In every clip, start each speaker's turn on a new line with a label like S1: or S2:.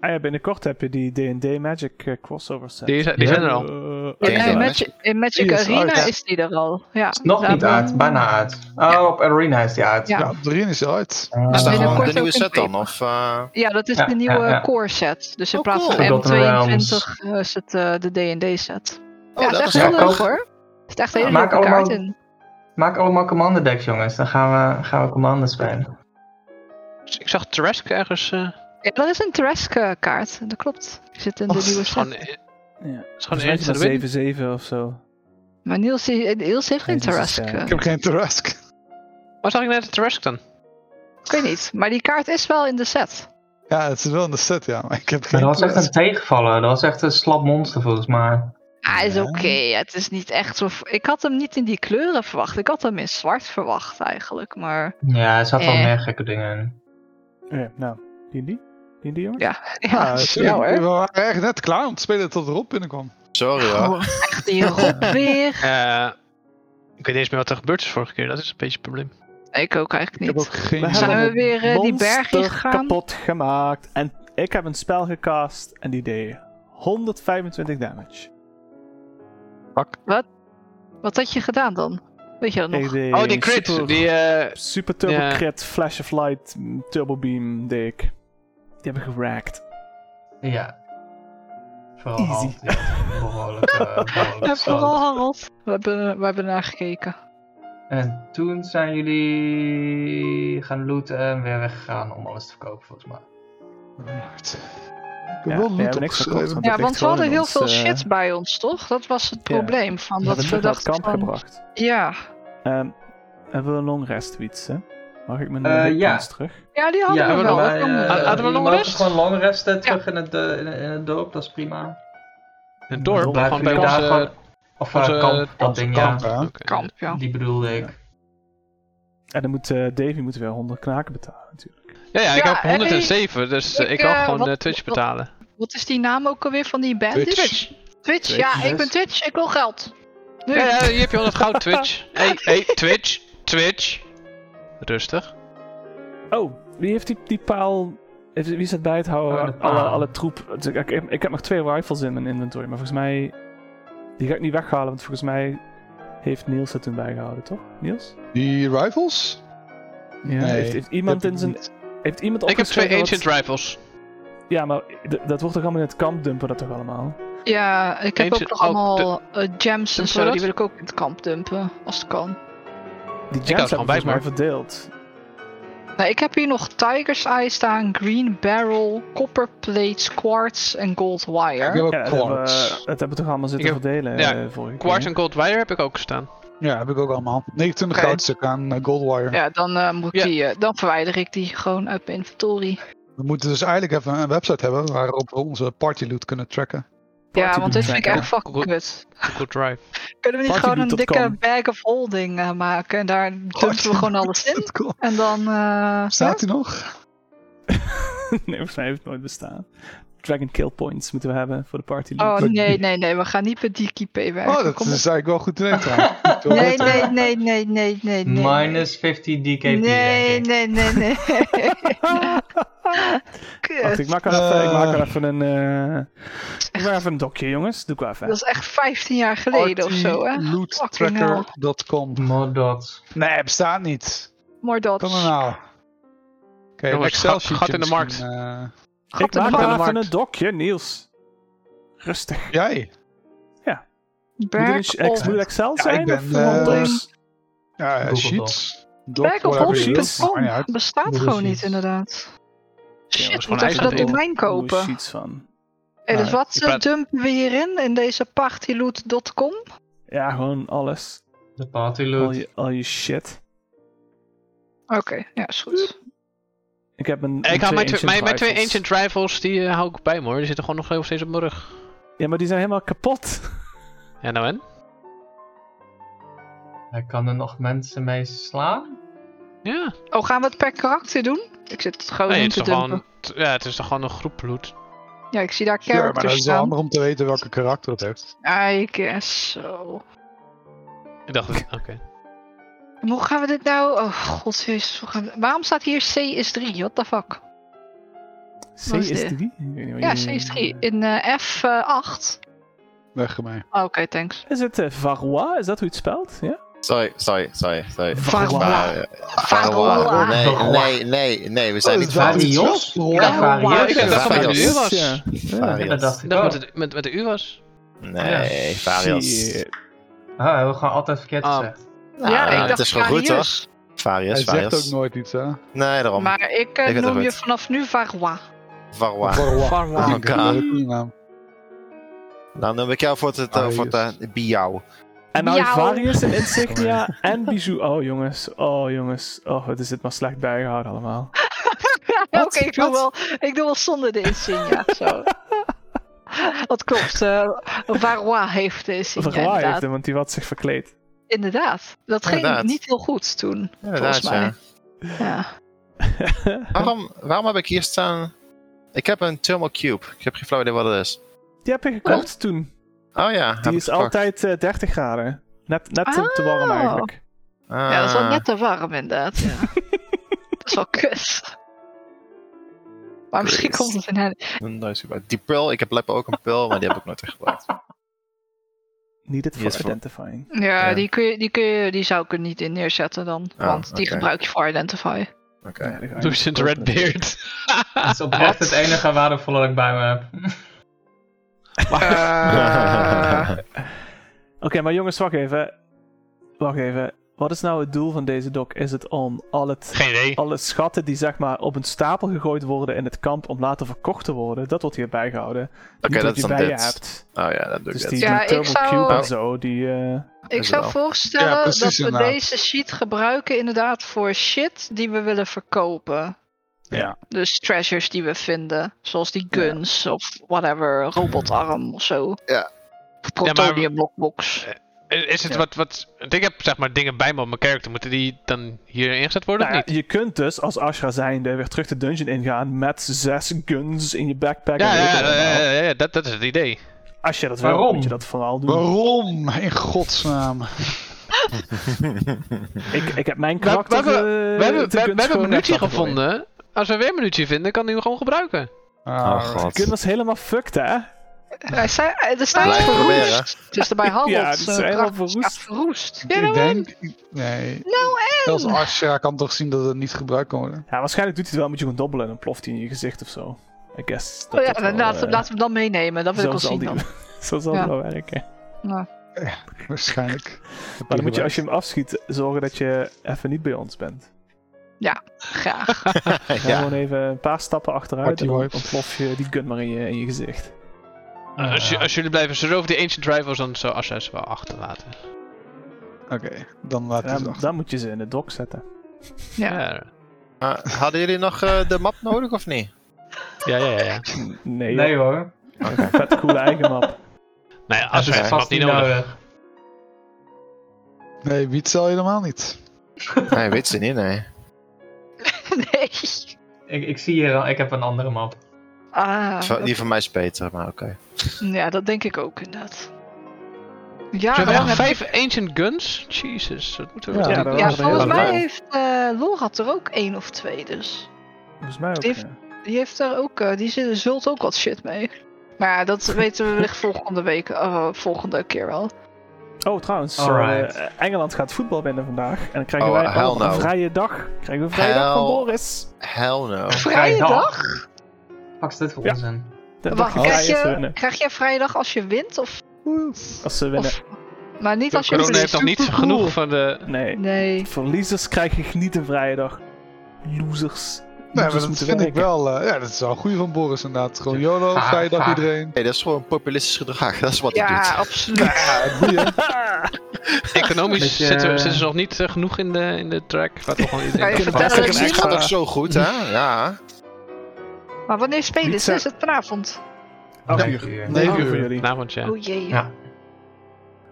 S1: Ah ja, binnenkort heb je die D&D Magic eh, crossover set.
S2: Die, zijn- die
S3: Ja.
S2: zijn er al.
S1: Eh,
S4: Ja,
S3: Oké,
S4: nee,
S3: dan.
S4: Magic, in Magic
S1: Die is
S4: Arena
S1: uit.
S4: is die er al. Ja,
S3: Is nog niet uit, bijna uit. Oh, op Arena is die uit.
S4: Ja.
S3: Ja.
S5: Ja, erin is uit.
S3: Ah.
S4: Maar
S2: Is dat
S4: binnenkort
S2: gewoon de
S4: ook
S2: nieuwe
S4: een
S2: set dan?
S4: paper.
S2: Of, eh,
S4: Ja, dat is
S3: Ja,
S4: de nieuwe
S3: ja, ja.
S4: core set. Dus in
S2: Oh,
S4: plaats
S2: cool.
S4: van
S3: Forgotten
S4: M22 is het eh, de D&D set.
S2: oh,
S4: ja,
S2: dat
S4: dat
S2: is
S4: is echt
S3: wel
S4: leuk
S3: cool.
S4: hoor. Er zit echt hele
S3: Maak
S4: leuke
S3: allemaal-
S4: kaarten.
S3: Maak allemaal commando decks, jongens. Dan gaan we, gaan we commando spelen.
S2: Dus Ik zag Trask ergens. eh,
S4: Ja, dat is een Trask eh, kaart, dat klopt. Die zit in de
S2: of het
S4: nieuwe
S2: is gewoon.
S4: set.
S2: eh, het is
S1: volgens
S2: gewoon
S1: mij
S2: eentje
S1: is
S2: dat weet.
S1: het maar 7-7 of zo.
S4: Maar Niels, die- Niels heeft geen
S1: Nee, dat is,
S4: Trask.
S1: eh,
S4: eh.
S5: Ik heb geen Tarask.
S2: Waar zag ik net Trask dan?
S4: Ik weet niet, maar die kaart is wel in de set.
S5: Ja, het is wel in de set, ja. Maar ik heb geen
S3: Maar dat was echt
S5: Tarask.
S3: een tegenvaller. Dat was echt een slap monster volgens mij.
S4: Ah, is
S5: Ja.
S4: oké. Het is niet echt zo... Ik had hem niet in die kleuren verwacht. Ik had hem in zwart verwacht eigenlijk, maar...
S3: Ja, er zaten wel
S4: Eh.
S3: meer gekke dingen in.
S1: Ja, nou, die die? Die die jongens?
S4: Ja,
S5: Ja,
S4: ja,
S5: het-
S4: Ah, ja
S5: we
S4: hoor.
S5: waren echt net klaar om te spelen tot Rob binnenkwam.
S2: Sorry hoor.
S4: Echt die Rob weer.
S2: Eh, ik weet niet eens meer wat er gebeurd is vorige keer. Dat is een beetje het probleem.
S4: Ik ook eigenlijk
S5: Ik heb
S4: niet.
S5: ook geen...
S1: We
S4: Zijn
S1: hebben
S4: we weer eh, die berg
S1: monster
S4: ingegaan?
S1: kapot gemaakt. En ik heb een spel gecast en die deed 125 damage.
S4: Wat had je gedaan dan? Weet je dat nog?
S1: Ik deed
S2: Oh, die crit.
S1: Super,
S2: Die, eh,
S1: super turbo
S2: ja.
S1: crit, flash of light, mm, turbo beam deed ik. Die hebben geraakt.
S3: Ja. Vooral
S1: Easy.
S3: altijd Oh, behoorlijk, eh, behoorlijk
S4: Ja,
S3: slap.
S4: vooral Harold. We hebben, we hebben naar gekeken.
S3: En toen zijn jullie gaan looten en weer weggegaan om alles te verkopen volgens mij.
S5: Oh, Ik heb
S1: Ja,
S5: wel
S1: we
S5: loot
S1: hebben niks
S5: opgeschreven.
S1: verkocht,
S4: Ja,
S1: ligt
S4: want we
S1: gewoon
S4: hadden
S1: in
S4: heel
S1: ons,
S4: veel
S1: eh,
S4: shit bij ons, toch? Dat was het
S1: ja.
S4: probleem. Van
S1: Dat
S4: dat we
S1: heb ik naar het
S4: dachten
S1: kamp
S4: van-
S1: gebracht.
S4: Ja.
S1: Ehm, hebben we een long rest, Wietse? Mag ik mijn
S3: Eh,
S1: uh,
S3: ja.
S1: terug?
S4: ja, die hadden we wel. dat kan wel.
S2: eh, hadden we nog rest?
S3: gewoon lang resten terug in, het, eh, in, in het dorp, dat is prima.
S2: een dorp.
S3: Blijven
S2: Gewoon bij
S3: jullie daar
S2: ons. eh,
S3: gewoon- Of eh,
S2: onze-
S3: kamp, dat
S2: onze
S3: ding,
S2: kamp,
S3: ja.
S5: Ja.
S2: oké.
S4: kamp, ja.
S3: Die bedoelde ik.
S1: En dan moet eh, Davy moet weer 100 knaken betalen natuurlijk.
S2: Ja, ja, ik
S4: Ja,
S2: heb 107, dus eh,
S4: ik,
S2: ik kan
S4: eh,
S2: gewoon
S4: wat-
S2: eh, Twitch
S4: wat-
S2: betalen.
S4: Wat is die naam ook alweer van die band?
S5: Twitch.
S4: Twitch. Twitch,
S3: Twitch.
S4: ja, ik ben Twitch. Ik wil geld. Nu.
S2: Ja, ja, hier heb je 100 goud Twitch. hey, hey, Twitch, Twitch. Rustig.
S1: Oh, wie heeft die, die paal... heeft- Wie zit bij het
S3: Oh, de
S1: houden?
S3: paal.
S1: alle, alle troep. Het- Ik, ik, ik heb nog twee rifles in mijn inventory, maar volgens mij... Die ga ik niet weghalen, want volgens mij heeft Niels het toen bijgehouden, toch? Niels?
S5: Die rifles?
S1: Ja. heeft, heeft iemand in zijn... Heeft iemand
S2: Ik heb twee
S1: opgeschreven wat-
S2: Ancient Rifles.
S1: Ja, maar d- dat wordt toch allemaal in het kamp dumpen, dat toch allemaal?
S4: Ja, ik heb
S2: Neemt
S4: ook
S2: ze-
S4: nog
S2: oh,
S4: allemaal eh, gems
S2: Dumpen
S4: en
S2: we
S4: zo.
S2: dat?
S4: Die wil ik ook in het kamp dumpen, als het kan.
S1: Die
S2: hou
S1: gems
S2: het
S1: hebben
S2: gewoon
S1: we
S2: bij
S1: volgens mij verdeeld.
S4: Nou, ik heb hier nog Tiger's Eye staan, Green Barrel, Copper Plates, Quartz en Gold
S5: Ik
S4: Wire.
S5: heb ook
S1: Ja, dat hebben, we,
S5: quartz.
S1: dat hebben we toch allemaal zitten
S2: Ik heb-
S1: verdelen
S2: ja,
S1: eh, vorige
S2: Quartz
S1: keer?
S2: en Gold Wire heb ik ook staan.
S5: Ja, heb ik ook allemaal. 29
S2: Oké.
S5: goudstukken aan eh, Goldwire.
S4: Ja, dan, eh, moet ik
S2: Ja.
S4: Die, eh, dan verwijder ik die gewoon uit mijn inventory.
S5: We moeten dus eigenlijk even een website hebben waarop we onze party loot kunnen tracken.
S4: ja, want dit vind ik
S1: tracker.
S4: echt fucking
S2: Goed.
S4: kut.
S2: Good Drive.
S4: Kunnen we niet
S1: Partyloot
S4: gewoon een dikke
S1: dot com.
S4: bag of holding eh, maken en daar dumpen we gewoon alles in?
S5: Cool.
S4: En dan... eh,
S5: Staat hij nog?
S1: nee, volgens mij heeft het nooit bestaan. Dragon Kill Points moeten we hebben voor de party.
S4: Oh
S1: league.
S4: nee, nee, nee, we gaan niet met die keepay werken.
S5: Oh, dat
S4: Kom
S5: is
S4: op.
S5: eigenlijk wel goed idee trouwens. Ik wil
S4: Nee,
S5: weten-
S4: nee, nee, nee, nee, nee, nee.
S3: Minus 50 DKP.
S4: Nee,
S3: denk ik.
S4: nee, nee, nee. nee.
S1: Wacht,
S4: Kut.
S1: ik maak wel even, ik maak wel
S5: Eh.
S1: even een. eh, ik maak even een dokje, jongens. Doe ik wel even.
S4: Dat is echt 15 jaar geleden of zo, hè?
S5: Loottracker.com.
S3: Moddots.
S5: Nee, bestaat niet.
S4: Maar dat.
S5: Kan er nou? Oké, een
S2: Jongens,
S5: Excel
S2: gat-
S5: sheetje
S2: gat in de markt.
S5: misschien, eh,
S1: ik
S4: Gat in de
S1: maak wel
S4: markt.
S1: even een dokje, Niels. Rustig.
S5: jij?
S1: Moet
S4: Berg
S1: het, een ex,
S4: of
S1: moet het Excel
S5: Ja,
S1: zijn?
S5: ik ben,
S1: of eh,
S5: eh,
S1: anders?
S5: Ja, eh,
S3: Google
S5: sheets. Doc,
S4: Berg of
S5: whatever it
S1: Holding.
S5: is. Maakt niet uit.
S4: Holding.com bestaat
S3: Google
S4: gewoon niet,
S3: Sheets.
S4: inderdaad. Shit,
S2: gewoon
S4: moet even dat
S2: eigen
S4: domein
S1: Google
S4: kopen.
S1: sheets van.
S4: Hey, dus
S1: Ja,
S4: wat
S2: ik praat-
S4: dumpen we hierin in deze partyloot.com?
S1: Ja, gewoon alles.
S3: De party
S1: Al
S3: loot.
S1: Oh, je, al je shit.
S4: Oké, ja, is goed.
S1: Ik heb een.
S2: Ik
S1: een
S2: hou mijn,
S1: ancient
S2: twee- mijn, mijn twee
S1: rifles.
S2: Ancient Rifles, die eh, hou ik bij me hoor. Die zitten gewoon nog heel steeds op mijn rug.
S1: Ja, maar die zijn helemaal kapot.
S2: Ja, nou en?
S3: Hij kan er nog mensen mee slaan.
S2: Ja.
S4: Oh, gaan we het per karakter doen? Ik zit het gewoon
S2: Nee,
S4: in
S2: het,
S4: te
S2: is toch
S4: dumpen.
S2: gewoon, t- ja het is toch gewoon een groep bloed.
S4: Ja, ik zie daar
S5: Ja, maar dat
S4: characters
S5: is
S4: staan.
S5: wel
S4: Ah,
S5: handig om te weten welke karakter het heeft.
S4: I guess so.
S2: Ik dacht, dat- oké.
S4: En Hoe gaan we dit nou? Oh god, jezus, hoe gaan we- waarom staat hier C is 3? What the fuck?
S1: C
S4: Wat is
S1: is
S4: dit?
S1: 3? Ik weet niet wat
S4: Ja, C
S1: jullie-
S4: is
S5: Hmm.
S4: 3. In eh, F8.
S5: Weg ermee.
S4: Oh, Oké, thanks.
S1: Is het eh, Varroa? Is dat hoe je het spelt? Ja?
S6: Sorry, sorry, sorry, sorry.
S4: Varroa.
S6: Vaar-
S4: Varroa.
S6: Nee,
S3: Varroa.
S6: nee, nee, nee, we zijn
S5: Oh,
S6: niet
S5: dat
S6: van.
S5: is
S6: Nee,
S3: Varios? Ik
S5: wel-
S1: Oh,
S3: dacht
S4: Ja,
S3: Varios.
S2: maar ik heb
S1: dat
S6: dat
S1: van
S6: van
S1: de
S6: de
S1: uur
S6: uur
S1: was.
S2: was.
S1: Ja.
S6: Varios.
S1: Ja.
S3: Ja, dat dacht
S2: Ik
S3: ik
S2: dacht
S3: ook.
S2: met, de, met, met de U was.
S6: nee Varios.
S1: Shit.
S3: Ah, we hebben gewoon altijd verkeerd
S2: Ah.
S3: gezegd.
S6: Nou,
S4: ja, ik
S6: het
S4: dacht
S6: is gewoon goed, toch?
S4: Varius.
S5: Hij
S6: Varios,
S5: zegt ook
S6: Varios.
S5: nooit iets, hè?
S6: Nee, daarom.
S4: Maar ik, eh,
S6: Ik weet het
S4: noem je
S6: goed.
S4: vanaf nu Varwa.
S6: Varwa.
S5: Varroa.
S4: Varwa.
S5: Dat is een
S6: Oké.
S5: leuke naam.
S6: Dan noem ik jou voor het, eh, voor het eh, Biao.
S1: En nou heeft
S4: Miauw.
S1: Varius en Insignia en Bijou. Oh jongens, oh jongens. Oh, wat is dit maar slecht bijgehouden allemaal.
S4: Oké,
S1: Wat?
S4: ik doe
S1: Wat?
S4: wel, ik doe wel zonder de insignia. zo. Dat klopt. eh Varwa heeft de insignia.
S1: Varroa heeft
S4: inderdaad.
S1: hem, want die had zich verkleed.
S4: Inderdaad. Dat ging
S6: Inderdaad.
S4: niet heel goed toen.
S6: Inderdaad,
S4: Volgens mij.
S6: ja.
S4: Ja.
S6: Waarom, waarom heb ik hier staan... Ik heb een Thermal Cube. Ik heb geen flauw idee wat het is.
S1: Die heb je gekocht toen.
S6: Oh ja, heb
S1: Die
S6: ik
S1: is
S6: gepakt.
S1: altijd eh, 30 graden. Net, net te- te warm
S4: Oh.
S1: eigenlijk.
S6: Ah,
S4: ja, dat is wel net te warm inderdaad. Ja. dat is wel kut. Maar misschien
S6: Kut.
S4: komt het in hen.
S6: een nice gebruik. Die pil, ik heb blijkbaar ook een pil, maar die heb ik nooit echt gebruikt.
S1: Needed for
S6: Yes, voor-
S1: identifying.
S4: Ja,
S6: Ja.
S4: Die, kun je, die, kun je, die zou ik er niet in neerzetten dan.
S6: Ah,
S4: want die
S6: oké.
S4: gebruik je voor Identify.
S6: Oké.
S1: Ja, die ga ik
S2: Lucent
S1: kopen.
S2: Redbeard.
S3: Dat is oprecht het enige waardevolle dat ik bij me heb.
S4: Eh,
S1: Oké, maar jongens, wacht even. Wacht even. Wat is nou het doel van deze doc? Is het om al het,
S2: Geen idee.
S1: alle schatten die zeg maar op een stapel gegooid worden in het kamp om later verkocht te worden, dat wordt hier bijgehouden.
S6: Oké,
S1: Niet
S6: dat
S1: wat
S6: is
S1: je
S6: dan
S1: bij je
S6: dit.
S1: hebt.
S6: Oh ja, dat doe ik
S1: Dus
S6: dit.
S1: die
S4: Ja,
S1: met
S4: ik
S1: Turbo
S4: zou-
S1: Cube
S6: Oh.
S1: en zo, die... eh
S4: Ik
S6: Is
S4: zou
S6: wel.
S4: voorstellen
S5: Ja, precies,
S4: dat we
S5: inderdaad.
S4: deze sheet gebruiken inderdaad voor shit die we willen verkopen.
S1: Ja.
S4: Dus treasures die we vinden. Zoals die guns of whatever, robotarm of zo.
S6: Ja.
S4: Of protonium lockbox.
S2: Is het wat, wat... want Ik heb zeg maar dingen bij me op mijn character. Moeten die dan hierin ingezet worden
S1: Nou ja,
S2: of niet?
S1: je kunt dus als Ashra zijnde weer terug de dungeon ingaan met zes guns in je backpack.
S2: Ja,
S1: en
S2: ja,
S1: weet ik
S2: ja,
S1: wat
S2: ja,
S1: allemaal.
S2: ja, ja, dat, dat is het idee.
S1: Als je dat wil,
S3: Waarom?
S1: moet je dat vooral doen.
S5: Waarom? In godsnaam.
S1: Oh, Ik, ik heb mijn
S2: We hebben-
S1: karakter...
S2: we
S1: eh,
S2: We hebben,
S1: de
S2: we, we
S1: guns
S2: hebben
S1: gewoon
S2: munitie
S1: weg laten gooien.
S2: gevonden. Als we weer munitie vinden, kan die hem gewoon gebruiken.
S5: Ah,
S6: god.
S1: De gun was helemaal fucked, hè?
S4: Hij zei, er staat
S6: Blijf proberen.
S4: verroest. Het is erbij handeld.
S1: Ja, het is
S4: eh,
S1: helemaal
S4: prachtig.
S1: verroest.
S4: Ja, nou, verroest.
S5: ik denk... Nee.
S4: Nou
S5: Zelfs
S4: en?
S5: Ashra kan toch zien dat het niet gebruikt kan worden.
S1: Ja, waarschijnlijk doet hij het wel, moet je gewoon dobbelen en dan ploft hij in je gezicht of zo. I guess.
S4: Oh ja,
S1: dat wel,
S4: laten,
S1: eh,
S4: laten we hem dan meenemen. Dat wil ik
S1: zo zal
S4: wel zien
S1: die-
S4: dan.
S1: Zo zal
S4: Ja.
S1: het wel werken.
S5: Waarschijnlijk.
S1: Maar dan moet je als je hem afschiet, zorgen dat je even niet bij ons bent.
S4: Graag.
S1: Ga
S6: ja.
S1: Gewoon even een paar stappen achteruit
S5: Party
S1: en dan
S5: wipe.
S1: ontplof je die gun maar in je, in je gezicht.
S2: Als, je- als jullie blijven zeuren over die Ancient Rivals, dan zou Assassin wel achterlaten.
S5: Ah, Oké, dan laat
S1: Ja,
S5: het
S1: dan,
S5: achter.
S1: Ehm, moet je ze in de dock zetten.
S4: Ja.
S6: Maar hadden jullie nog eh, de map nodig of niet?
S2: Ja, ja, ja. ja.
S1: Nee,
S3: Nee
S1: nee
S3: hoor.
S1: vet coole eigen map.
S2: Nee, Nou als
S6: Oké.
S2: we
S3: Vast
S2: vast niet nodig.
S5: Nee, wiet zal helemaal niet.
S6: Nee, weet ze niet, nee.
S4: nee.
S3: Ik, ik zie hier al, ik heb een andere map.
S4: Ah,
S6: Va- Die van mij is beter, maar oké.
S4: ja, dat denk ik ook inderdaad. Ja,
S2: we hebben
S4: dan
S2: nog
S4: heb ik-
S2: vijf Ancient Guns? Jesus, dat moeten we
S1: Ja,
S2: wel
S1: dat
S2: doen.
S1: was
S4: ja,
S1: er heel
S4: volgens mij
S1: veel.
S4: heeft eh Lorat er ook één of twee dus.
S1: Volgens mij ook.
S4: Die heeft-
S1: ja.
S4: Die heeft daar ook, eh, die zit- zult ook wat shit mee. Maar ja, dat weten we wellicht volgende week, eh, volgende keer wel.
S1: Oh, trouwens,
S3: Alright.
S1: eh, Engeland gaat voetbal winnen vandaag. En dan krijgen
S6: Oh,
S1: wij
S6: hell
S1: allemaal een
S6: no.
S1: vrije dag. Krijgen we een vrije dag van
S6: Hell.
S1: Boris.
S6: Hell no.
S4: Vrije
S3: Vrijdag?
S4: dag?
S3: Pak is dit voor
S1: Ja.
S3: onzin?
S1: De dag
S4: Wacht,
S1: van
S4: krijg
S1: vrijheid
S4: je,
S1: winnen.
S4: krijg je vrijdag als je wint? Of,
S1: Als ze winnen.
S4: of, maar niet als je
S2: Corona heeft
S4: verliest.
S2: nog niet
S4: Supercool.
S2: genoeg van de...
S1: Nee.
S4: Nee.
S1: Verliezers krijgen niet een vrije dag. Losers.
S5: Nee,
S1: Losers
S5: maar dat
S1: Dus moeten
S5: vind
S1: werken.
S5: ik wel... eh, ja, dat is wel een goeie van Boris inderdaad. Gewoon YOLO,
S3: Ah,
S5: vrijdag
S3: ah.
S5: iedereen.
S6: Hey, dat is gewoon populistisch gedrag. Dat is wat hij
S4: Ja,
S6: doet.
S4: absoluut.
S5: Ja, die, hè.
S2: Economisch
S3: Beetje,
S2: zitten, we,
S3: eh,
S2: zitten ze nog niet eh, genoeg in de, in de track. Laten we gewoon
S4: Kan je
S2: iedereen...
S4: vertellen
S1: hartstikke
S4: dat je
S6: Het
S1: extra-
S4: wint?
S6: gaat ook zo goed, hè? Ja.
S4: Maar wanneer spelen
S1: Pizza.
S4: ze? Is het vanavond?
S1: Acht
S3: Dank
S1: uur.
S3: u.
S1: Negen
S5: Oh.
S1: uur voor jullie.
S6: Nou,
S2: Vanavond, ja.
S4: Oh jee.
S3: Ja.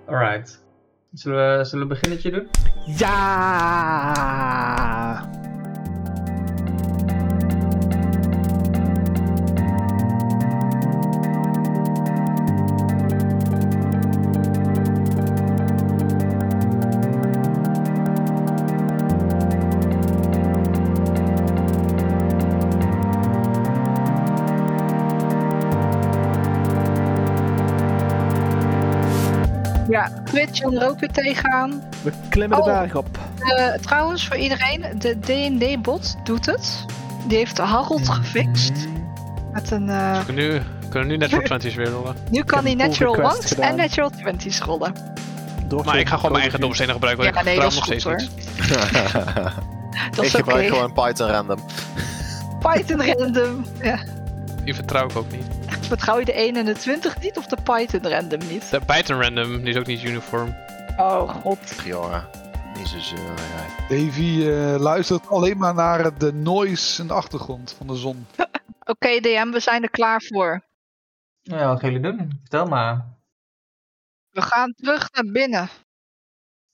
S3: Alright. Zullen we, zullen we een beginnetje doen?
S1: Ja!
S4: Ja, Twitch en Roku tegenaan.
S1: We klimmen de
S4: Oh.
S1: berg op.
S4: Eh, trouwens, voor iedereen, de D&D-bot doet het. Die heeft Harold gefixt. Met een, eh,
S2: We kunnen nu, we kunnen nu net voor 20's weer rollen.
S4: nu
S1: heb
S4: kan hij
S1: een pull
S4: natural
S1: request
S4: 1's
S1: gedaan.
S4: en natural 20's rollen.
S1: Door
S2: Maar ik ga gewoon mijn eigen
S1: Code Review.
S2: domstenen gebruiken, want
S4: ja,
S2: ik
S4: nee, dat
S2: vertrouw
S4: is
S2: hem nog
S4: goed
S2: steeds
S4: hoor.
S2: niet.
S4: Dat
S6: Ik
S4: is oké.
S6: gebruik gewoon Python random.
S4: Python random. Ja.
S2: Die vertrouw ik ook niet.
S4: Vertrouw je de 1 en de 20 niet of de Python random niet?
S2: De Python random, die is ook niet uniform.
S4: Oh god.
S6: Priora. Niet zo zeuren, jij.
S5: Davy eh, luistert alleen maar naar de noise in de achtergrond van de zon.
S4: Oké DM, we zijn er klaar voor.
S3: Nou ja, wat gaan jullie doen? Vertel maar.
S4: We gaan terug naar binnen.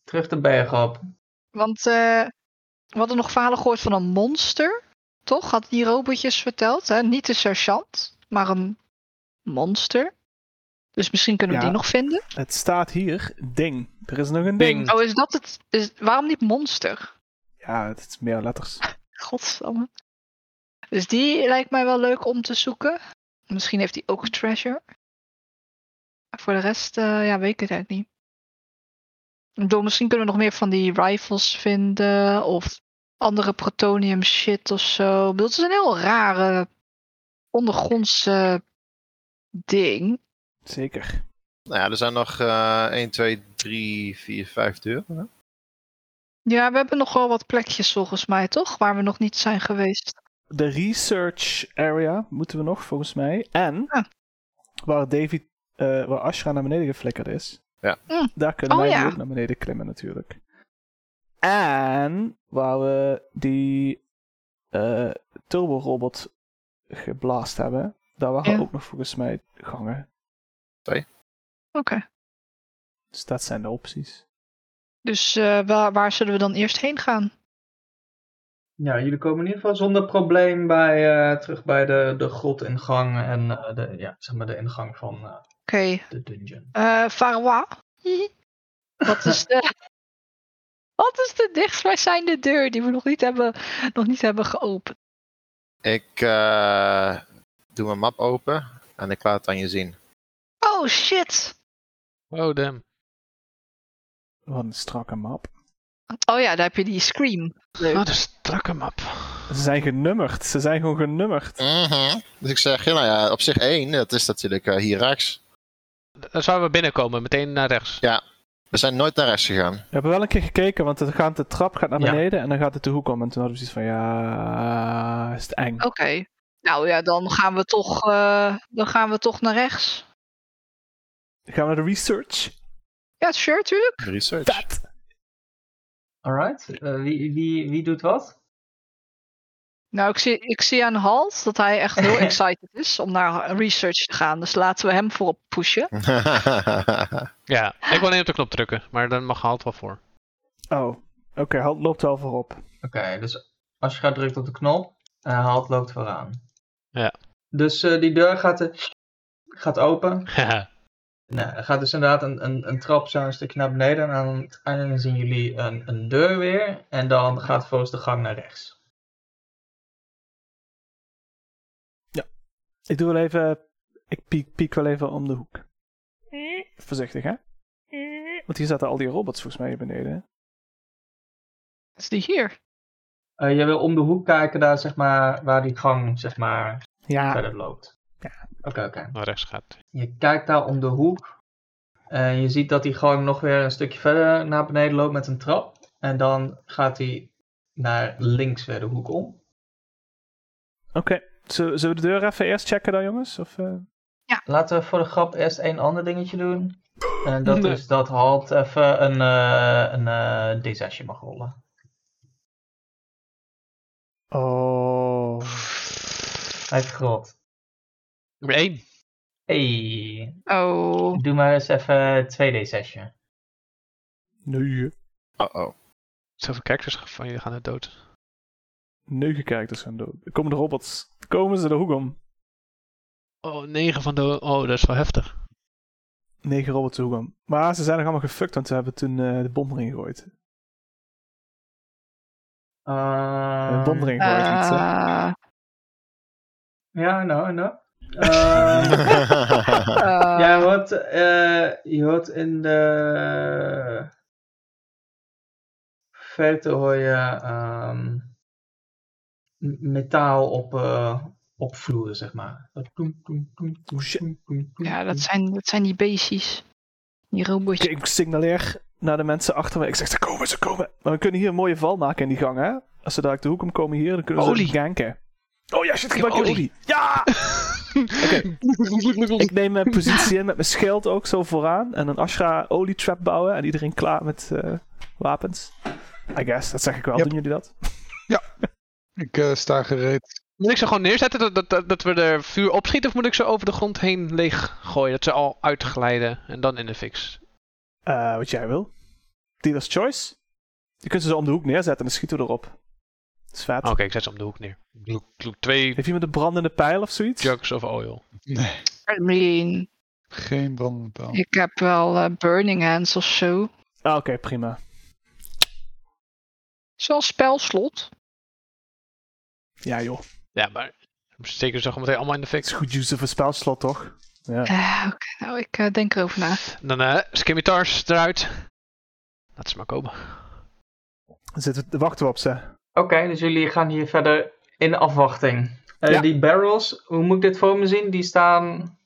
S3: Terug de berg op.
S4: Want eh, we hadden nog verhalen gehoord van een monster. Toch? Had die robotjes verteld. Hè? Niet de sergeant, maar een monster. Dus misschien kunnen we
S1: Ja.
S4: die nog vinden.
S1: Het staat hier. Ding. Er is nog een ding.
S2: Ding.
S4: Oh, is dat het? Is, waarom niet monster?
S1: Ja, het is meer letters.
S4: Godsamme. Dus die lijkt mij wel leuk om te zoeken. Misschien heeft hij ook een treasure. Maar voor de rest, eh, ja, weet ik het eigenlijk niet. Ik bedoel, misschien kunnen we nog meer van die rifles vinden. Of andere plutonium shit of zo. Ik bedoel, het is een heel rare ondergrondse ding.
S1: Zeker.
S6: Nou ja, er zijn nog eh 1, 2, 3, 4, 5 deuren. hè?
S4: Ja, we hebben nog wel wat plekjes volgens mij, toch? Waar we nog niet zijn geweest.
S1: de research area moeten we nog, volgens mij. En
S4: Ah.
S1: waar David, eh, waar Ashra naar beneden geflikkerd is.
S6: Ja.
S4: Mm.
S1: Daar kunnen
S4: Oh,
S1: wij nu
S4: ja.
S1: ook naar beneden klimmen natuurlijk. En waar we die eh turbo-robot geblaast hebben. Daar waren
S4: Ja.
S1: ook nog volgens mij gangen.
S4: Oké.
S1: Dus dat zijn de opties.
S4: Dus eh, waar, waar zullen we dan eerst heen gaan?
S3: Ja, jullie komen in ieder geval zonder probleem bij, eh, terug bij de, de grotingang en eh, de, ja, zeg maar de ingang van eh,
S4: Oké.
S3: de dungeon.
S4: Eh Faroua. Wat is de. Wat is de dichtstbijzijnde deur die we nog niet hebben, nog niet hebben geopend?
S6: Ik eh, doe mijn map open en ik laat het aan je zien.
S4: Oh shit!
S2: Oh, damn.
S1: Wat een strakke map.
S4: Oh ja, daar heb je die scream. Leuk.
S2: Wat een strakke map.
S1: Ze zijn genummerd. Ze zijn gewoon genummerd.
S6: Mhm. Dus ik zeg, ja, nou ja, op zich één, dat is natuurlijk eh, hier rechts.
S2: Dan zouden we binnenkomen, meteen naar rechts.
S6: We zijn nooit naar rechts gegaan.
S1: We hebben wel een keer gekeken, want het gaat, de trap gaat naar
S3: Ja.
S1: beneden en dan gaat het de hoek om. En toen hadden we zoiets van, ja, is het eng.
S4: Oké. Nou ja, dan gaan we toch, eh, dan gaan we toch naar rechts.
S1: Gaan we naar de research?
S4: Ja, sure, tuurlijk.
S6: Research.
S1: Vet!
S3: Alright, eh, wie, wie, wie doet wat?
S4: Nou, ik zie, ik zie aan Halt dat hij echt heel excited is om naar research te gaan. Dus laten we hem voorop pushen.
S2: Ja, ik wil niet op de knop drukken, maar dan mag Halt wel voor.
S1: Oh, oké, Halt loopt wel voorop.
S3: Oké, dus als je gaat drukt op de knop, eh haalt loopt vooraan.
S2: Ja.
S3: Dus eh, die deur gaat, eh, gaat open.
S2: Haha.
S3: Nou, er gaat dus inderdaad een, een, een trap zo een stukje naar beneden. En aan het einde zien jullie een, een deur weer. En dan gaat volgens de gang naar rechts.
S1: Ik doe wel even, ik piek, piek wel even om de hoek. Voorzichtig, hè? Want hier zaten al die robots volgens mij hier beneden.
S4: Is die hier?
S3: Eh jij wil om de hoek kijken daar, zeg maar, waar die gang zeg maar,
S1: Ja.
S3: verder loopt.
S1: Ja.
S3: Oké, oké.
S2: naar rechts gaat.
S3: Je kijkt daar om de hoek. En je ziet dat die gang nog weer een stukje verder naar beneden loopt met een trap. En dan gaat hij naar links weer de hoek om.
S1: Oké, zullen zullen we de deur even eerst checken dan, jongens? Of, eh,
S3: Laten we voor de grap eerst één ander dingetje doen. En dat
S2: Nee.
S3: is dat Halt even een, eh een eh, D6'je mag rollen.
S1: Oh.
S3: Hij heeft gerot.
S2: Nummer 1.
S3: Hey,
S4: Oh.
S3: doe maar eens even 2D6'je.
S1: Negen.
S6: Uh-oh.
S2: Zoveel kijkers van jullie gaan er dood.
S1: Negen kijkers gaan dood. Komen de robots. Komen ze de hoek om.
S2: Oh, 9 van de... Oh, dat is wel heftig.
S1: Negen robots de hoek om. Maar ze zijn nog allemaal gefukt, want ze hebben toen eh, de bom erin gegooid.
S3: Uh, Eh,
S1: Een bom erin gegooid. iets, hè?
S4: Ah,
S3: Ja, nou, nou. Eh,
S4: ah.
S3: jij hoort hoort, eh, je hoort in de verte hoor je ehm, m- metaal op, eh, op vloeren, zeg maar. Dat kloem, kloem, kloem, kloem,
S1: Shit.
S3: kloem, kloem, kloem,
S4: Ja, dat
S3: kloem.
S4: zijn, dat zijn die beestjes. Die robotjes.
S1: Oké, ik signaleer naar de mensen achter me. Ik zeg, ze komen, ze komen. Maar we kunnen hier een mooie val maken in die gang, hè? Als ze daar uit de hoek om komen hier, dan kunnen we ze
S2: Olie.
S1: ganken. Oh ja, shit,
S2: Ik heb
S1: gebruik je
S2: olie.
S1: olie. Ja! Ik neem mijn positie in met mijn schild ook zo vooraan. En een Ashra olietrap bouwen. En iedereen klaar met eh, wapens. I guess, dat zeg ik wel.
S5: Yep.
S1: Doen jullie dat?
S5: Ik eh, sta gereed.
S2: Moet ik ze gewoon neerzetten dat, dat, dat, dat we er vuur opschieten? Of moet ik ze over de grond heen leeg gooien? Dat ze al uitglijden en dan in de fix.
S1: Eh, wat jij wil. Dealer's choice. Je kunt ze zo om de hoek neerzetten en dan schieten we erop. Dat is vet.
S2: Ah, Oh, Oké, ik zet ze om de hoek neer. Doe- doe Twee
S1: Heeft iemand een brandende pijl of zoiets?
S2: jugs of oil.
S5: Nee,
S4: I mean,
S5: geen brandende paal.
S4: ik heb wel eh, Burning Hands of zo. Het
S1: Ah, Oké, prima.
S4: is wel een spelslot.
S1: Ja joh.
S2: Ja, maar steken ze gewoon meteen allemaal in de
S1: Het is
S2: fik.
S1: goed use of een spelslot, toch? Ja.
S4: Eh, Oké, nou, ik eh, denk erover na.
S2: Dan eh skimitar's eruit. Laat ze maar komen.
S1: Dan zitten we te wachten we op ze.
S3: Oké, dus jullie gaan hier verder in afwachting. Eh,
S1: Ja.
S3: Die barrels, hoe moet ik dit voor me zien? Die staan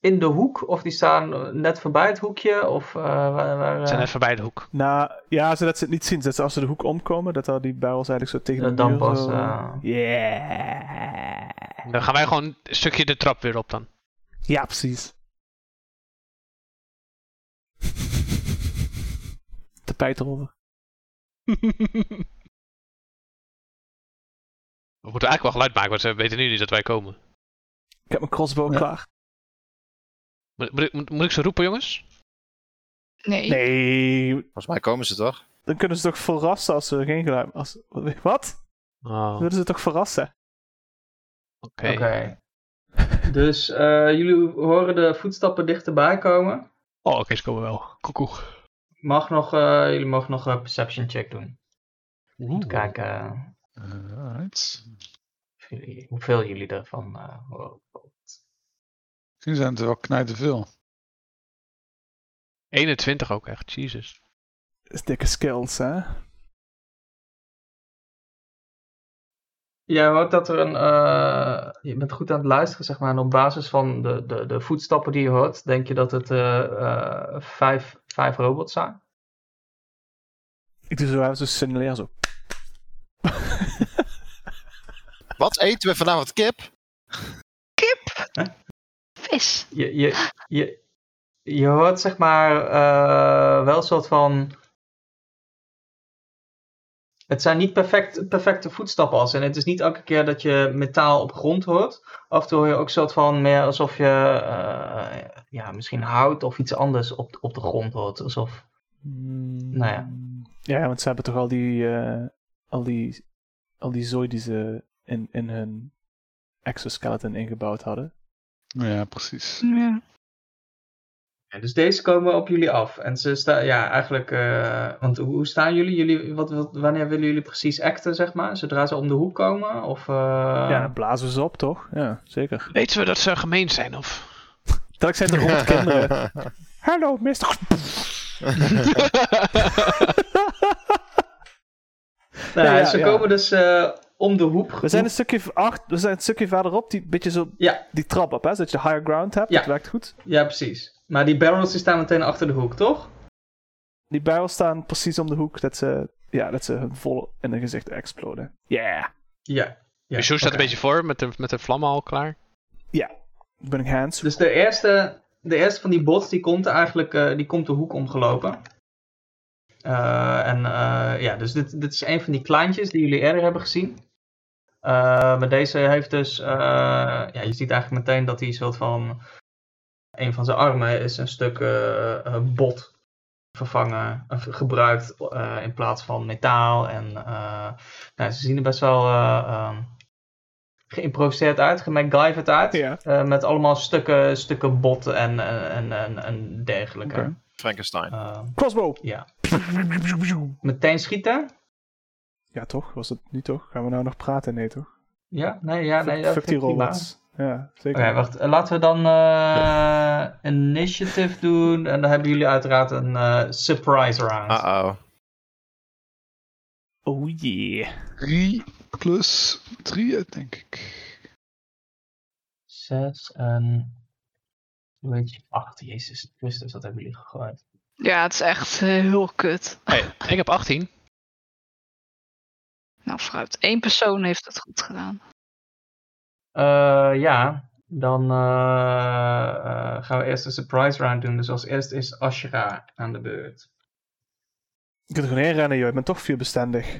S3: in de hoek of die staan net voorbij het hoekje? Of eh, waar, waar,
S2: Ze
S3: eh,
S2: zijn even bij de hoek.
S1: Nou, ja, zodat ze het niet zien. Zodat ze als ze de hoek omkomen, dat daar die barrels eigenlijk zo tegen
S3: eh,
S1: de
S3: dan
S1: muur
S3: pas.
S1: zo-
S3: eh,
S1: Yeah.
S2: Dan gaan wij gewoon een stukje de trap weer op dan.
S1: Ja, precies. Tapijt erover.
S2: We moeten eigenlijk wel geluid maken, want ze weten nu niet dat wij komen.
S1: Ik heb mijn crossbow
S5: Ja.
S1: klaar.
S2: Moet, moet, ik- moet- moet ik ze roepen, jongens?
S4: Nee.
S1: Nee,
S6: Volgens mij komen ze toch?
S1: dan kunnen ze toch verrassen als ze geen geluid... Als... Wat?
S2: Oh,
S1: Dan
S2: oké.
S1: willen ze toch verrassen?
S3: Oké. dus eh, jullie horen de voetstappen dichterbij komen.
S2: Oh, oké, ze komen wel. Koekoe.
S3: Mag nog, eh, jullie mogen nog een perception check doen. Om
S2: Oeh.
S3: te kijken eh,
S5: Eh, alright.
S3: of jullie- hoeveel jullie ervan eh, horen.
S5: Misschien zijn het er wel knijten veel.
S2: 21 ook echt, Jesus.
S1: Dat is dikke skills, hè?
S3: Jij hoort dat er een. eh, je bent goed aan het luisteren, zeg maar. En op basis van de, de, de voetstappen die je hoort, denk je dat het eh, eh, vijf, vijf robots zijn.
S1: Ik doe zo even zo signaleer zo.
S6: Wat eten we vanavond? Kip?
S4: Kip! Vis!
S3: Je, je, je, je hoort, zeg maar, eh, wel een soort van. Het zijn niet perfect, perfecte voetstappen als. En het is niet elke keer dat je metaal op grond hoort. Af en toe hoor je ook een soort van meer alsof je eh, ja, misschien hout of iets anders op, op de grond hoort. Alsof. Nou ja.
S1: Ja, want ze hebben toch al die, eh, al die, al die zooi die ze in, in hun exoskeleton ingebouwd hadden.
S5: Ja, precies.
S4: Ja.
S3: Ja, dus deze komen op jullie af. En ze staan, ja, eigenlijk, eh, want hoe hoe staan jullie? jullie wat, wat, wanneer willen jullie precies acten, zeg maar? Zodra ze om de hoek komen? Of, eh,
S1: Ja, dan blazen we ze op, toch? Ja, zeker.
S2: Weten we dat ze gemeen zijn, of?
S1: Telk zijn er rond kinderen. Hallo, mister.
S3: nou,
S1: Ja,
S3: ze
S1: ja.
S3: komen dus eh, om de hoek.
S1: We zijn een stukje, v- acht, we zijn een stukje verderop, die, beetje zo
S3: Ja.
S1: die trap op, hè? Zodat je de higher ground hebt.
S3: Ja.
S1: Dat werkt goed.
S3: Ja, precies. Maar die barrels die staan meteen achter de hoek, toch?
S1: Die barrels staan precies om de hoek, dat ze, ja, dat ze hun vol in hun gezicht exploden. Yeah.
S3: Ja. ja.
S2: Sjoerd staat
S3: oké.
S2: een beetje voor, met de, met de vlammen al klaar.
S1: Ben ik hands?
S3: Dus de eerste, de eerste van die bots die komt eigenlijk eh, die komt de hoek omgelopen. Eh, en eh, ja, dus dit, dit is een van die kleintjes die jullie eerder hebben gezien. Eh, maar deze heeft dus, eh, ja, je ziet eigenlijk meteen dat hij een soort van, een van zijn armen is een stuk eh, eh, bot vervangen, of gebruikt eh, in plaats van metaal. En eh, nou, ze zien er best wel eh, ehm, geïmproviseerd uit, gemacgyverd uit.
S1: Ja.
S3: Eh, met allemaal stukken, stukken botten en, eh, en, en, en dergelijke.
S5: Oké.
S6: Frankenstein.
S3: Eh,
S1: Crossbow!
S3: ja. Meteen schieten?
S1: Ja, toch? Was het niet toch? Gaan we nou nog praten? Nee, toch?
S3: Ja, nee, ja, nee.
S1: Fuck-
S3: dat
S1: Fuck
S3: vind
S1: die
S3: ik prima.
S1: robots. Ja,
S3: Oké,
S1: zeker.
S3: wacht. Eh, Laten we dan eh, initiative doen. En dan hebben jullie uiteraard een eh, surprise round.
S6: Uh-oh.
S1: Oh yeah.
S5: 3 plus 3, denk ik.
S3: Zes en... Hoe heet je? Acht, jezus Christus, wat hebben jullie gegooid?
S4: Ja, het is echt eh, heel kut.
S2: Hey, ik heb 18.
S4: Nou, vooruit. Eén persoon heeft het goed gedaan.
S3: Eh, ja, dan eh, eh, gaan we eerst de surprise round doen. Dus als eerst is Ashra aan de beurt.
S1: Je kunt er gewoon heen rennen, joh. Ik ben toch vuurbestendig.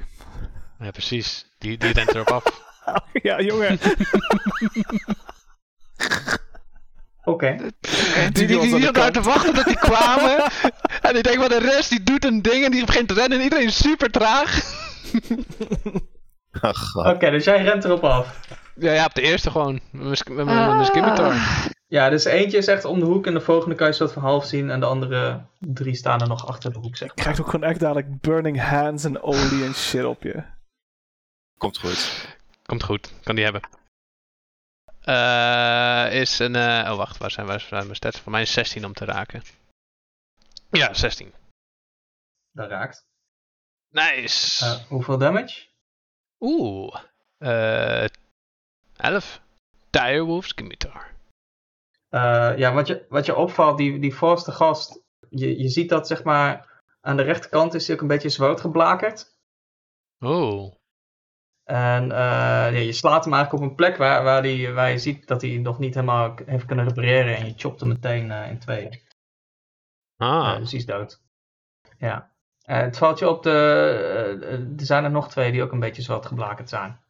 S2: Ja, precies. Die, die rent erop af.
S1: ja, jongen.
S3: Oké.
S2: Die, die, die, die zat daar te wachten tot die kwamen. en ik denk, maar de rest die doet een ding en die begint te rennen en iedereen is super traag.
S6: Oh, god.
S3: Oké, dus jij rent erop af.
S2: Ja, ja, op de eerste gewoon. Met mijn- met mijn skimitar.
S4: Ah.
S3: Ja, dus eentje is echt om de hoek en de volgende kan je soort van half zien. En de andere drie staan er nog achter de hoek, zeg
S1: Je krijgt ook gewoon echt dadelijk burning hands en olie en shit op je.
S6: Komt goed.
S2: Komt goed, kan die hebben. Eh, is een. eh, oh, wacht, waar zijn, waar zijn mijn stats? Voor mij is 16 om te raken. Ja, 16.
S3: Dat raakt.
S2: Nice!
S3: Eh, hoeveel damage?
S2: Oeh. Eh 11. Direwolf Scimitar.
S3: Eh, ja, wat je, wat je opvalt, die, die voorste gast, je, je ziet dat zeg maar aan de rechterkant is hij ook een beetje zwart geblakerd.
S2: Oh.
S3: En eh, ja, je slaat hem eigenlijk op een plek waar, waar, die, waar je ziet dat hij nog niet helemaal k- heeft kunnen repareren. En je chopt hem meteen eh, in tweeën. Eh,
S2: Ah.
S3: dus die is dood. Ja. Eh, het valt je op, de, eh, eh, er zijn er nog twee die ook een beetje zwart geblakerd zijn.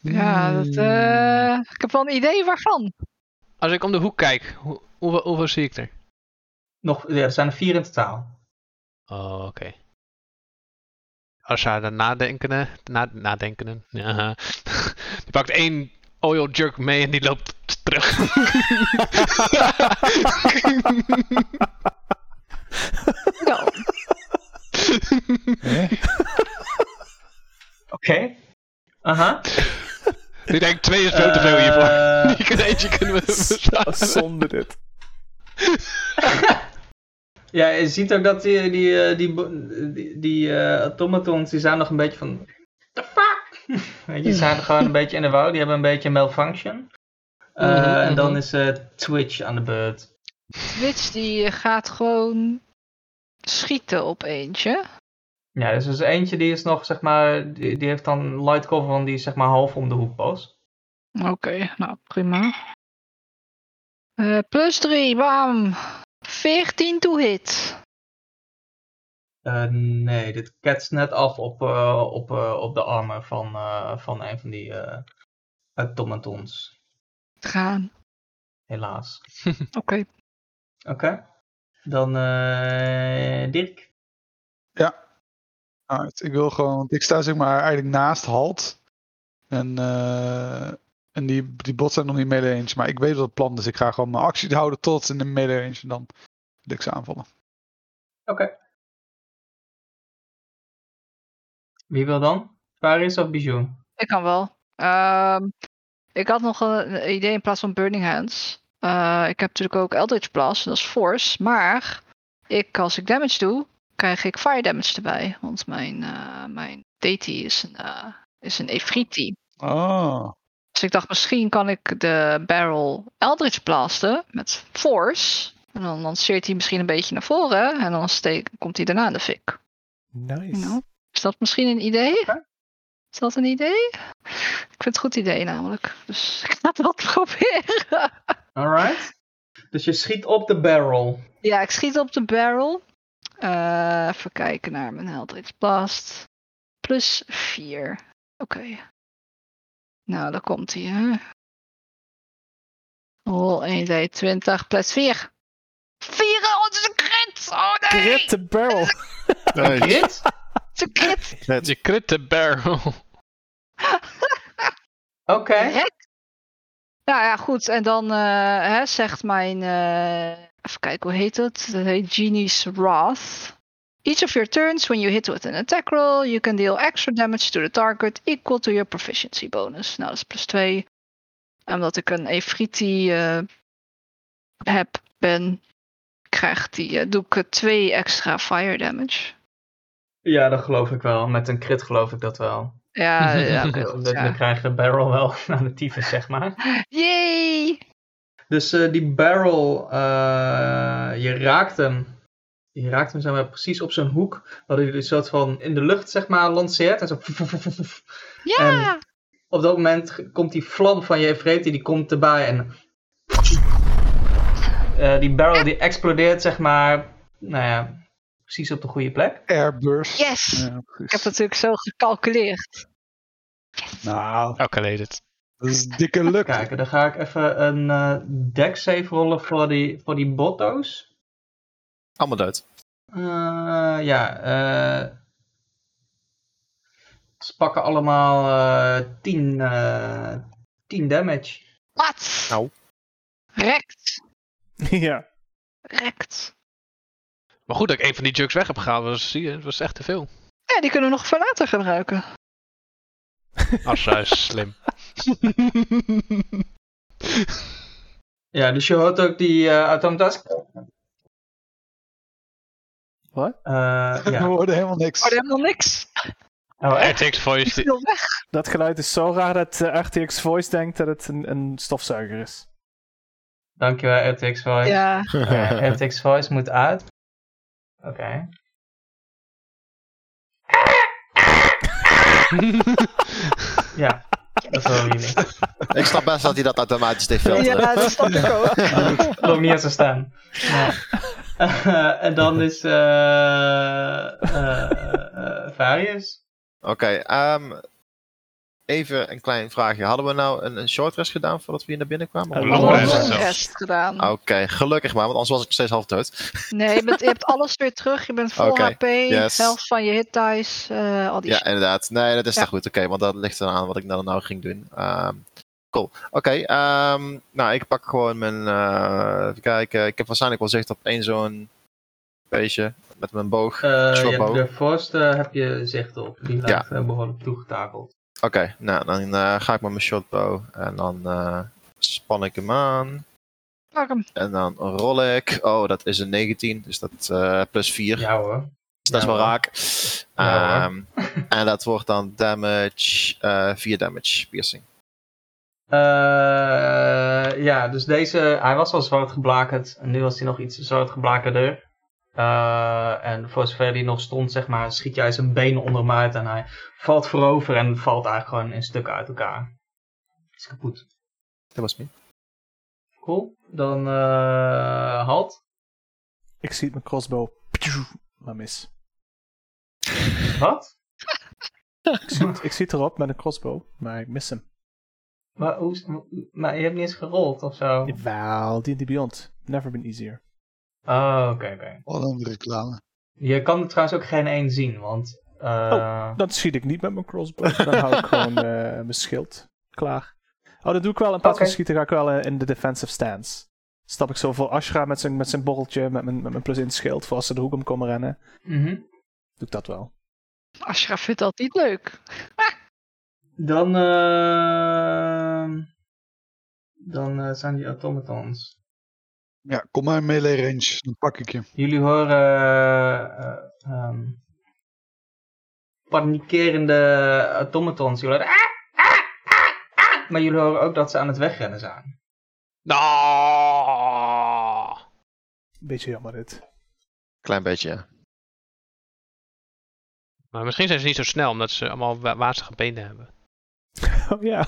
S4: Ja, dat, eh, ik heb wel een idee waarvan.
S2: Als ik om de hoek kijk, hoe, hoeveel, hoeveel zie ik er?
S3: Nog, ja, er zijn er vier in totaal.
S2: Oh, oké. Als haar dan nadenkende, na, nadenkenden, ja. aha. Die pakt één oil jerk mee en die loopt terug.
S4: Nou,
S5: Hè?
S3: Oké. Aha.
S2: die denkt, twee is veel te veel hiervoor.
S3: Eh,
S2: Die kunnen- Eentje kunnen
S1: Zo
S2: we verslaan.
S1: zonde dit.
S3: Eh, Ja, je ziet ook dat die, die, eh, die, bo- die, die eh, automatons, die zijn nog een beetje van... The fuck? Weet je, die zijn gewoon een beetje in de wou. Die hebben een beetje malfunction. Eh,
S2: Mhm,
S3: En dan
S2: mhm.
S3: is eh, Twitch aan de beurt.
S4: Twitch die gaat gewoon schieten op eentje.
S3: Ja, dus er is eentje die is nog, zeg maar... Die, die heeft dan light cover, want die is zeg maar half om de hoek pas.
S4: Oké, nou prima. Eh, plus 3, bam. 14 to hit.
S3: Eh, nee, dit ketst net af op, eh, op, eh, op de armen van, eh, van een van die eh automatons.
S4: Gaan.
S3: Helaas.
S4: Oké.
S3: Oké. Dan eh Dirk.
S5: Alright, ik wil gewoon, want ik sta zeg maar eigenlijk naast Halt. En, eh, en die, die bots zijn nog niet melee range, maar ik weet wat het plan is. Dus ik ga gewoon mijn actie houden tot in de melee range en dan wil ik ze aanvallen.
S3: Wie wil dan? Paris of Bijou?
S4: Ik kan wel. Ehm, ik had nog een idee in plaats van Burning Hands. Eh, ik heb natuurlijk ook Eldritch Blast, en dat is Force. Maar ik, als ik damage doe, krijg ik Fire Damage erbij. Want mijn, eh, mijn deity is een, eh is een Efriti.
S5: Oh,
S4: Dus ik dacht, misschien kan ik de barrel Eldritch blasten met Force. En dan lanceert hij misschien een beetje naar voren. En dan steek, komt hij daarna in de fik.
S1: Nice.
S4: Nou, is dat misschien een idee?
S3: Ja.
S4: Is dat een idee? Ik vind het een goed idee namelijk. Dus ik ga dat proberen.
S3: Alright. Dus je schiet op de barrel.
S4: Ja, ik schiet op de barrel. Eh, even kijken naar mijn Eldritch Blast. Plus 4. Oké. Nou, daar komt hij, hè. Oh, Rol 1 d 20 plus 4. 4, oh, het is een crit! Oh nee!
S1: Crit the barrel.
S6: Nice.
S3: Dit?
S4: Het is een crit!
S2: Je crit de barrel.
S3: Oké.
S4: Rek. Nou ja, goed. En dan eh, hè, zegt mijn... eh, even kijken, hoe heet het? Dat heet Genie's Wrath. Each of your turns, when you hit with an attack roll, you can deal extra damage to the target equal to your proficiency bonus. Nou, dat is plus 2. Omdat ik een Efriti eh, heb, ben, krijgt die, eh, doe ik eh, twee extra fire damage.
S3: Ja, dat geloof ik wel. Met een crit geloof ik dat wel.
S4: Ja, ja, oké,
S3: Dus
S4: goed,
S3: Dan, dan
S4: ja.
S3: krijg je de barrel wel aan de tyfus, zeg maar.
S4: Yay!
S3: Dus eh, die barrel, eh, je raakt hem. Je raakt hem zeg maar, precies op zijn hoek. Dat hij een soort van in de lucht zeg maar, lanceert. En zo.
S4: Ja!
S3: Op dat moment g- komt die vlam van je Efreti, die komt erbij. En eh, die barrel die explodeert, zeg maar. Nou ja, precies op de goede plek.
S5: Airburst.
S4: Yes!
S5: Ja,
S4: Ik heb
S5: precies.
S4: natuurlijk zo gecalculeerd.
S2: Oh,
S5: Nou,
S2: Calculated.
S5: dat is dikke luk.
S3: Kijken, dan ga ik even een eh deck save rollen voor die, voor die botto's.
S6: Allemaal dood.
S3: Eh, ja, eh, ze pakken allemaal eh 10, eh, 10 damage.
S4: Wat?
S6: Nou.
S4: Rekt.
S1: ja.
S4: Rekt.
S2: Maar goed dat ik een van die jokes weg heb gehaald, was, zie je, het was echt te veel.
S4: Ja, die kunnen we nog voor later gebruiken.
S2: Asha is slim.
S3: Ja, dus je hoort ook die eh automatas.
S1: Wat?
S3: Eh,
S5: We
S3: ja.
S5: hoorden helemaal niks.
S4: Oh, helemaal niks.
S3: Oh, echt?
S2: RTX Voice.
S4: Ik
S2: die-
S4: wil weg.
S1: Dat geluid is zo raar dat eh, RTX Voice denkt dat het een, een stofzuiger is.
S3: Dankjewel, RTX Voice.
S4: Ja.
S3: Eh, RTX Voice moet uit. Oké. Ja, dat horen jullie. Ik
S6: ik snap best dat hij dat automatisch deed filteren.
S4: ja, dat snap ik ook.
S3: geloof niet dat ze staan. Nee. Eh, en dan is eh eh, eh, Varius.
S6: Oké, ehm, even een klein vraagje. Hadden we nou een, een short rest gedaan voordat we hier naar binnen kwamen?
S1: Een
S4: Een
S1: Long rest
S4: long
S2: zelfs.
S4: rest gedaan.
S6: Oké, gelukkig maar, want anders was ik nog steeds half dood.
S4: Nee, je, bent, je hebt alles weer terug. Je bent vol
S6: Oké,
S4: HP,
S6: yes.
S4: helft van je hit dice, eh, al die
S6: Ja,
S4: shit.
S6: inderdaad. Nee, dat is
S4: Ja.
S6: toch goed. Oké, want dat ligt eraan wat ik nou, nou ging doen. Ehm, cool. Oké, ehm, nou, ik pak gewoon mijn... eh, even kijken. Ik heb waarschijnlijk wel zicht op één zo'n beestje met mijn boog.
S3: Eh,
S6: Short
S3: ja,
S6: bow.
S3: de voorste heb je zicht op. Die lijkt eh, behoorlijk toegetakeld.
S6: Oké, nou, dan eh, ga ik met mijn shortbow en dan eh, span ik hem aan.
S4: Pak hem.
S6: En dan rol ik. Oh, dat is een 19, dus dat eh, plus 4.
S3: Ja hoor.
S6: Dus dat is wel
S3: Ja, hoor.
S6: raak.
S3: Ja,
S6: Ehm, en dat wordt dan damage, eh 4 damage piercing.
S3: Eh, ja, dus deze, hij was al zwart geblakerd en nu was hij nog iets zwart geblakerder. Eh, en voor zover hij nog stond, zeg maar, schiet jij zijn benen onder hem uit en hij valt voorover en valt eigenlijk gewoon in stukken uit elkaar. Het is kapot.
S6: Dat was me.
S3: Cool. Dan eh halt.
S1: Ik zie mijn crossbow. Maar mis.
S3: Wat?
S1: Ik schiet, ik schiet erop met een crossbow, maar ik mis hem.
S3: Maar, hoe, maar je hebt niet eens gerold of zo?
S1: Jawel, D&D Beyond. Never been easier.
S3: Oh, oké, oké.
S5: Wat een reclame.
S3: Je kan trouwens ook geen één zien, want... eh,
S1: Dan schiet ik niet met mijn crossbow. Dan hou ik gewoon eh, mijn schild klaar. Oh, dat doe ik wel. In plaats van
S3: Oké.
S1: schieten ga ik wel eh, in de defensive stance. Stap ik zo voor Ashra met zijn, met zijn borreltje, met mijn, met mijn plus in schild, voor als ze de hoek om komen rennen.
S3: mhm.
S1: Doe ik dat wel.
S4: Ashraf vindt dat niet leuk.
S3: Dan, ehm dan eh, zijn die automatons.
S5: Ja, kom maar in melee range, dan pak ik je.
S3: Jullie horen eh, eh, ehm, panikerende automatons. Jullie horen, "Ah, ah, ah, ah." Maar jullie horen ook dat ze aan het wegrennen zijn.
S2: Nou.
S1: Beetje jammer dit.
S6: Klein beetje, ja.
S2: Maar misschien zijn ze niet zo snel, omdat ze allemaal wa- wazige benen hebben.
S1: Oh ja.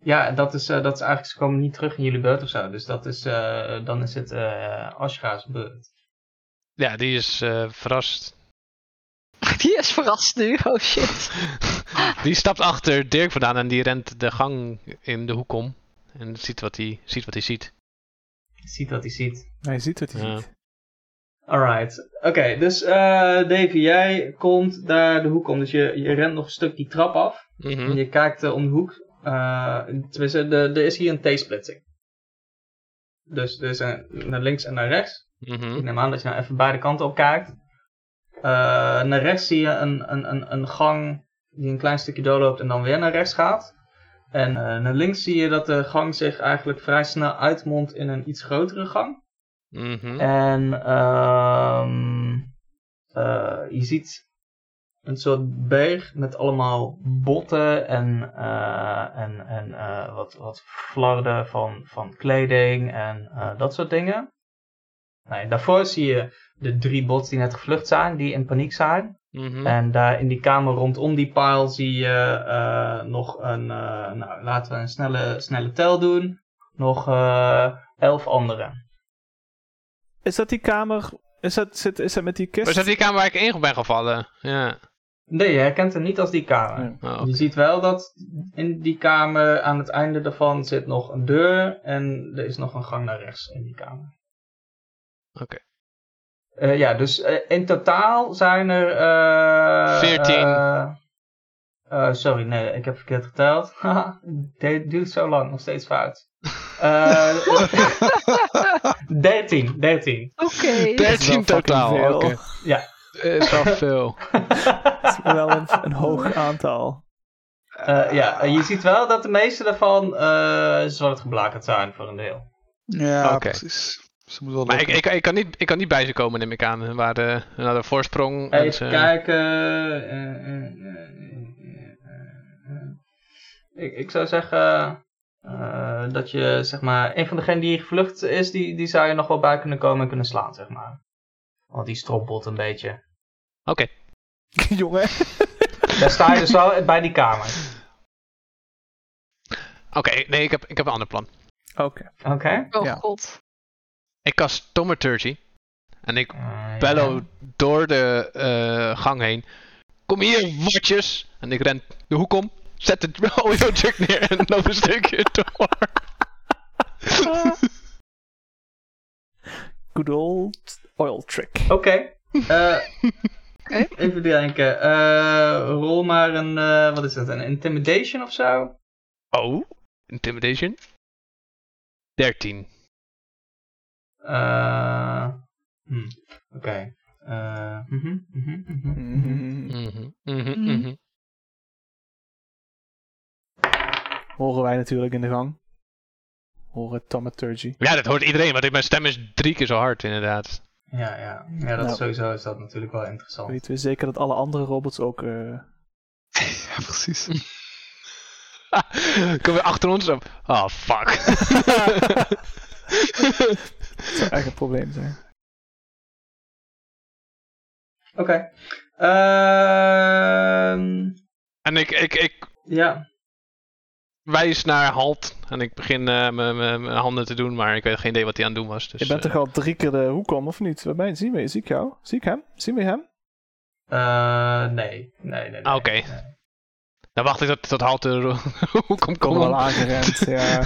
S3: Ja, dat is, eh, dat is eigenlijk, ze komen niet terug in jullie beurt of zo. Dus dat is, eh, dan is het eh Ashra's beurt.
S2: Ja, die is eh, verrast.
S4: Die is verrast nu, oh shit.
S2: die stapt achter Dirk vandaan en die rent de gang in de hoek om. En ziet wat hij ziet. Wat hij ziet.
S3: Ziet wat hij ziet.
S1: Hij ziet wat hij
S2: Ja.
S1: ziet.
S3: Alright. Oké, dus eh Davy, jij komt daar de hoek om. Dus je, je rent nog een stuk die trap af.
S2: Mhm.
S3: En je kijkt eh, om de hoek. Eh, tenminste, de- er is hier een T-splitsing. Dus er is een, naar links en naar rechts.
S2: Mhm.
S3: Ik neem aan dat je nou even beide kanten op kijkt. Eh, naar rechts zie je een, een, een, een gang die een klein stukje doorloopt en dan weer naar rechts gaat. En eh, naar links zie je dat de gang zich eigenlijk vrij snel uitmondt in een iets grotere gang.
S2: Mhm.
S3: En ehm, eh, je ziet een soort berg met allemaal botten en, eh, en, en eh, wat, wat flarden van, van kleding en eh, dat soort dingen. Nee, daarvoor zie je de drie bots die net gevlucht zijn, die in paniek zijn.
S2: Mhm.
S3: En daar in die kamer rondom die pile zie je eh, nog een, eh, nou laten we een snelle, snelle tel doen, nog eh, elf andere.
S1: Is dat die kamer? Is dat, zit, is dat met die kist?
S2: Maar is dat die kamer waar ik in ben gevallen? Ja.
S3: Nee, je herkent hem niet als die kamer.
S1: Ja.
S2: Oh,
S3: Je ziet wel dat in die kamer aan het einde daarvan zit nog een deur en er is nog een gang naar rechts in die kamer.
S2: Oké.
S3: Eh, ja, dus eh, in totaal zijn er. eh,
S2: 14.
S3: eh, eh, sorry, nee, ik heb verkeerd geteld. Haha, dit duurt zo lang, nog steeds fout. Eh 13, 13.
S4: Oké.
S2: 13
S1: fucking
S2: totaal.
S1: veel.
S2: Oké.
S3: Ja.
S2: Eh, Is wel veel.
S1: Dat is wel een, een hoog aantal.
S3: Eh, ja, eh, je ziet wel dat de meeste daarvan eh, zwart geblakerd zijn voor een deel.
S5: Ja,
S2: Oké.
S5: precies. Ze moet wel
S2: Maar ik,
S5: lukken.
S2: ik, ik, kan niet, ik kan niet bij ze komen, neem ik aan. Waar de, naar de voorsprong. en
S3: Even
S2: ze-
S3: kijken. eh, eh, eh, eh, eh, eh. Ik, ik zou zeggen eh, dat je, zeg maar, een van degenen die gevlucht is, die, die zou je nog wel bij kunnen komen en kunnen slaan, zeg maar. Want die strompelt een beetje.
S2: Oké.
S1: Jongen.
S3: Daar sta je dus wel bij die kamer.
S2: Oké, nee, ik heb, ik heb een ander plan.
S1: Oké.
S3: Oké?
S4: Oh
S5: Ja.
S4: god.
S2: Ik cast Tomaturgy. En ik
S3: Eh,
S2: bello
S3: ja.
S2: door de eh, gang heen. Kom hier, watjes! En ik ren de hoek om, zet de oil jug neer en loop een stukje door.
S1: Good old oil trick.
S3: Oké. Eh,
S4: Oké.
S3: Even denken. Eh, rol maar een, eh, wat is dat, een intimidation of zo?
S2: Oh, intimidation. 13.
S3: Eh, hm, Oké. Eh, mhm, mhm, mhm, mhm.
S2: Mhm, mhm,
S4: Mhm.
S2: mhm.
S1: Horen wij natuurlijk in de gang. Horen Tomaturgy.
S2: Ja, dat hoort iedereen, want mijn stem is drie keer zo hard, inderdaad.
S3: Ja, ja. ja dat
S1: Nou.
S3: sowieso is dat natuurlijk wel
S2: Oh.
S3: interessant.
S1: Weten we zeker dat alle andere robots ook... eh,
S5: Ja, precies.
S2: Kom weer achter ons op. Oh, fuck.
S1: het zou echt een probleem zijn.
S2: Dus,
S3: Oké. Ehm,
S2: en ik, ik, ik
S3: ja.
S2: wijs naar halt. En ik begin eh, mijn mijn- mijn handen te doen, maar ik weet geen idee wat hij aan het doen was. Dus,
S1: je bent
S2: eh,
S1: toch al drie keer de hoek om, of niet? Wat ben je? Zien we, zie ik jou? Zie ik hem? Zien we hem?
S3: Eh, nee. Nee, nee, nee.
S2: Ah, oké.
S3: nee.
S2: Dan wacht ik tot, tot halt de ro- Hoe komt
S1: Kom wel
S2: kom
S1: aangerend, ja.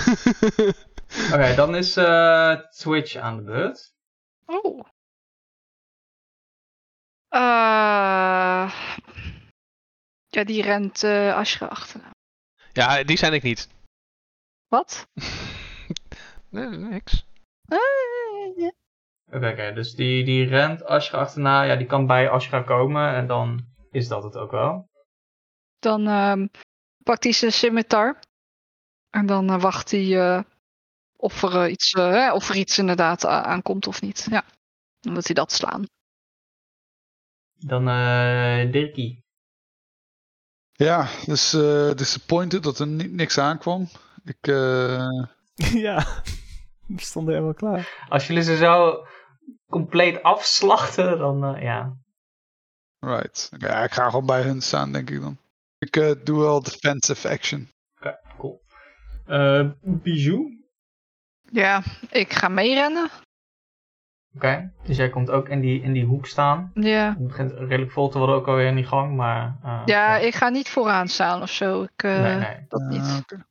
S3: Oké, dan is eh, Twitch aan de beurt.
S4: Oh. Eh, ja, die rent eh Ashra achterna.
S2: Ja, die zijn ik niet.
S4: Wat?
S2: nee, niks.
S4: Eh, ja.
S3: Oké, oké, dus die, die rent Ashra achterna. Ja, die kan bij Ashra komen en dan is dat het ook wel.
S4: Dan ehm, pakt hij zijn scimitar. En dan eh, wacht hij eh, of, er, eh, iets, eh, hè, of er iets inderdaad a- aankomt of niet. Ja. Dan wil hij dat slaan.
S3: Dan eh Dirkie.
S5: Ja, dus eh, disappointed dat er ni- niks aankwam. Ik, eh,
S1: ja. We stonden helemaal klaar.
S3: Als jullie ze zo compleet afslachten, dan eh, ja.
S5: right. Oké, ja, ik ga gewoon bij hun staan, denk ik dan. Ik eh, doe wel defensive action.
S3: Oké, cool. Eh Bijou.
S4: Ja, ik ga meerennen.
S3: Oké, dus jij komt ook in die, in die hoek staan.
S4: Ja.
S3: Het begint redelijk vol te worden ook alweer in die gang, maar... eh,
S4: Ja, ik ga niet vooraan staan of zo. Ik, eh,
S3: Nee, Eh, nee.
S4: Dat niet.
S5: Ah, oké.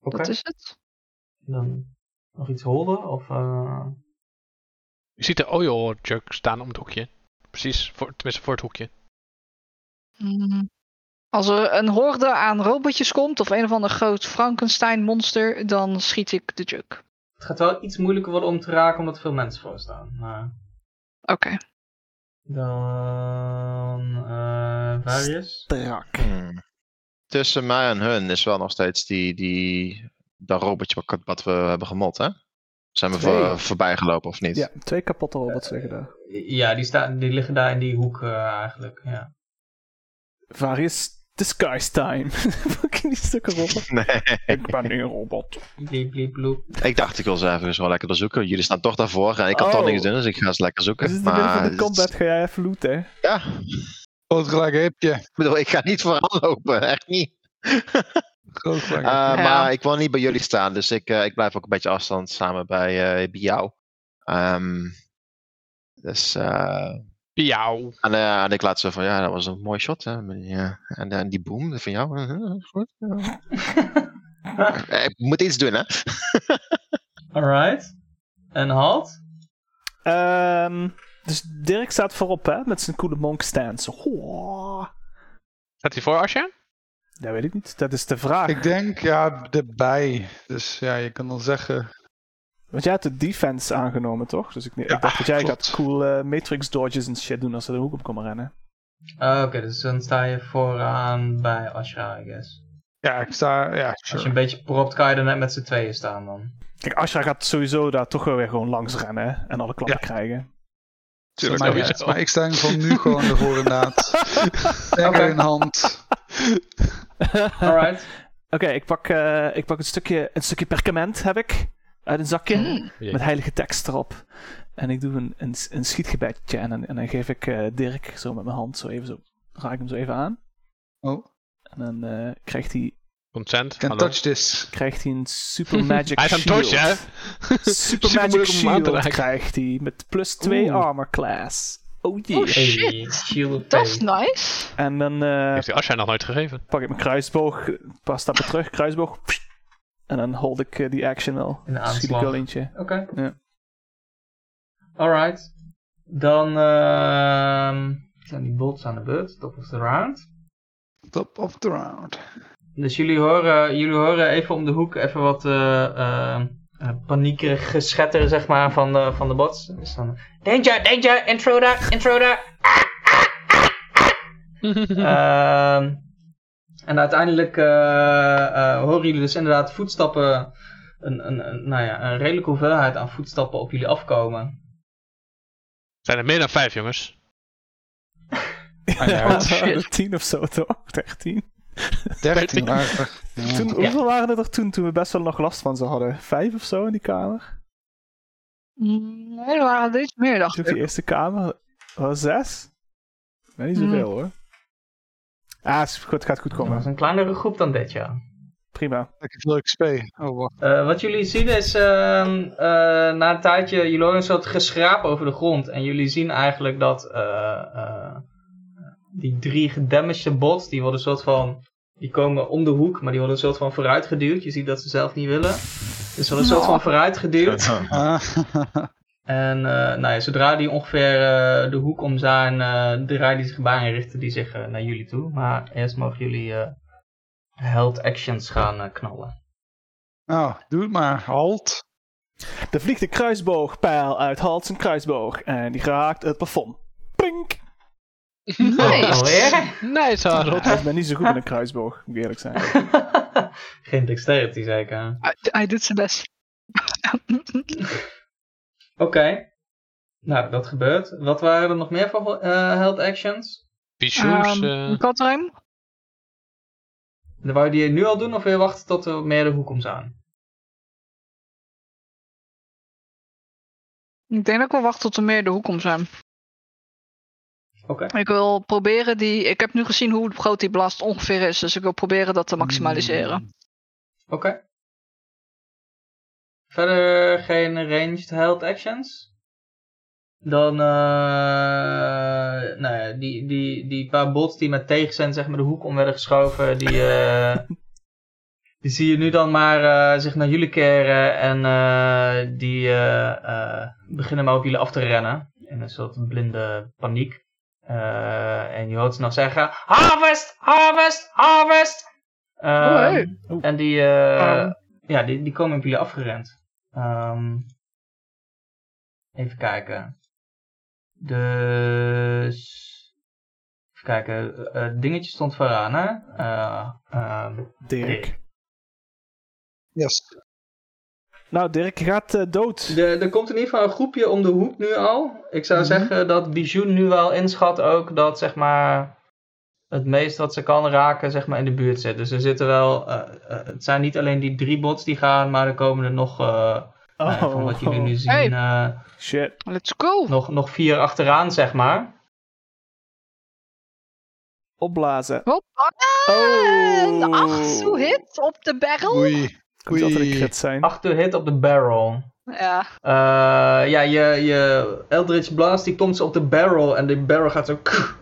S3: Oké,
S4: Dat is het.
S3: dan nog iets holden of... eh,
S2: Je ziet de oil jug staan om het hoekje. Precies, voor, tenminste voor het hoekje.
S4: Mm. Als er een horde aan robotjes komt of een of ander groot Frankenstein monster, dan schiet ik de juk.
S3: Het gaat wel iets moeilijker worden om te raken omdat er veel mensen voor staan. Maar
S4: Oké.
S3: dan... eh Varius?
S1: Strak.
S6: Hmm. tussen mij en hun is wel nog steeds die, die, dat robotje wat, wat we hebben gemot, hè? Zijn we
S1: Twee.
S6: voor, eh, voorbij gelopen of niet?
S1: Ja, twee kapotte robots liggen daar.
S3: Ja, die, staan, die liggen daar in die hoek eh, eigenlijk. Ja.
S1: Waar is disguise time? Fucking die stukken robot.
S6: Nee.
S1: Ik ben nu een robot.
S3: Bliep, bliep, bloep.
S6: Ik dacht, ik wil ze even gewoon lekker doorzoeken. Jullie staan toch daarvoor en ik kan toch
S1: Oh.
S6: niks doen, dus ik ga ze
S1: Dus
S6: lekker zoeken.
S1: in het midden
S6: maar
S1: van de combat ga jij even looten, hè?
S6: ja,
S5: Groot gelijk heb je.
S6: ik bedoel, ik ga niet vooraan lopen, echt niet.
S5: Groot gelijk.
S6: Eh,
S4: Ja.
S6: Maar ik wil niet bij jullie staan, dus ik, eh, ik blijf ook een beetje afstand samen bij, eh, bij jou. Ehm, dus, eh,
S2: Piauw.
S6: en, eh, en ik laat zo van, ja, dat was een mooi shot. Hè. maar ja, En, en die boom van jou, eh, eh, goed. ja. Eh, ik moet iets doen, hè.
S3: Alright. En halt.
S1: Ehm, dus Dirk staat voorop, hè? Met zijn coole monk stance. Hoah.
S2: Staat hij voor Asja?
S1: Dat weet ik niet. Dat is de vraag.
S5: Ik denk, ja, erbij. Dus ja, je kan dan zeggen.
S1: Want jij had de defense aangenomen, toch? Dus ik, ik
S5: Ja,
S1: dacht dat jij
S5: klopt.
S1: gaat cool eh, matrix dodges en shit doen als ze de hoek op komen rennen.
S3: Ah, Oké, dus dan sta je vooraan bij Ashra, I guess.
S5: Ja, ik sta. Ja,
S3: Als je
S5: sure.
S3: een beetje propt, kan je er net met z'n tweeën staan dan.
S1: Kijk, Ashra gaat sowieso daar toch wel weer gewoon langs rennen hè, en alle klappen krijgen.
S5: Tuurlijk,
S2: Tuurlijk,
S5: maar,
S2: sowieso.
S5: maar ik sta in ieder geval nu gewoon ervoor inderdaad. Dagger in hand.
S1: Oké,
S3: Alright.
S1: ik pak, eh, ik pak een, stukje, een stukje perkament, heb ik. Uit een zakje.
S5: Mm.
S4: Hmm.
S1: Met heilige tekst erop. En ik doe een, een, een schietgebedje en, dan- en dan geef ik eh, Dirk zo met mijn hand zo even zo. Raak ik hem zo even aan.
S5: Oh,
S1: En dan eh, krijgt, hij,
S2: Consent.
S5: can
S2: Hallo.
S5: touch this.
S1: krijgt hij een super magic
S2: Hij is aan het
S1: shield.
S2: torchen, hè?
S1: Super
S2: Super
S1: Magic
S2: moeilijk om hem aan
S1: Shield
S2: te raken.
S1: krijgt hij met plus 2
S2: Oeh.
S1: armor class. Oh jee.
S4: Oh, shit.
S3: Hey, shield
S4: Dat is
S3: pay.
S4: nice.
S1: En dan eh,
S2: Heeft hij Asja nog nooit gegeven?
S1: pak ik mijn kruisboog, een paar stappen terug, kruisboog. pssst. En dan hold ik eh, die action wel.
S3: Een
S1: Schiet ik
S3: aanslag.
S1: wel eentje.
S3: Oké.
S1: Ja.
S3: Alright. Dan ehm, zijn die bolts aan de beurt. Top of the round.
S5: Top of the round.
S3: Dus jullie horen, jullie horen even om de hoek even wat eh, eh, eh, paniekerig geschetter zeg maar, van, de, van de bots. Dus dan, danger, danger, intruder, intruder. Ehm, en uiteindelijk eh, eh, horen jullie dus inderdaad voetstappen, een, een, een, nou ja, een redelijke hoeveelheid aan voetstappen op jullie afkomen.
S2: Zijn er meer dan vijf, jongens?
S1: Ja,
S3: Ah,
S2: Oh,
S5: Ja,
S4: shit.
S1: 10 of zo toch? 13.
S5: 13 waren er. Ja.
S1: Toen, Hoeveel waren er toen toen we best wel nog last van ze hadden? Vijf of zo in die kamer?
S4: Mm, Nee, er waren er iets meer, dacht
S1: Toen die
S4: ik.
S1: eerste kamer. Was zes? Nee, niet zoveel
S4: Mm.
S1: hoor. Ah, is goed, gaat goed
S3: Dat was
S1: komen.
S3: een kleinere groep dan dit jaar.
S1: Prima.
S5: Lekker veel XP. Oh, wacht.
S3: Eh, wat jullie zien is, ehm, eh, na een tijdje, jullie horen een soort geschraap over de grond. En jullie zien eigenlijk dat eh, eh, die drie gedamaged bots, die worden een soort van, die komen om de hoek, maar die worden een soort van vooruitgeduwd. Je ziet dat ze zelf niet willen. Dus ze worden een soort van vooruitgeduwd.
S5: Ah,
S3: En eh, nou ja, zodra die ongeveer eh, de hoek om zijn, eh draaien die zich bij en richten die zich eh, naar jullie toe. Maar eerst mogen jullie eh held actions gaan eh, knallen.
S5: nou, doe het maar. Halt.
S1: Er vliegt een kruisboogpijl uit Hals en kruisboog. En die raakt het plafond. Plink!
S3: Ah. Oh,
S4: Nice.
S3: Alweer?
S2: Nice, Harold.
S1: Ah, ik ben niet zo goed met een kruisboog, moet ik eerlijk zijn.
S3: Geen dexterity zeker.
S4: Hij, hij doet zijn best.
S3: Oké. Nou, dat gebeurt. Wat waren er nog meer voor eh held actions?
S2: Pichoes.
S4: Ehm,
S2: eh,
S4: Cut time.
S3: Wou je die nu al doen of wil je wachten tot er meer de hoek om zijn?
S4: Ik denk dat ik wel wacht tot er meer de hoek om zijn.
S3: Oké.
S4: Ik wil proberen die... Ik heb nu gezien hoe groot die blast ongeveer is. Dus ik wil proberen dat te maximaliseren.
S3: Oké. Verder eh, geen ranged held actions. Dan, eh nou ja, die, die, die paar bots die met tegenzend zeg maar de hoek om werden geschoven, die, eh, die zie je nu dan maar eh, zich naar jullie keren en eh, die eh, eh, beginnen maar op jullie af te rennen. In een soort blinde paniek. Eh, en je hoort ze nog zeggen, harvest, harvest, harvest! Eh,
S4: Oh, hey.
S3: en die, eh,
S4: Ehm.
S3: ja, die, die komen op jullie afgerend. Ehm, even kijken. Dus. Even kijken. eh, eh, dingetje stond vooraan, hè? Eh, ehm,
S1: Dirk.
S5: Yes.
S1: Nou, Dirk gaat eh, dood.
S3: de, er komt in ieder geval een groepje om de hoek nu al. Ik zou
S1: Mhm.
S3: zeggen dat Bijou nu wel inschat ook dat zeg maar het meest wat ze kan raken zeg maar in de buurt zit. Dus er zitten wel, eh, eh, het zijn niet alleen die drie bots die gaan, maar er komen er nog, eh, nou ja, van wat jullie nu zien,
S4: Hey.
S3: eh,
S1: Oh. Shit.
S4: Let's go.
S3: nog, nog vier achteraan zeg maar.
S1: Opblazen.
S4: Hop. Ah, Een
S1: Oh.
S4: acht zo hit op de barrel.
S5: Oei.
S1: Moet dat er een
S5: Oei.
S1: crit zijn?
S3: Acht to hit op de barrel.
S4: Ja.
S3: Eh, ja, je, je Eldritch Blast die komt ze op de barrel en die barrel gaat zo kuk,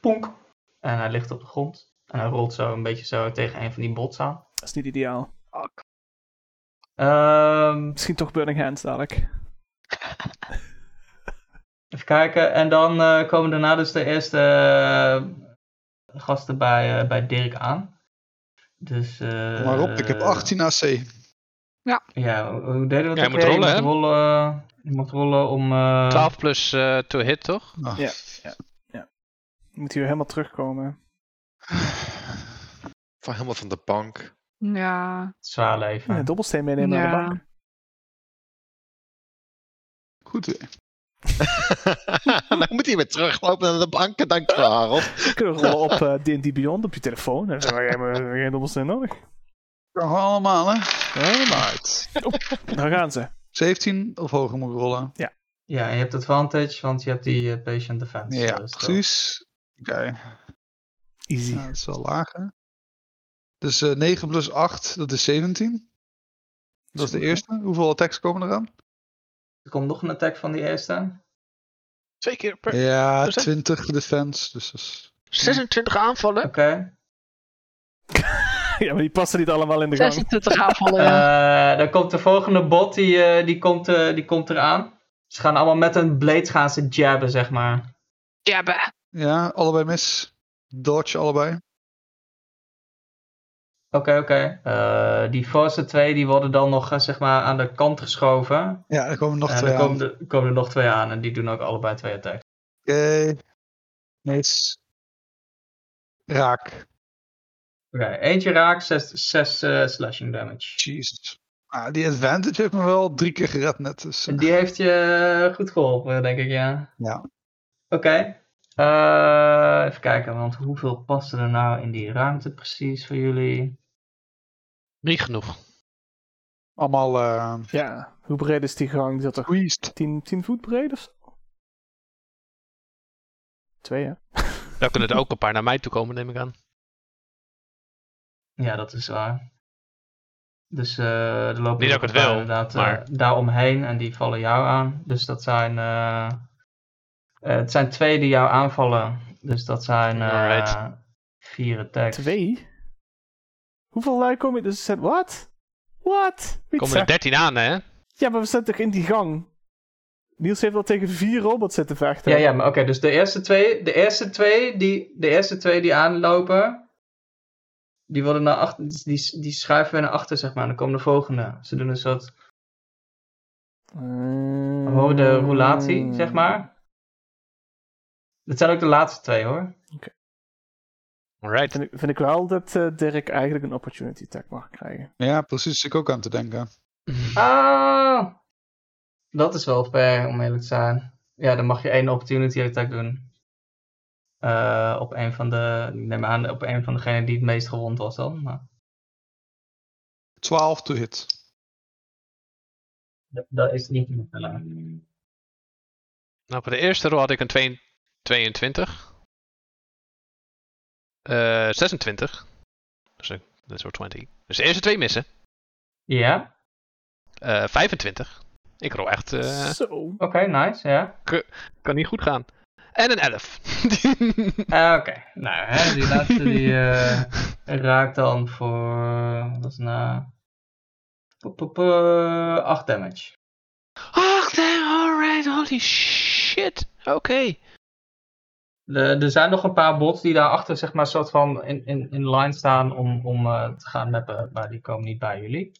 S3: ponk. En hij ligt op de grond. En hij rolt zo een beetje zo tegen een van die bots aan.
S1: Dat is niet ideaal.
S4: Fuck.
S3: Ehm,
S1: Misschien toch Burning Hands dadelijk.
S3: even kijken. En dan eh, komen daarna dus de eerste eh, gasten bij, eh, bij Dirk aan. Dus, eh,
S5: Maar op, ik heb 18 AC.
S3: Ja, hoe- hoe deden we dat?
S2: Ja, je
S3: ook
S2: moet
S3: weer?
S2: rollen,
S3: je
S2: hè?
S3: mocht rollen, eh, je mocht rollen om... eh,
S2: 12 plus eh to hit, toch?
S5: Ah.
S1: Ja. Moet hier helemaal terugkomen.
S6: Van helemaal van de bank.
S4: Ja.
S3: Zwaar leven.
S1: Een dobbelsteen meenemen naar de
S4: Ja.
S1: bank.
S5: Goed weer.
S6: dan moet hij weer teruglopen naar de bank. Dankjewel, Harold.
S1: Dan kunnen we rollen op eh, D&D Beyond op je telefoon. Dan hebben we geen- geen dobbelsteen nodig.
S5: Kan gewoon allemaal, hè?
S1: Helemaal.
S5: Right.
S1: Daar gaan ze.
S5: 17 of hoger moet ik rollen.
S3: Ja, en je hebt advantage, want je hebt die eh, patient defense.
S5: Ja,
S3: eh, skill.
S5: precies. Oké,
S1: Easy.
S5: nou, dat is wel lager. Dus eh 9 plus 8, dat is 17. Dat is de eerste. Hoeveel attacks komen eraan?
S3: Er komt nog een attack van die eerste.
S2: Twee keer per...
S5: Ja,
S2: Dus, hè?
S5: 20 defense. Dus dat is...
S2: 26 aanvallen.
S3: Oké.
S1: Ja, maar die passen niet allemaal in de gang.
S4: 26 aanvallen. ja.
S3: Eh, dan komt de volgende bot, die, eh, die, komt, eh, die komt eraan. Ze gaan allemaal met een blade gaan ze jabben, zeg maar.
S4: Jabba.
S5: Ja, allebei mis. Dodge allebei.
S3: Oké, oké. Eh, die voorste twee, die worden dan nog, eh, zeg maar, aan de kant geschoven.
S5: Ja, er komen nog
S3: en
S5: twee
S3: dan
S5: aan.
S3: komen, er- komen er nog twee aan en die doen ook allebei twee attacks.
S5: Oké. Nice. Raak.
S3: Oké, eentje raakt, zes, zes eh, slashing damage.
S5: Jesus. Ah, die advantage heeft me wel drie keer gered net. Dus, eh,
S3: Die heeft je eh, goed geholpen, denk ik, ja.
S5: Ja.
S3: Oké. Eh, even kijken, want hoeveel passen er nou in die ruimte precies voor jullie?
S2: Niet genoeg.
S5: Allemaal eh
S1: Ja, hoe breed is die gang? Is dat toch
S5: squeezed.
S1: 10, 10 voet breed of zo? Twee, hè?
S2: Dan kunnen er ook een paar naar mij toe komen, neem ik aan.
S3: Ja, dat is waar. Dus eh er lopen
S2: Niet
S3: nog
S2: dat ik het
S3: een paar
S2: wil,
S3: inderdaad
S2: maar-
S3: eh, daaromheen en die vallen jou aan. Dus dat zijn. eh, eh, het zijn twee die jou aanvallen. Dus dat zijn eh,
S2: Alright.
S3: vier attacks.
S1: Twee? Hoeveel lui komen er? Dus ze zegt, wat? Wat? Wie
S2: Komen er
S1: zegt-
S2: 13 aan, hè?
S1: Ja, maar we zijn toch in die gang? Niels heeft al tegen vier robots zitten vechten.
S3: Ja, ja, maar oké, dus de eerste twee, de eerste twee die, de eerste twee die aanlopen, die worden naar achter, die, die schuiven weer naar achter, zeg maar. En dan komen de volgende. Ze doen een soort
S1: Eh,
S3: rode roulatie, zeg maar. Dat zijn ook de laatste twee, hoor.
S2: Alright.
S1: Vind ik, vind ik wel dat eh, Dirk eigenlijk een opportunity tag mag krijgen.
S5: Ja, precies. Ik ook aan te denken.
S3: Ah, dat is wel fair, om eerlijk te zijn. Ja, dan mag je één opportunity attack doen. Eh, op een van de, ik neem aan, op een van degenen die het meest gewond was dan. Maar
S5: 12 to hit.
S3: dat- dat is niet meer tellen.
S2: Nou, voor de eerste rol had ik een 2 22. Eh 26. Dus een dat is ook 20. Dus de eerste twee missen.
S3: Ja,
S2: Eh 25. Ik rol echt... eh,
S1: Zo.
S3: oké, nice, ja.
S2: kan niet goed gaan. En een 11.
S3: Eh, oké, nou, hè, die laatste die eh, raakt dan voor, wat is het nou? Pop, pop, eh, 8 damage.
S2: Ach, damn, alright, holy shit. Oké.
S3: De- er zijn nog een paar bots die daarachter zeg maar soort van in, in, in line staan om, om eh, te gaan mappen, maar die komen niet bij jullie.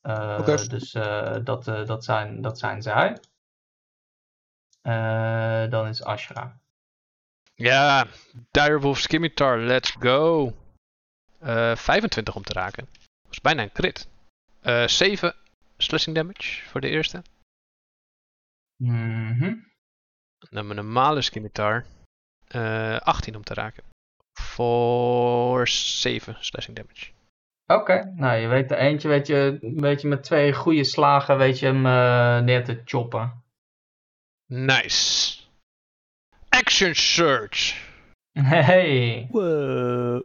S3: Eh,
S5: Oké.
S3: Dus eh, dat, eh, dat, zijn, dat zijn zij. Eh, dan is Ashra.
S2: Ja, Direwolf Scimitar, let's go. Eh, 25 om te raken. Dat is bijna een crit. Eh 7 slashing damage voor de eerste.
S3: Mhm.
S2: Dan hebben we een normale Scimitar. Eh 18 om te raken. Voor 7 slashing damage.
S3: Oké, nou je weet er eentje, weet je, weet je met twee goede slagen weet je hem eh, neer te choppen.
S2: Nice. Action Surge.
S3: Hey,
S1: Wow.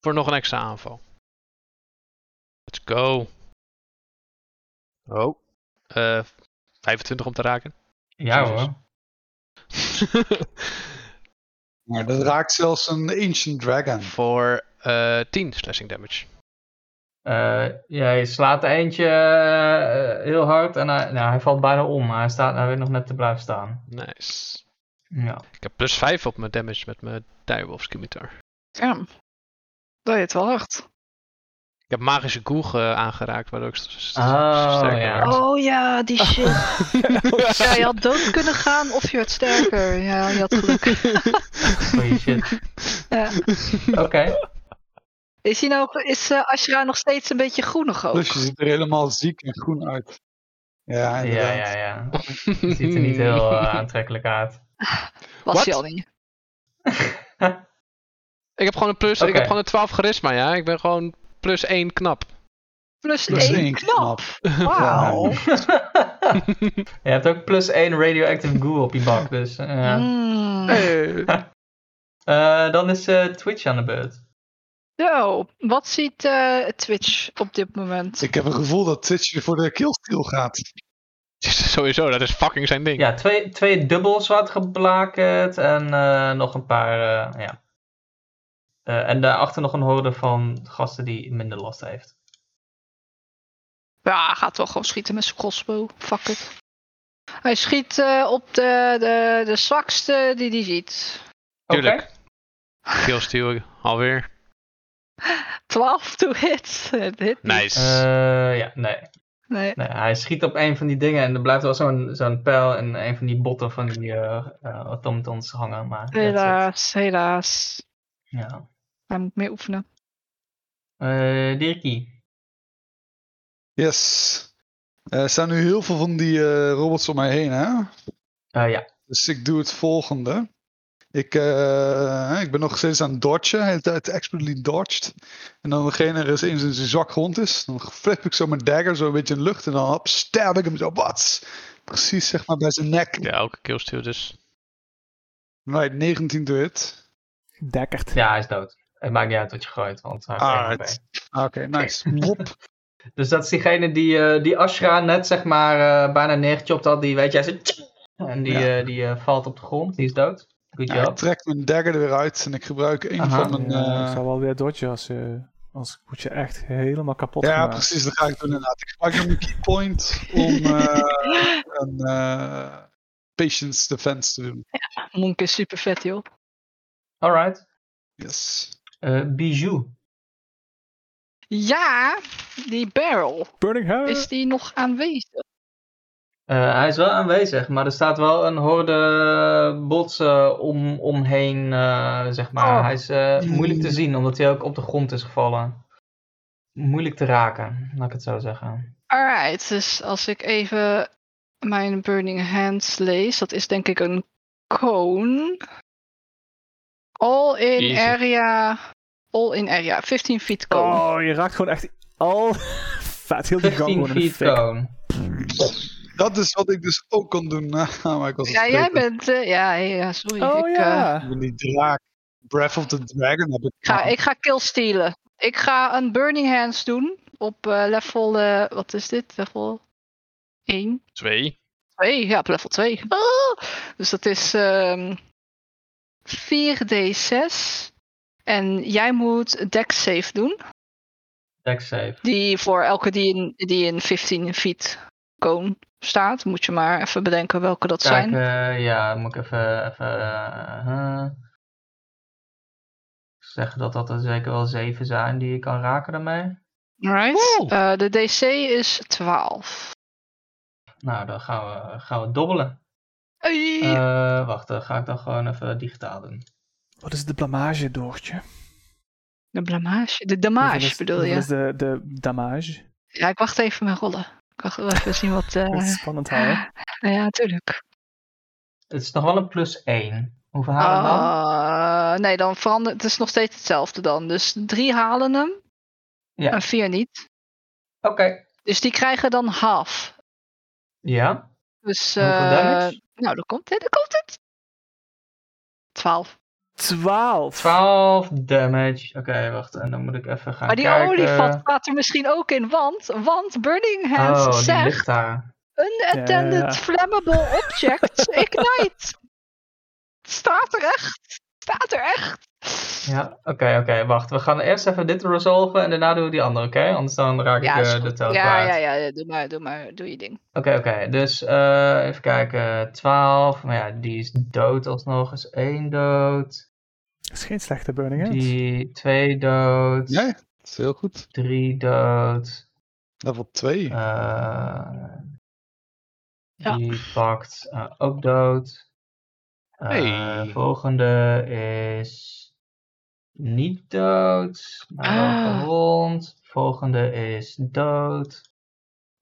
S2: Voor nog een extra aanval. Let's go. Oh. Eh 25 om te raken.
S3: ja
S2: Jezus.
S3: hoor.
S5: Maar dat raakt zelfs een Ancient Dragon.
S2: Voor eh 10 slashing damage.
S3: Eh, ja, je slaat er eentje eh, heel hard en hij, nou, hij valt bijna om, maar hij, staat, hij weet nog net te blijven staan.
S2: Nice.
S3: Ja.
S2: Ik heb plus 5 op mijn damage met mijn Direwolf Scimitar.
S4: Damn. Dat je het wel hard.
S2: Ik heb magische koeg aangeraakt, waardoor ik st- st-
S3: Oh,
S2: sterker
S3: ja.
S2: werd.
S4: Oh ja, die shit. Oh, Ja, je had dood kunnen gaan of je werd sterker. Ja, je had geluk.
S3: Goeie shit. Oh,
S4: Ja.
S3: Oké.
S4: Is, hij nou, is eh, Ashra nog steeds een beetje groenig ook?
S5: Dus je ziet er helemaal ziek en groen uit. Ja,
S3: Ja,
S5: inderdaad.
S3: ja, ja. Het ziet er niet heel eh, aantrekkelijk uit.
S4: Was
S2: Wat?
S4: hij al niet.
S2: Ik heb gewoon een plus, ik
S3: Oké.
S2: heb gewoon een 12 charisma, ja. Ik ben gewoon plus 1 knap.
S4: Plus,
S5: Plus
S4: één
S5: één
S4: knap. Wauw.
S3: je hebt ook plus 1 radioactive goo op je bak, dus eh, ja.
S4: Mm.
S2: Hey.
S3: Eh, dan is eh, Twitch aan de beurt.
S4: Zo, wat ziet eh, Twitch op dit moment?
S5: Ik heb het gevoel dat Twitch weer voor de killstil gaat.
S2: Sowieso, dat is fucking zijn ding.
S3: Ja, twee, twee dubbels wat geblakerd en eh, nog een paar, eh, ja. Eh, en daarachter nog een horde van gasten die minder last heeft.
S4: Ja, hij gaat wel gewoon schieten met zijn crossbow. Fuck it. Hij schiet eh, op de, de, de zwakste die hij ziet.
S3: Oké.
S2: Tuurlijk. Killsteal alweer.
S4: 12 to hit. Het hit niet.
S2: Nice.
S3: Eh, ja, nee.
S4: Nee.
S3: nee. Hij schiet op een van die dingen en er blijft wel zo'n zo'n pijl en een van die botten van die eh eh, automatons hangen. Maar that's it.
S4: Helaas, helaas.
S3: Ja.
S4: Hij moet meer oefenen.
S3: Eh Dirkie.
S5: Yes. Eh, Er staan nu heel veel van die eh, robots om mij heen, hè?
S3: Eh, ja.
S5: Dus ik doe het volgende. Ik, eh, ik ben nog steeds aan het dodgen. De hele tijd expertly dodged. En dan degene er eens in zijn zwak grond is. Dan flip ik zo mijn dagger zo een beetje in de lucht. En dan hop, stab ik hem zo. Wat? Precies zeg maar bij zijn nek.
S2: Ja, ook een killsteal dus.
S5: Right, 19 to hit.
S1: Dekkerd.
S3: ja, hij is dood. Het maakt niet uit wat je gooit, want hij heeft één
S5: Ah, Alright. Oké, nice. Wop.
S3: Dus dat is diegene die, eh, die Ashra net zeg maar eh, bijna neergechopt had. Die weet jij ze. En die,
S5: Ja.
S3: eh, die eh, valt op de grond. Die is dood. Good
S5: Ja, ik
S3: job.
S5: trek mijn dagger er weer uit. En ik gebruik een
S3: Aha.
S5: van mijn...
S1: Ja,
S5: eh,
S1: ik zou wel weer dodgen als je... Anders word je echt helemaal kapot
S5: Ja,
S1: gemaakt.
S5: precies, dat ga ik doen inderdaad. Ik gebruik nog een keypoint om eh, een eh, patience defense te doen.
S4: Monk is super vet, joh.
S3: Alright.
S5: Yes.
S3: Eh bijou.
S4: Ja, die barrel.
S1: Burning Hell!
S4: Is die nog aanwezig?
S3: Eh, hij is wel aanwezig, maar er staat wel een horde bots eh, om, omheen, eh, zeg maar.
S4: Oh.
S3: Hij is eh, moeilijk te zien, omdat hij ook op de grond is gevallen. Moeilijk te raken, laat ik het zo zeggen.
S4: Alright, dus als ik even mijn Burning Hands lees, dat is denk ik een cone. All in
S2: Easy.
S4: area. All in area. 15 feet cone.
S1: Oh, je raakt gewoon echt al... Vet, heel die gang
S3: 15
S1: gewoon in de
S3: feet
S1: fik.
S3: cone.
S5: Dat is wat ik dus ook kon doen. maar ik was
S4: ja,
S5: het
S4: jij
S5: vergeten.
S4: bent. eh, ja, ja, sorry.
S1: Oh
S4: ik, eh,
S1: ja!
S5: Ik ben die draak. Breath of the Dragon heb ik.
S4: ga, ik ga kill stealen. Ik ga een Burning Hands doen. Op eh, level. eh, wat is dit? Level 1.
S2: 2.
S4: 2, ja, op level 2. Ah! Dus dat is ehm 4d6. En jij moet dex save doen.
S3: Deck save.
S4: Die voor elke die in, die in 15 feet cone staat. Moet je maar even bedenken welke dat
S3: Kijk,
S4: zijn.
S3: eh, ja, moet ik even, even eh, eh, zeggen dat dat er zeker wel zeven zijn die je kan raken daarmee.
S4: Alright.
S2: Wow.
S4: Eh, de dc is 12.
S3: Nou, dan gaan we, gaan we dobbelen.
S4: Ai.
S3: Eh, wacht, dan ga ik dan gewoon even digitaal doen.
S1: Wat is de blamage, Doortje?
S4: de blamage. De
S1: Hoeveel
S4: damage
S1: is-
S4: bedoel
S1: hoeveel
S4: je?
S1: is de, de damage?
S4: Ja, ik wacht even met rollen. Ik wacht wel even zien wat. eh,
S1: Dat is spannend houden.
S4: nou ja, tuurlijk.
S3: Het is nog wel een plus 1. Hoeveel halen we dan?
S4: Ah, nee, dan verandert het. is nog steeds hetzelfde dan. Dus drie halen hem.
S3: Ja.
S4: En vier niet.
S3: Oké.
S4: Dus die krijgen dan half.
S3: Ja.
S4: Dus.
S3: Hoeveel
S4: eh,
S3: damage?
S4: nou, daar komt het. Daar komt
S3: Nou,
S4: het. Twaalf.
S1: 12.
S3: 12 damage. Oké, wacht. En dan moet ik even gaan
S4: Maar Oh, die
S3: kijken.
S4: olievat gaat er misschien ook in, want, want Burning Hands
S3: eh, Oh, die
S4: zegt
S3: ligt daar.
S4: unattended
S1: Ja.
S4: flammable objects ignite. Het staat er echt. Het staat er echt.
S3: Ja, oké, oké. wacht, we gaan eerst even dit resolven en daarna doen we die andere, oké? Anders dan raak ik
S4: is
S3: eh, de
S4: goed.
S3: tel
S4: ja,
S3: kwijt.
S4: ja, ja, ja, doe maar, doe maar, doe je ding.
S3: Oké, oké. Dus eh, even kijken. 12. Maar ja, die is dood alsnog. Is één dood.
S1: Dat is geen slechte Burning Hands.
S3: Die twee dood.
S5: Ja, dat is heel goed.
S3: Drie dood.
S5: Level 2.
S3: Eh,
S4: Ja.
S3: Die pakt eh, ook dood. Eh,
S2: Hey.
S3: Volgende is niet dood, maar wel
S4: Ah.
S3: gewond. Volgende is dood.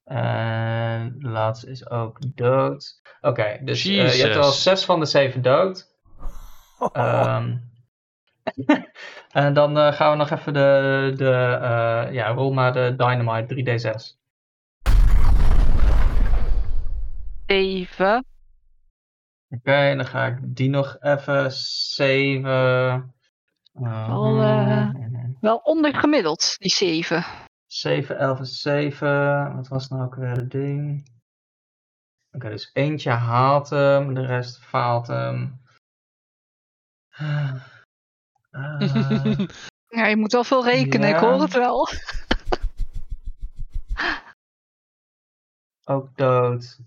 S3: En laatste is ook dood. Oké, dus eh, je hebt al
S2: Jezus.
S3: zes van de zeven dood. Ehm, en dan eh, gaan we nog even de, de eh, ja, rol maar de Dynamite 3D6.
S4: Even.
S3: Oké, en dan ga ik die nog even oh, saven.
S4: Al, eh, Wel ondergemiddeld, die zeven.
S3: 7, 11 en 7. Wat was nou ook weer het ding? Oké, dus eentje haalt hem, de rest faalt hem. Ah.
S2: Eh.
S3: Ah.
S4: Ja, je moet wel veel rekenen, ik
S3: Ja.
S4: hoor het wel.
S3: Ook dood.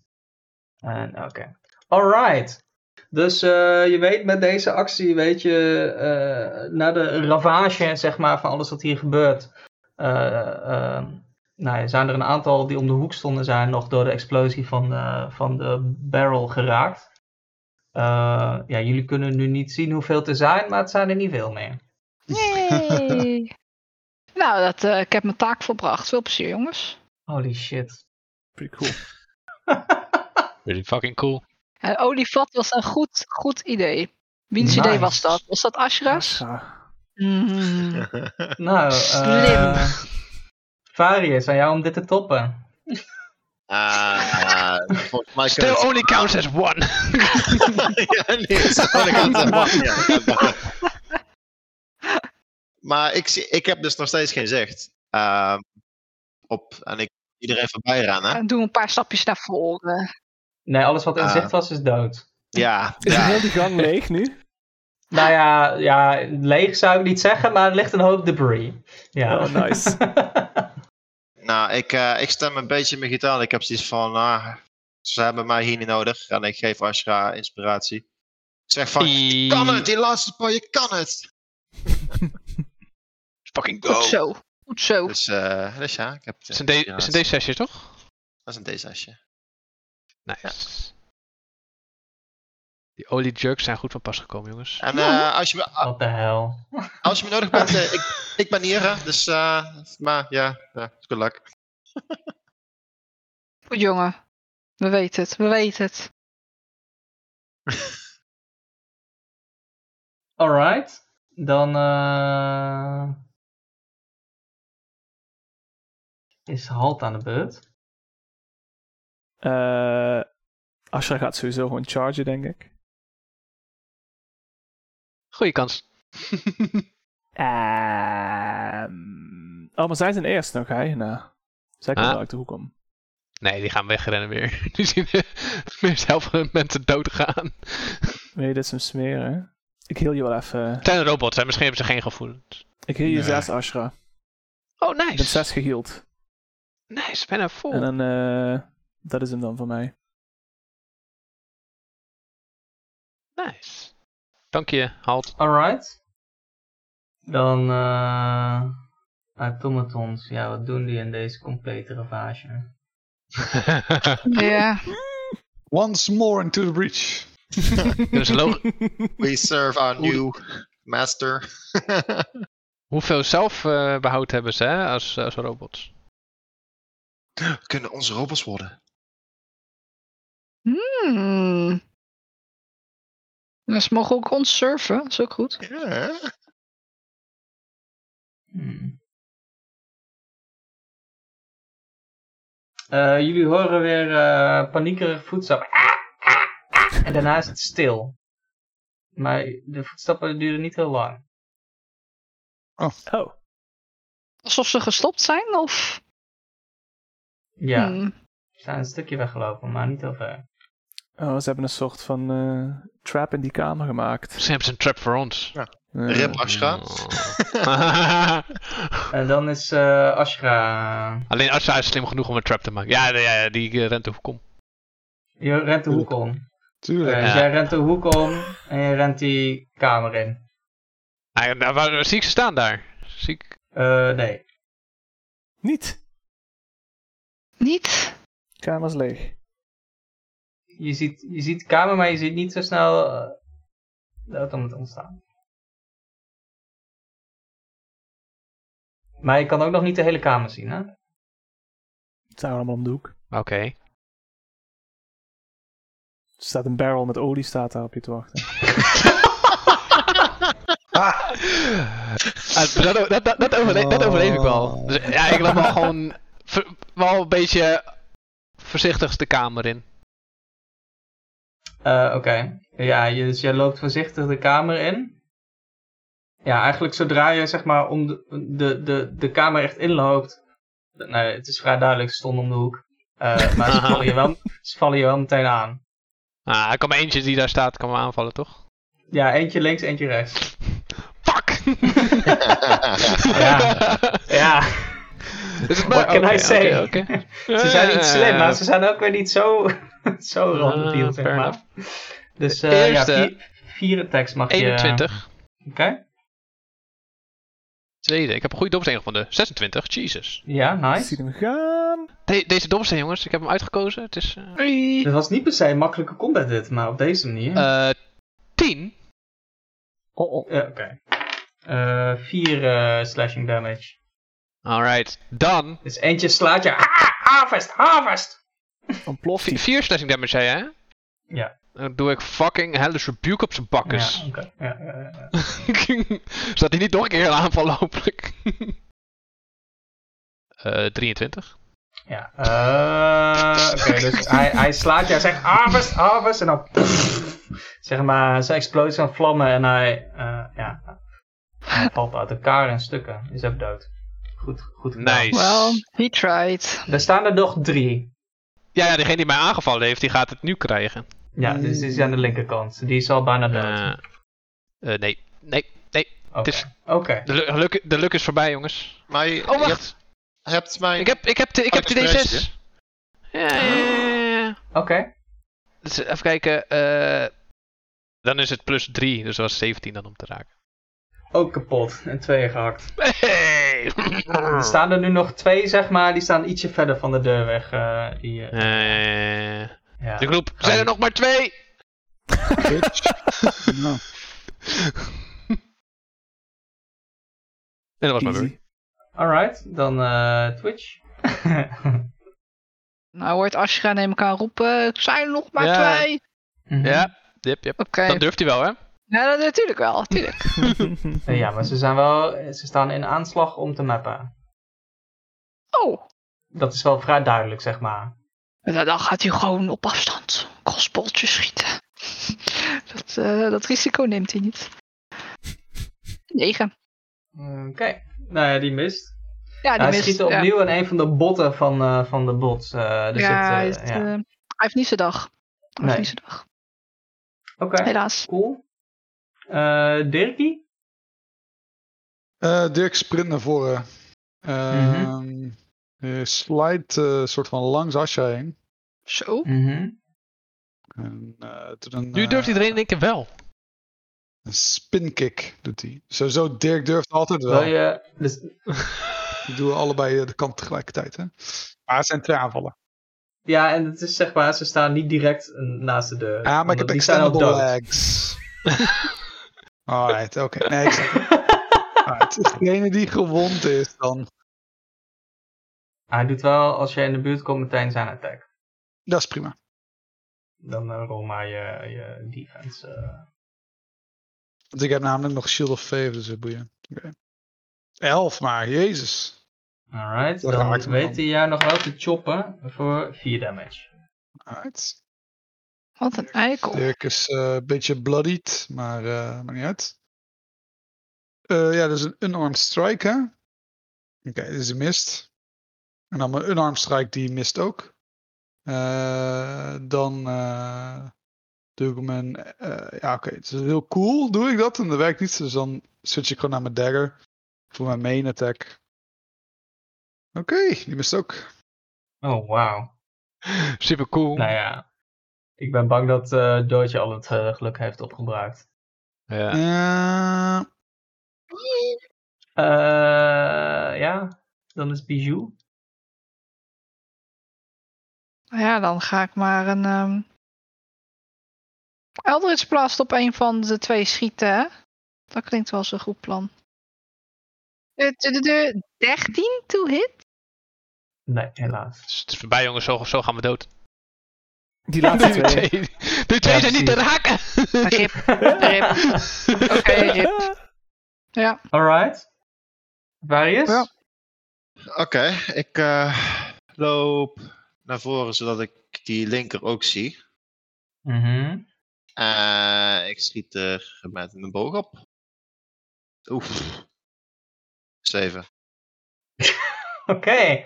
S3: En oké. Alright. Dus eh, je weet met deze actie, weet je, eh, na de ravage, zeg maar, van alles wat hier gebeurt. eh, ehm, nou, ja, zijn er een aantal die om de hoek stonden zijn nog door de explosie van de, van de barrel geraakt. Eh, ja, jullie kunnen nu niet zien hoeveel het er zijn, maar het zijn er niet veel meer.
S4: Yay. nou, dat, eh, ik heb mijn taak volbracht. Veel plezier, jongens.
S3: Holy shit.
S1: Pretty cool.
S2: Really fucking cool.
S4: En olievat was een goed, goed idee. Wiens idee
S3: Nice.
S4: was dat? Was dat Ashra's?
S1: Asra.
S4: Mhm.
S3: Nou, eh,
S4: Slim.
S3: Varius, aan jou om dit te toppen.
S6: Ah, volgens mij kunnen
S2: Still
S6: we-
S2: only counts as one.
S6: ja, nee, het is gewoon een kant van, ja, dat kan wel. Maar ik, zie, ik heb dus nog steeds geen zicht. Ehm, op, en ik iedereen voorbij rennen.
S4: En doe een paar stapjes naar voren.
S3: Nee, alles wat in
S6: Ah.
S3: zicht was, is dood.
S6: Ja,
S1: Is
S6: ja.
S1: heel die gang leeg nu?
S3: Nou ja, ja, leeg zou ik niet zeggen, maar er ligt een hoop debris. Ja.
S1: Oh, nice.
S6: Nou, ik, eh, ik stem een beetje in mijn gitaar. Ik heb zoiets van, ah, ze hebben mij hier niet nodig. En ik geef Ashra inspiratie. Ik zeg van, je kan het, die laatste paar, je kan het.
S2: Fucking
S4: Goed
S2: go.
S4: zo. Goed zo.
S6: Dus, eh, dus ja, ik heb het.
S2: Het is een D- het is een D6'je, toch?
S6: Dat is een D6.
S2: Nice. Die olie jerks zijn goed van pas gekomen, jongens.
S6: En
S4: Ja.
S6: eh, als, je, me-
S3: Wat de hel.
S6: als je me nodig bent, eh, ik, ik ben hier. hè. Dus, eh, maar ja, ja, good luck.
S4: Goed, jongen. We weten het. We weten het.
S3: Alright. Dan eh, is Halt aan de beurt.
S1: Eh Asra gaat sowieso gewoon chargen, denk ik.
S2: Goeie kans.
S1: Ehm, oh, maar zij zijn eerst nog, hè? Nou, zij komt
S2: Ah.
S1: wel uit de hoek om.
S2: nee, die gaan wegrennen weer. Die zien de meest helft van de mensen doodgaan.
S1: Weet je, dit is een smeer, hè? Ik heel je wel even.
S2: Het zijn robots, hè? misschien hebben ze geen gevoelens.
S1: Ik heel je
S5: Nee.
S1: zes, Ashra.
S2: Oh,
S1: Ik heb zes
S2: nice.
S1: geheeld.
S2: Nice, bijna vol.
S1: En dan, eh, dat is hem dan voor mij.
S2: Nice. Dank je, Halt.
S3: Alright. Dan eh automatons. Ja, wat doen die in deze complete ravage?
S4: Ja.
S5: Once more into the breach.
S2: Dus lo-
S1: Oeh,
S6: We serve our
S2: Oeh.
S6: new master.
S2: hoeveel zelfbehoud hebben ze hè, als, als robots?
S6: Kunnen onze robots worden?
S4: Hmm. Dus ze mogen ook ons surfen, dat is ook goed.
S6: Ja.
S3: Hmm. Eh, jullie horen weer eh paniekerig voetstappen. En daarna is het stil. Maar de voetstappen duren niet heel lang.
S1: Oh,
S4: Alsof ze gestopt zijn, of...
S3: Ja,
S4: Hmm.
S3: ze zijn een stukje weggelopen, maar niet heel ver.
S1: Oh, ze hebben een soort van eh, trap in die kamer gemaakt. Eh,
S2: Ze hebben ze een trap voor ons.
S1: Ja.
S6: Rip Ashra.
S2: Oh.
S3: En dan is eh Ashra.
S2: Alleen Ashra is slim genoeg om een trap te maken. Ja, ja, ja, die eh, rent de hoek om.
S3: Je rent de hoek om.
S5: Tuurlijk.
S3: Eh, dus
S2: Ja.
S3: jij rent de hoek om en je rent die kamer in.
S2: Ah, ja, nou, waar, waar zie ik ze staan daar? Zie ik...
S3: Eh, nee.
S1: Niet.
S4: Niet?
S1: Kamer is leeg.
S3: Je ziet, je ziet de kamer, maar je ziet niet zo snel eh, dat om het ontstaan. Maar je kan ook nog niet de hele kamer zien, hè?
S1: Het zijn allemaal om de hoek.
S2: Oké.
S1: Er staat een barrel met olie staat daar op je te wachten.
S2: Ah, dat, dat, dat, dat, overle- dat overleef ik wel. Dus, ja, ik loop wel gewoon ver- wel een beetje voorzichtig de kamer in.
S3: Eh, Oké. Ja, je, dus jij loopt voorzichtig de kamer in. Ja, eigenlijk zodra je zeg maar om de, de, de, de kamer echt inloopt. Nee, het is vrij duidelijk, ze stonden om de hoek. Eh, maar ze vallen, je wel, ze vallen je wel meteen aan.
S2: Ah, ik kan maar eentje die daar staat, kan me aanvallen, toch?
S3: Ja, eentje links, eentje rechts.
S2: Fuck!
S3: Ja. Ja.
S2: Dus het-
S3: What can
S2: oké,
S3: I say?
S2: oké, oké.
S3: Ze zijn niet slim, maar ze zijn ook weer niet zo, zo
S2: Eh. Ah,
S3: randebiel, zeg
S2: fair
S3: maar.
S2: enough.
S3: Dus eh ja,
S2: Eerste.
S3: vier, vier attacks mag je... eh,
S2: 21.
S3: Oké,
S2: Tweede. Ik heb een goede dobbelsteen van de 26. Jesus.
S3: ja,
S1: Ik
S3: nice.
S1: zie hem gaan.
S2: De- deze dobbelsteen, jongens. Ik heb hem uitgekozen. Het is... eh,
S4: Oei.
S3: Het was niet per se een makkelijke combat dit, maar op deze manier.
S2: eh 10.
S1: Oh, oh.
S3: Ja, Oké. Eh, vier eh, slashing damage.
S2: Alright. Dan.
S3: Dus eentje slaat je... Ah, harvest, harvest!
S1: Ontploft die.
S2: 4 slashing damage, zei je, hè?
S3: Ja.
S2: Dan doe ik fucking Hellish Rebuke op zijn bakkes.
S3: Ja, oké. Ja, ja, ja, ja.
S2: Zodat hij niet nog een keer een aanval hopelijk. Eh 23.
S3: Ja, eh, Oké, dus hij, hij slaat je, hij zegt harvest, harvest, en dan... zeg maar, ze explosie aan vlammen en hij... eh, ja, hij valt uit elkaar in stukken. Is ook dood. Goed, goed gedaan.
S2: Nice.
S4: Well, he tried.
S3: Er staan er nog drie.
S2: Ja, ja, degene die mij aangevallen heeft, die gaat het nu krijgen.
S3: Ja, dus die is aan de linkerkant. Die is al bijna dood.
S2: Eh, eh, nee. Nee.
S3: Oké.
S2: het is-
S3: Oké.
S2: De, lu- luck, de luck is voorbij, jongens.
S6: Maar je,
S2: Oh,
S6: je
S2: wacht.
S6: hebt, hebt mij...
S2: Ik heb, ik heb, de, ik
S6: Oh,
S2: heb de
S6: dat is
S2: D6. Ja, ja, ja, ja.
S3: Oké.
S2: Dus even kijken. eh, dan is het plus 3, dus dat was 17 dan om te raken.
S3: Ook kapot. En tweeën gehakt.
S2: Hey!
S3: Er staan er nu nog twee, zeg maar. Die staan ietsje verder van de deur weg. eh, die, eh,
S2: Eh,
S3: ja.
S2: de groep, zijn er nog maar twee?
S5: Nou,
S2: En dat was mijn beurt.
S1: Easy.
S3: Alright, dan eh, Twitch.
S4: Nou hoort Ashra neem ik aan roepen, "Er zijn nog maar
S2: Ja.
S4: twee.
S3: Mhm.
S2: Ja, yep, yep.
S4: Oké,
S2: dat durft hij wel, hè?
S4: ja, dat natuurlijk wel, natuurlijk.
S3: Eh, ja, maar ze zijn wel... Ze staan in aanslag om te mappen.
S4: Oh,
S3: Dat is wel vrij duidelijk, zeg maar.
S4: nou, dan gaat hij gewoon op afstand crossboltjes schieten. dat, eh, dat risico neemt hij niet. Negen.
S3: Oké. Nou ja, die mist.
S4: Ja, die
S3: hij
S4: mist.
S3: schiet
S4: ja.
S3: opnieuw in een van de botten van, eh, van de bots. eh, dus
S4: ja,
S3: het, eh,
S4: hij, is,
S3: ja.
S4: eh, hij heeft niet zijn dag. Hij
S3: Nee.
S4: heeft niet zijn dag,
S3: Oké,
S4: helaas.
S3: cool. Eh Dirkie?
S5: eh, Dirk sprint naar voren. Ehm
S2: Mhm.
S5: eh, Slide eh, soort van langs Asja heen.
S4: Zo.
S5: Mhm. En, eh, doet een,
S2: Nu
S5: eh,
S2: durft iedereen denk ik wel.
S5: Een spinkick doet hij. Sowieso, Dirk durft altijd wel.
S3: Wil je... Dus,
S5: Die doen we allebei eh, de kant tegelijkertijd. Hè? Maar het zijn twee aanvallen.
S3: Ja, en het is zeg maar, ze staan niet direct eh, naast de deur.
S5: Ja, Ah, maar ik
S3: want
S5: heb
S3: die zijn al
S5: extendable
S3: dood.
S5: legs. Alright, oké. Nee, ik snap het. Alright, het is degene die gewond is dan.
S3: Hij doet wel, als jij in de buurt komt, meteen zijn attack.
S5: Dat is prima.
S3: Dan eh, rol maar je, je defense. eh.
S5: Want ik heb namelijk nog Shield of Fave, dus dat boeien. Oké. Elf maar, jezus.
S3: Alright,
S5: Dat
S3: dan
S5: raakt hem
S3: weet
S5: dan.
S3: hij jou nog wel te choppen voor 4 damage.
S5: Alright.
S4: Wat een eikel.
S5: Dirk is eh, een beetje bloodied, maar eh maakt niet uit. Eh, ja, dus een unarmed strike, hè? Oké, dit is een mist. En dan mijn unarmed strike, die mist ook. Eh, dan eh, doe ik mijn... eh, ja, oké, het is heel cool, doe ik dat. En dat werkt niet, dus dan switch ik gewoon naar mijn dagger. Voor mijn main attack. Oké, die mist ook.
S3: Oh, wauw.
S2: Super cool.
S3: Nou ja, ik ben bang dat eh Doortje al het eh, geluk heeft opgebruikt.
S2: Ja.
S5: Eh,
S3: Eh, ja, dan is Bijou.
S4: Nou Ja, dan ga ik maar een... ehm Eldritch Blast op een van de twee schieten, hè? Dat klinkt wel eens een goed plan. De, Eh, de, de, de 13 to hit?
S3: Nee, helaas.
S2: Het is voorbij jongens, zo, zo gaan we dood.
S1: Die
S2: De
S1: laatste twee.
S2: twee, die twee
S3: Ja,
S2: zijn niet te raken!
S4: Rip. Rip. Oké, rip.
S1: Ah,
S4: Ja.
S3: Alright. Varius?
S5: Ja.
S6: Oké, ik eh, loop naar voren zodat ik die linker ook zie.
S3: Mhm.
S6: Eh, ik schiet er met een boog op. Oef. Zeven.
S3: Oké.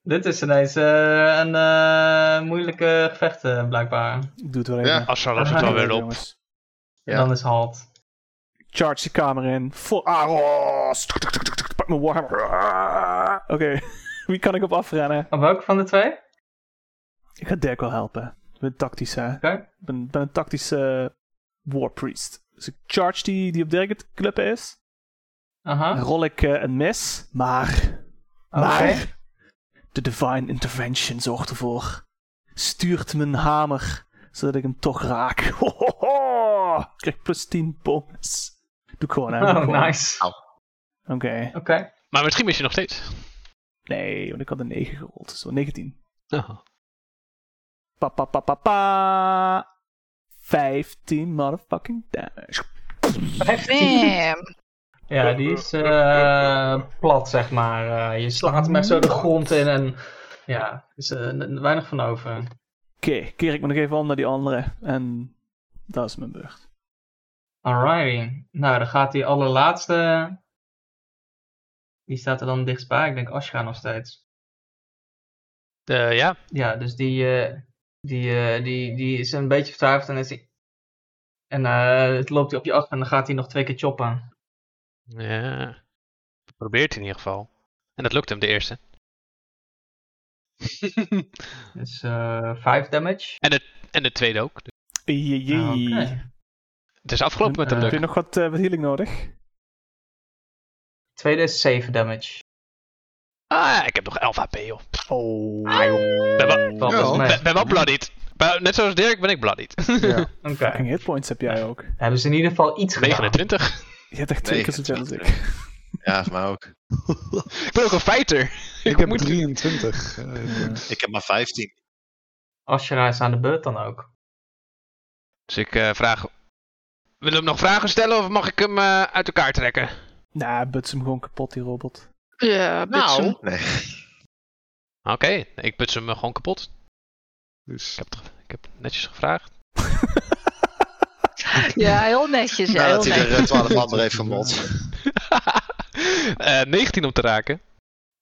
S3: Dit is ineens eh, een eh, moeilijke gevecht, eh, blijkbaar.
S1: Doet wel even.
S6: Ja.
S2: Als het
S3: Ah,
S2: wel weer
S1: Jongens.
S2: op.
S6: Ja.
S3: Dan is halt.
S1: Charge de kamer in. Ah, oh, Vol Aros. Tuk, tuk, tuk, tuk, tuk. Pak mijn warhammer. Ah. Oké, wie kan ik op afrennen?
S3: Op Oh, welke van de twee? Oké.
S1: Ik ga Dirk wel helpen. Ik ben tactisch, hè. Ik ben, ben een tactische warpriest. Dus ik charge die, die op Dirk het klippen is.
S3: Aha.
S1: Dan rol ik eh, een mis. Maar...
S3: Ah. Oké.
S1: Maar... De Divine Intervention zorgt ervoor. Stuurt mijn hamer, zodat ik hem toch raak. Ho, ho, ho. Ik krijg plus 10 bonus. Doe ik gewoon, hè. doe ik
S3: Oh,
S1: gewoon.
S3: nice.
S6: Au.
S1: Oké.
S3: Oké.
S2: Maar misschien mis je nog steeds.
S1: Nee, want ik had een 9 gerold. Dus wel 19.
S2: Oh.
S1: Pa, pa, pa, pa, pa. 15 motherfucking damage.
S4: Bam.
S3: Ja, die is eh, plat, zeg maar. Eh, je slaat hem echt zo de grond in en ja, er is eh, n- n- weinig van over.
S1: Oké, keer ik me nog even om naar die andere. En dat is mijn beurt.
S3: Alrighty. Nou, dan gaat die allerlaatste. Die staat er dan dichtstbij. Ik denk Ashra nog steeds.
S2: Eh, ja,
S3: Ja, dus die, eh, die, eh, die, die is een beetje vertuigd en is die... En eh, het loopt hij op je af en dan gaat hij nog twee keer choppen.
S2: Ja. Probeert hij in ieder geval. En dat lukt hem, de eerste.
S3: Dus eh 5 damage. Nou,
S2: en de tweede ook. Dus
S1: Jee.
S3: Ah, Oké.
S2: het is afgelopen met de
S3: Eh,
S1: Heb je
S2: luck.
S1: nog wat, eh, wat healing nodig?
S3: Tweede is 7 damage.
S2: Ah, ja, ik heb nog 11 HP, joh. Ik
S1: Oh.
S2: Ben wel,
S3: Valt dus
S5: Ja.
S3: mee.
S2: ben- ben wel bloodied. Ben- Net zoals Dirk ben ik bloodied.
S5: ja.
S3: Oké.
S1: Fucking hitpoints heb jij ook.
S3: Hebben ze in ieder geval iets gedaan.
S2: 29.
S1: Je hebt echt twee keer zoveel als ik.
S6: Ja, voor mij ook.
S2: Ik ben ook een fighter.
S5: Ik heb
S2: moet-
S5: 23. eh,
S6: Ik heb maar 15.
S3: Ashra is aan de beurt dan ook.
S2: Dus ik eh, vraag... Wil je hem nog vragen stellen of mag ik hem eh, uit elkaar trekken?
S1: Nou, buts hem gewoon kapot, die robot.
S4: Ja, nou.
S6: Nee.
S2: Oké, ik put hem eh, gewoon kapot. Ik
S5: Dus
S2: heb, het ge- ik heb het netjes gevraagd.
S4: Ja, heel netjes. Ja, heel
S6: Nadat hij
S4: netjes.
S6: er eh, 12 anderen heeft vermot.
S2: Eh, 19 om te raken.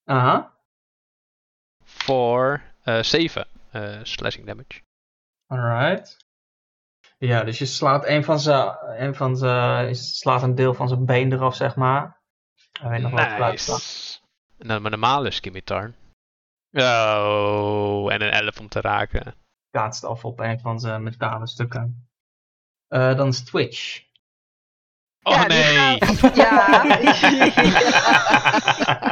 S3: Aha.
S2: Voor eh 7 eh, slashing damage.
S3: Alright. Ja, dus je slaat een van zijn, een van zijn, je slaat een deel van zijn been eraf, zeg maar. Ik weet nog wat eruit staat.
S2: Nice. En dan mijn normale skimitar. Oh, en een 11 om te raken.
S3: Kaatst af op een van zijn metalen stukken. Eh, dan is Twitch.
S2: Oh
S4: Ja, die
S2: nee!
S4: gaat- Ja.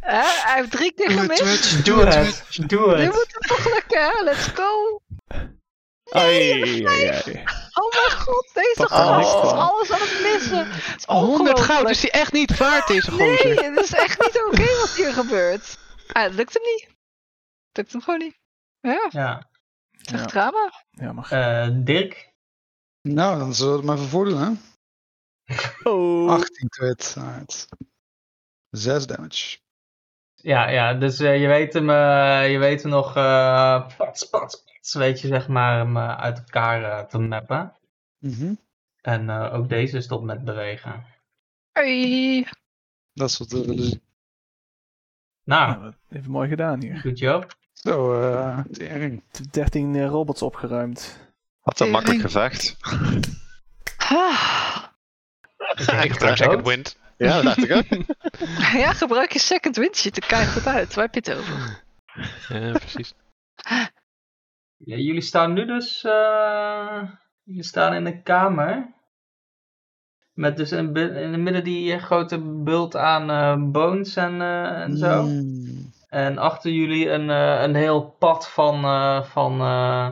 S4: Hè? Hij heeft drie keer
S7: Doe het, doe
S4: gemist.
S7: het, doe
S3: Doe
S7: het, doe
S3: het.
S7: het.
S3: Doe
S4: Nu
S3: het.
S4: moet het toch lukken, hè? Let's go.
S1: Ai, ai, ai.
S4: Oh
S2: Ah.
S4: mijn god, deze
S1: Wat
S4: gast
S1: een
S4: is
S1: lek.
S4: alles aan het missen. Het
S2: 100
S4: is
S2: goud
S4: ongelooflijk.
S2: is Oh, dus die echt niet waard, deze gozer.
S4: Nee, het is echt niet oké wat hier gebeurt. Ah, het lukt hem niet. Het lukt hem gewoon niet. Ja,
S3: Ja.
S4: het is echt
S1: Ja.
S4: drama.
S1: Ja, maar...
S3: Eh, Dirk.
S5: Nou, dan zullen we het maar even voordoen, hè?
S1: Oh.
S5: 18 kwit. Alright. 6 damage.
S3: Ja, ja, dus eh, je weet hem, eh, je weet hem nog eh pats, pats, pats, weet je, zeg maar, hem eh, uit elkaar eh, te mappen.
S5: Mhm.
S3: En eh, ook deze stopt met bewegen.
S4: Oei.
S5: Dat is wat we willen zien.
S3: Nou,
S1: Ja, dat heeft mooi gedaan hier.
S3: goed job.
S5: Zo, eh tering.
S1: 13 eh, robots opgeruimd.
S6: Had een makkelijk
S7: Tering.
S6: gevecht.
S4: Ah.
S2: Ik gebruik second wind.
S6: Ja, dat dacht ik ook.
S4: Ja, gebruik je second wind, ziet er keihard uit. Waar heb je het over?
S2: Ja, precies.
S3: Ja, jullie staan nu dus, eh, jullie staan in een kamer. Met dus in, bi- in het midden die eh, grote bult aan eh, bones en, eh, en zo.
S5: Mm.
S3: En achter jullie een, eh, een heel pad van, eh, van eh,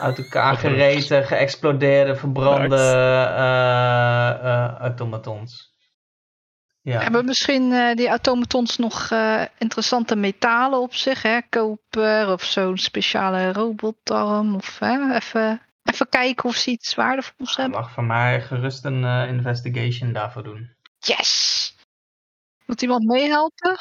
S3: uit elkaar gereten, geëxplodeerde, verbrande
S1: Nice.
S3: eh, eh, automatons. Ja.
S4: Hebben misschien eh, die automatons nog eh, interessante metalen op zich? Hè? Koper of zo'n speciale robotarm? Of hè? Even, even kijken of ze iets waardevols
S3: Je
S4: hebben.
S3: mag van mij gerust een eh, investigation daarvoor doen.
S4: Yes! Moet iemand meehelpen?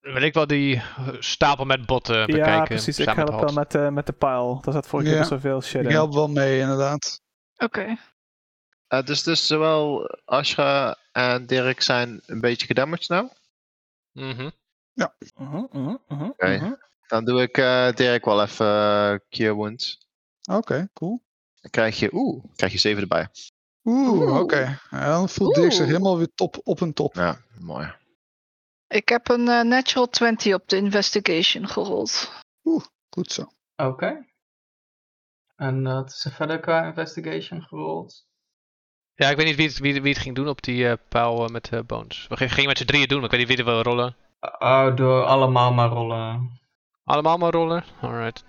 S2: Wil ik wel die eh, stapel met botten eh, bekijken?
S1: ja, precies. Ik
S2: samen
S1: help
S2: met
S1: wel
S2: Hans?
S1: met, eh, met de pijl. Daar zat vorige keer
S5: Ja.
S1: nog zoveel shit
S5: Ik
S1: in.
S5: help wel mee, inderdaad.
S4: Oké.
S6: Eh, dus, dus zowel Ashra en Dirk zijn een beetje gedamaged nou.
S2: Mhm.
S1: Mhm, mhm, mhm,
S6: Oké.
S1: mhm.
S6: Dan doe ik eh, Dirk wel even eh, Cure Wounds.
S5: Oké, cool.
S6: Dan krijg je, oeh, krijg je 7 erbij.
S5: Oeh,
S4: Oeh.
S5: oké. Ja, dan voelt Dirk zich
S4: Oeh.
S5: helemaal weer top op een top.
S6: Ja, mooi.
S4: Ik heb een eh, natural 20 op de investigation gerold.
S5: Goed zo.
S3: Oké. En dat is er verder qua investigation gerold.
S2: Ja, ik weet niet wie het, wie, wie het ging doen op die eh pijl eh, met eh bones. We gingen gingen met z'n drieën doen, maar ik weet niet wie er wil rollen.
S3: Oh, door allemaal maar rollen.
S2: Allemaal maar rollen? Alright.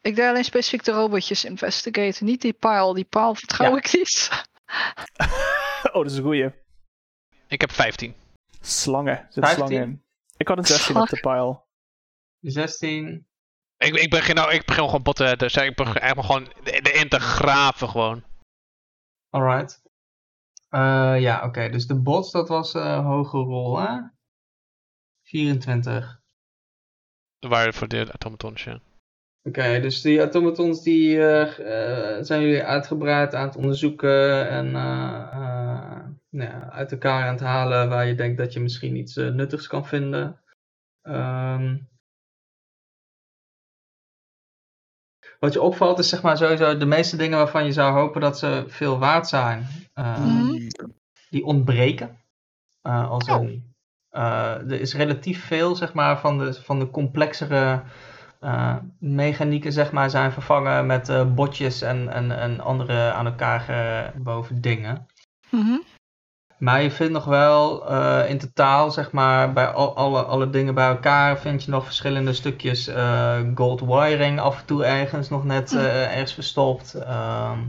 S4: Ik deed alleen specifiek de robotjes investigaten, niet die pile. Die pile vertrouw
S3: Ja.
S4: ik niet.
S1: Oh, dat is een goeie.
S2: Ik heb 15.
S1: Slangen. Er zitten
S3: 15?
S1: slangen in. Ik had een 16 op de pile.
S3: 16.
S2: Ik, ik, begin, nou, ik begin gewoon botten, dus ik begin eigenlijk gewoon de, de in te graven gewoon.
S3: Alright. Eh, ja, oké. Dus de bots, dat was eh hoge rol, hè? 24.
S2: Waar voor de automatons, ja.
S3: Oké, dus die automatons die eh, g- eh, zijn jullie uitgebreid aan het onderzoeken en eh, eh, nou ja, uit elkaar aan het halen waar je denkt dat je misschien iets eh, nuttigs kan vinden. Ehm, wat je opvalt is zeg maar sowieso de meeste dingen waarvan je zou hopen dat ze veel waard zijn. eh,
S4: Mhm.
S5: Hmm.
S3: die ontbreken. Eh, als
S4: Oh.
S3: een- eh, er is relatief veel zeg maar, van, de, van de complexere eh, mechanieken zeg maar, zijn vervangen met eh, botjes en, en, en andere aan elkaar geboven dingen.
S4: Mhm.
S3: Maar je vindt nog wel eh, in totaal, zeg maar, bij al, alle, alle dingen bij elkaar, vind je nog verschillende stukjes eh, gold wiring af en toe ergens nog net
S4: Mm.
S3: eh, ergens verstopt. Ehm,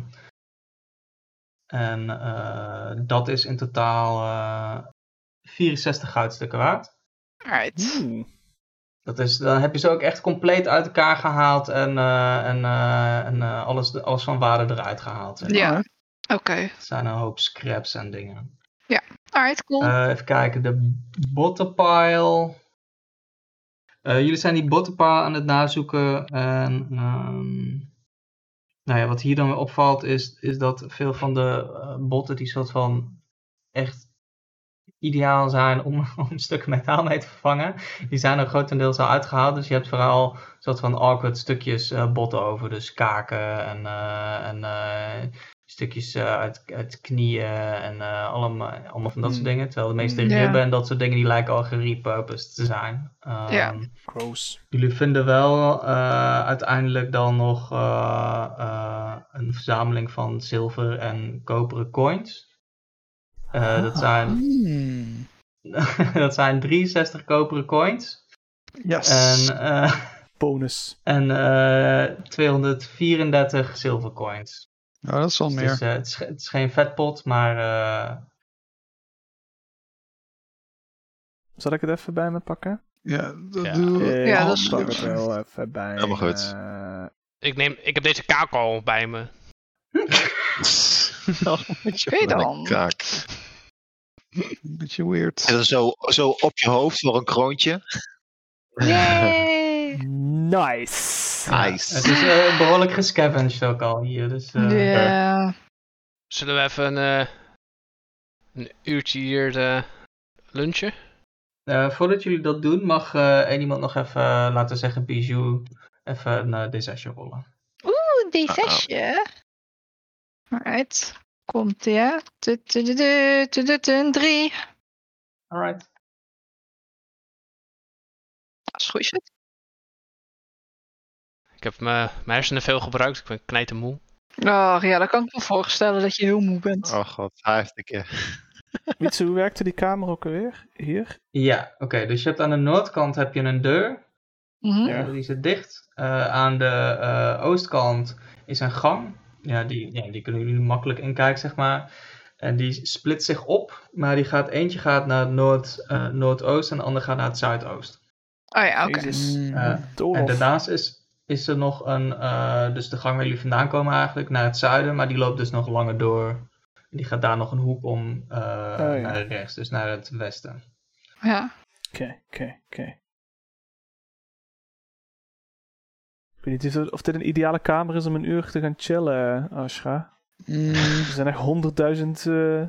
S3: en eh, dat is in totaal eh 64 goudstukken waard.
S4: Alright.
S1: Oeh.
S3: Dat is, dan heb je ze ook echt compleet uit elkaar gehaald en, eh, en, eh, en eh, alles, alles van waarde eruit gehaald. zeg maar.
S4: Ja. Oké.
S3: Het zijn een hoop scraps en dingen.
S4: Alright, cool.
S3: Eh, even kijken, de bottenpile. Eh, jullie zijn die bottenpile aan het nazoeken. En, ehm, nou ja, wat hier dan weer opvalt is, is dat veel van de eh, botten die soort van echt ideaal zijn om, om stukken metaal mee te vervangen, die zijn er grotendeels al uitgehaald. Dus je hebt vooral soort van awkward stukjes eh, botten over. Dus kaken en, eh, en eh, stukjes eh, uit, uit knieën en eh, allemaal, allemaal van dat
S5: Hmm.
S3: soort dingen. Terwijl de meeste
S4: Ja.
S3: ribben en dat soort dingen die lijken al gerepurposed te zijn. Ehm,
S4: Ja.
S1: Gross.
S3: Jullie vinden wel eh, uiteindelijk dan nog eh, eh, een verzameling van zilver en koperen coins. Eh,
S4: Ah.
S3: dat, zijn, Mhm.
S5: Hmm.
S3: dat zijn 63 koperen coins.
S5: Yes.
S3: En, eh,
S1: Bonus.
S3: en eh 234 zilver coins.
S5: nou, dat is wel
S3: Dus
S5: meer.
S3: het, is, eh, het, is, ge- het is geen vetpot, maar eh,
S1: Zal ik het even bij me pakken?
S5: Ja, dat
S2: Ja.
S5: doen we.
S1: Eh,
S4: Ja,
S1: ik
S4: dat is
S1: pak
S5: goed.
S1: het wel even bij
S6: Helemaal goed.
S1: me.
S2: Ik, neem, ik heb deze kaak al bij me.
S4: Oké dan.
S6: Kraak.
S5: Een beetje weird.
S6: En dan zo, zo op je hoofd voor een kroontje.
S4: Yay!
S1: Nice.
S3: het
S6: Nice.
S3: is eh, behoorlijk gescavenged ook al hier. Dus, eh,
S4: Ja.
S2: Zullen we even een, eh, een uurtje hier eh, lunchen?
S3: Eh, voordat jullie dat doen, mag eh, één iemand nog even, eh, laten we zeggen, Bijou, even een eh, D6'je rollen.
S4: Oeh, D6. Alright. Komt ja. Tu- tu- tu- tu- tu- tu- tu- Een 3.
S3: Alright.
S4: Dat is goed shit.
S2: Ik heb mijn mijn hersenen veel gebruikt. Ik ben knijtermoe.
S4: Oh ja, dat kan ik me voorstellen dat je heel moe bent.
S6: Oh god, hij heeft een keer. Ah.
S1: Mitsu, hoe werkte die kamer ook alweer? Hier?
S3: Ja, oké. dus je hebt aan de noordkant heb je een deur,
S4: Mhm.
S1: Ja.
S3: eh, die zit dicht. Eh, aan de eh, oostkant is een gang. Ja die, ja, die kunnen jullie makkelijk inkijken, zeg maar. En die split zich op, maar die gaat, eentje gaat naar het noord, eh, noordoost en de ander gaat naar het zuidoost.
S4: Oh ja, oké.
S1: Jezus.
S5: Hmm.
S3: Eh, En daarnaast is, is er nog een, eh, dus de gang waar jullie vandaan komen eigenlijk, naar het zuiden, maar die loopt dus nog langer door. En Die gaat daar nog een hoek om eh,
S1: ja.
S3: naar rechts, dus naar het westen.
S4: Ja.
S1: Oké, oké, oké. Ik weet niet of- of dit een ideale kamer is om een uur te gaan chillen, Ashra.
S5: Hmm.
S1: Er zijn echt honderdduizend... eh,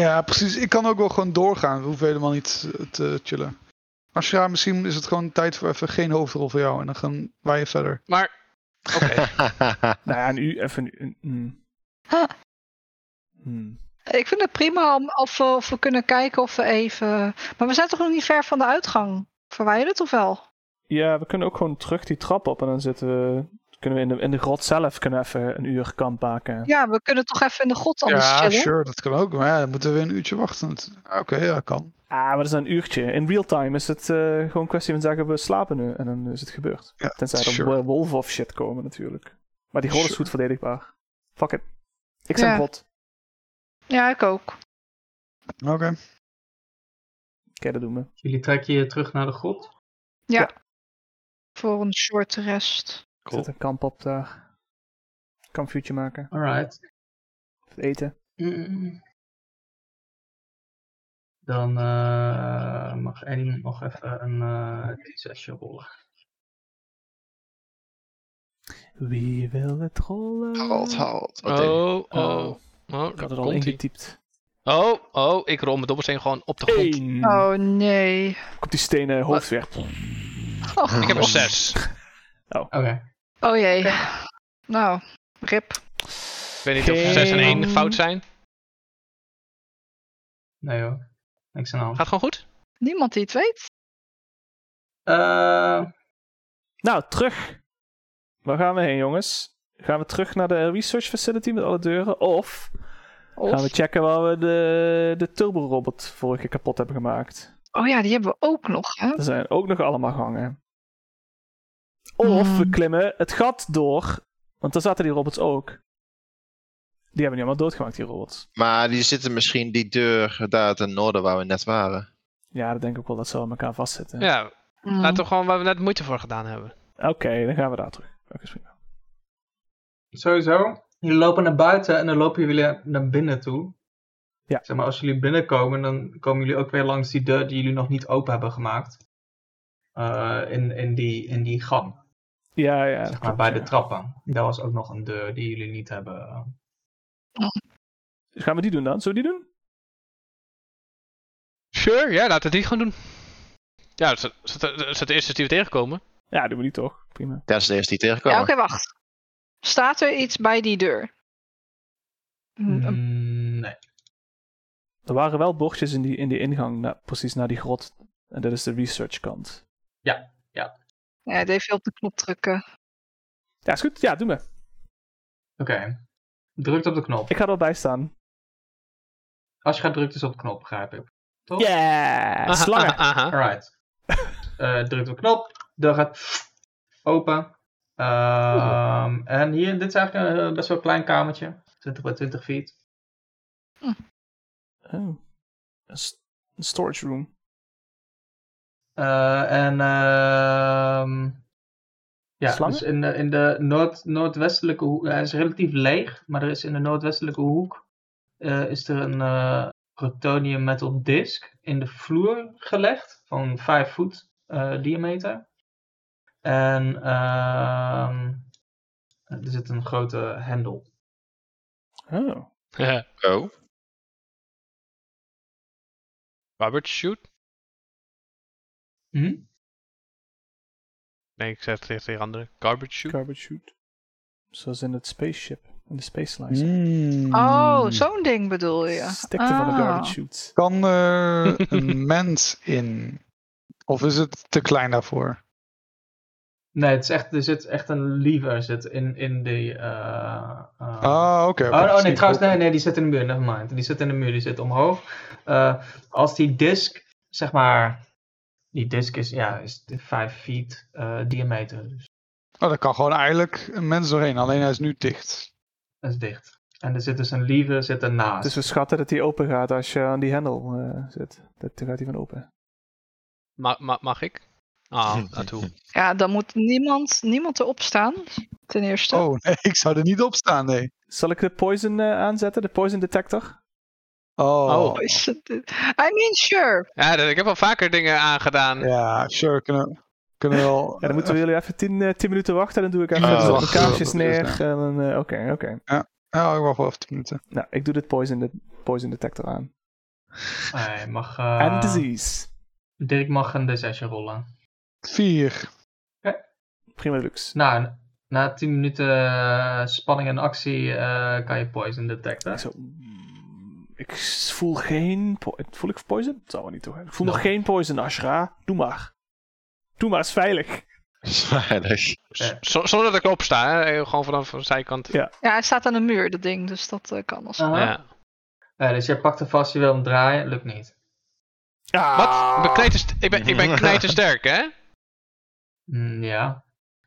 S5: Ja, precies. Ik kan ook wel gewoon doorgaan. We hoeven helemaal niet eh, te chillen. Maar Shra, misschien is het gewoon tijd voor even geen hoofdrol voor jou. En dan gaan wij verder.
S2: Maar, oké.
S1: Nou ja, een uur, even een uur. mm.
S4: Ah.
S1: Hmm.
S4: Ik vind het prima om, of, we- of we kunnen kijken of we even... Maar we zijn toch nog niet ver van de uitgang? Verwijderd of wel?
S1: Ja, we kunnen ook gewoon terug die trap op en dan zitten we... Kunnen we in de, in de grot zelf kunnen we even een uur kamp maken.
S4: Ja, we kunnen toch even in de grot anders
S5: Ja,
S4: chillen?
S5: sure, dat kan ook. Maar ja, dan moeten we weer een uurtje wachten. Het- Oké, ja, dat kan.
S1: Ah, maar dat is dan een uurtje. In real time is het eh, gewoon een kwestie van zeggen we slapen nu en dan is het gebeurd.
S5: Ja,
S1: Tenzij er
S5: sure.
S1: wolven of shit komen natuurlijk. Maar die grot is
S5: Sure.
S1: goed verdedigbaar. Fuck it. Ik zijn
S4: Ja.
S1: grot.
S4: Ja, ik ook.
S5: Oké.
S1: Oké, dat doen we.
S3: Jullie trekken je terug naar de grot.
S4: Voor een short rest.
S1: Er Zet een kamp op daar. Kampvuurtje maken.
S3: Alright.
S1: Eten.
S3: Mm. Dan eh, mag één iemand nog even een eh D6'je rollen.
S1: Wie wil het rollen?
S6: Halt, halt. Oh, damn.
S2: Oh, oh, oh.
S1: Ik
S2: daar
S1: had er al
S2: komt ie.
S1: ingetypt.
S2: Oh, oh, ik rol mijn dobbelsteen gewoon op de grond.
S1: Eén.
S4: Oh nee.
S1: Komt die stenen hoofd weer.
S4: Oh,
S2: Ik heb een zes.
S3: Oké.
S4: oh jee. Nou, rip.
S2: Ik weet niet of zes en één fout zijn.
S3: Nee hoor. Niks aan de hand.
S2: Gaat gewoon goed?
S4: Niemand die het weet.
S3: Eh,
S1: Nou, terug. Waar gaan we heen, jongens? Gaan we terug naar de research facility met alle deuren? Of gaan we
S4: Of...
S1: checken waar we de, de turbo-robot vorige keer kapot hebben gemaakt?
S4: Oh ja, die hebben we ook nog. Hè?
S1: Er zijn ook nog allemaal gangen. Of we
S4: Hmm.
S1: klimmen het gat door. Want daar zaten die robots ook. Die hebben nu allemaal doodgemaakt, die robots.
S6: Maar die zitten misschien die deur daar ten noorden waar we net waren.
S1: Ja, dat denk ik wel dat ze aan elkaar vastzitten.
S2: Ja,
S4: Mm.
S2: laten we gewoon waar we net moeite voor gedaan hebben.
S1: Oké, dan gaan we daar terug. Oké, is prima.
S3: Sowieso. Jullie lopen naar buiten en dan lopen jullie weer naar binnen toe.
S1: Ja.
S3: Zeg maar, als jullie binnenkomen, dan komen jullie ook weer langs die deur die jullie nog niet open hebben gemaakt. Eh, in, in, die, in die gang,
S1: Ja, ja.
S3: zeg maar,
S1: klopt,
S3: bij
S1: ja.
S3: de trappen. Daar was ook nog een deur die jullie niet hebben.
S1: Gaan we die doen dan? Zullen we die doen?
S2: Sure, ja, laten we die gewoon doen. Ja, dat is, dat is- dat is het eerste die we tegenkomen.
S1: Ja, doen we die toch. Prima.
S6: Dat is de eerste die
S4: Ja,
S6: tegenkomen.
S4: oké, wacht. Staat er iets bij die deur? Een-
S1: Hmm.
S4: een-
S3: Mm, nee.
S1: Er waren wel bochtjes in die, in die ingang, na- precies naar die grot. En dat is de research kant.
S4: Ja, het heeft veel op de knop drukken.
S1: Ja, is goed. Ja, doe me.
S3: Oké. Drukt op de knop.
S1: Ik ga erbij staan.
S3: Als je gaat drukt is op de knop, begrijp ik. Toch?
S1: Yeah!
S2: Aha,
S1: Slangen!
S2: aha, aha.
S3: Alright. Eh, drukt op de knop. Dan gaat open. Ehm, en hier, dit is eigenlijk een eh, best wel klein kamertje. 20 bij 20 feet.
S1: Oh. Een, s- een storage room.
S3: Eh, en ehm, ja,
S1: Slangen?
S3: dus in de, in de noord, noordwestelijke hoek, eh, hij is relatief leeg, maar er is in de noordwestelijke hoek eh, is er een eh, protonium metal disc in de vloer gelegd van 5 voet eh, diameter. En ehm, er zit een grote hendel.
S1: Oh.
S2: Ja.
S6: Oh.
S2: Robert, shoot?
S3: Hm?
S2: Nee, ik zeg het tegen de andere. Garbage shoot?
S1: Garbage chute. Zoals in het spaceship. In de space
S2: Hmm.
S1: laser.
S5: Oh,
S3: Hmm.
S4: Oh, zo'n ding bedoel je.
S1: Hmm. Stikte van de
S4: Ah.
S1: garbage chute.
S5: Kan er een mens in? Of is het te klein daarvoor?
S3: Nee, het is echt, er zit echt een lever zit in, in die. eh, eh,
S5: Ah, oké. oké.
S3: Oh, oh, nee,
S5: Zie-
S3: trouwens, nee, nee, die zit in de muur, nevermind. Die zit in de muur, die zit omhoog. Eh, als die disk, zeg maar, die disk is, ja, is 5 feet eh, diameter, dus
S5: Oh, daar kan gewoon eigenlijk een mens doorheen. Alleen hij is nu dicht.
S3: dat is dicht. En er zit dus een lever zit ernaast.
S1: Dus we schatten dat die open gaat als je aan die hendel eh, zit. Dat, dan gaat die van open.
S2: Ma ma- mag ik? Ah, naartoe.
S4: Ja, dan moet niemand, niemand erop staan, ten eerste.
S5: Oh, nee, ik zou er niet op staan, nee.
S1: Zal ik de poison eh, aanzetten? De poison detector?
S5: Oh,
S2: Oh.
S4: Is het- I mean, sure.
S2: Ja, dat- ik heb al vaker dingen aangedaan.
S5: ja, sure, kunnen, we- kunnen we wel...
S1: Ja, dan moeten we jullie even 10 minuten wachten. Dan doe ik even
S6: Oh,
S1: de
S6: wacht,
S1: kaarsjes
S5: Ah, dat is
S1: neer.
S5: het,
S1: en dan, eh, Oké, oké.
S5: Nou, ik wacht wel even 10 minuten.
S1: Nou, ik doe dit poison, de poison detector aan.
S3: Hij mag, eh,
S1: En disease.
S3: Dirk mag een d rollen.
S5: 4.
S1: Prima luxe.
S3: Nou, en na 10 minuten eh, spanning en actie eh, kan je poison detecten.
S1: Zo, mm, ik s- voel geen... po- Voel ik poison? Dat zou wel niet toch? Ik voel
S3: No.
S1: nog geen poison, Ashra. Doe maar. Doe maar, is veilig.
S6: Veilig.
S2: Z- z- zonder dat ik opsta, hè. Eh, gewoon vanaf de zijkant.
S1: Ja.
S4: Ja, hij staat aan de muur, dat ding, dus dat eh, kan als.
S3: Aha.
S2: Ja.
S3: Eh, dus jij pakt hem vast, je wil hem draaien, lukt niet.
S1: Ah.
S2: Wat? Ik ben, knijterst- ik ben, ik ben knijtersterk, hè?
S3: Mm, ja.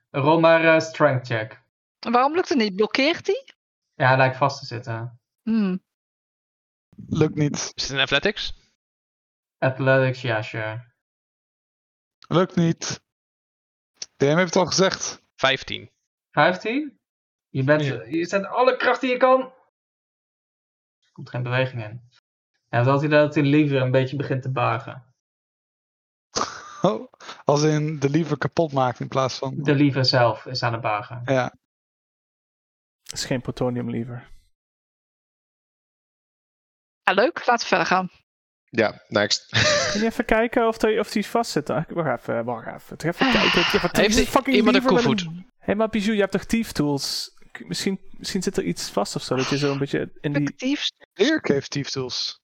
S3: Rol maar eh, strength check.
S4: En Waarom lukt het niet? Blokkeert hij?
S3: Ja, hij lijkt vast te zitten.
S4: Hmm.
S5: Lukt niet.
S2: Is het een athletics?
S3: Athletics, ja, sure.
S5: Lukt niet. DM heeft het al gezegd.
S2: 15.
S3: 15? Je, bent,
S2: Ja.
S3: je zet alle kracht die je kan. Er komt geen beweging in. Ja, dat hij dat hij liever een beetje begint te buigen.
S5: Oh, als in de liever kapot maakt in plaats van...
S3: De liever zelf is aan het buigen.
S5: Ja,
S1: is geen plutonium lever.
S4: Ja, leuk, laten we verder gaan.
S6: Ja, next.
S1: Kun je even kijken of die, of die vast zit? Ah, Wacht even, wacht even. Toch Even kijken. Ik heb wat-
S2: Heeft
S1: is een
S2: i-
S1: fucking
S2: iemand een
S1: lever met
S2: koevoet?
S1: Hé, maar Bijou, je hebt toch thief tools? K- Misschien, misschien zit er iets vast of zo, dat je zo een beetje in die...
S4: Effectief.
S5: Dirk heeft Thief Tools.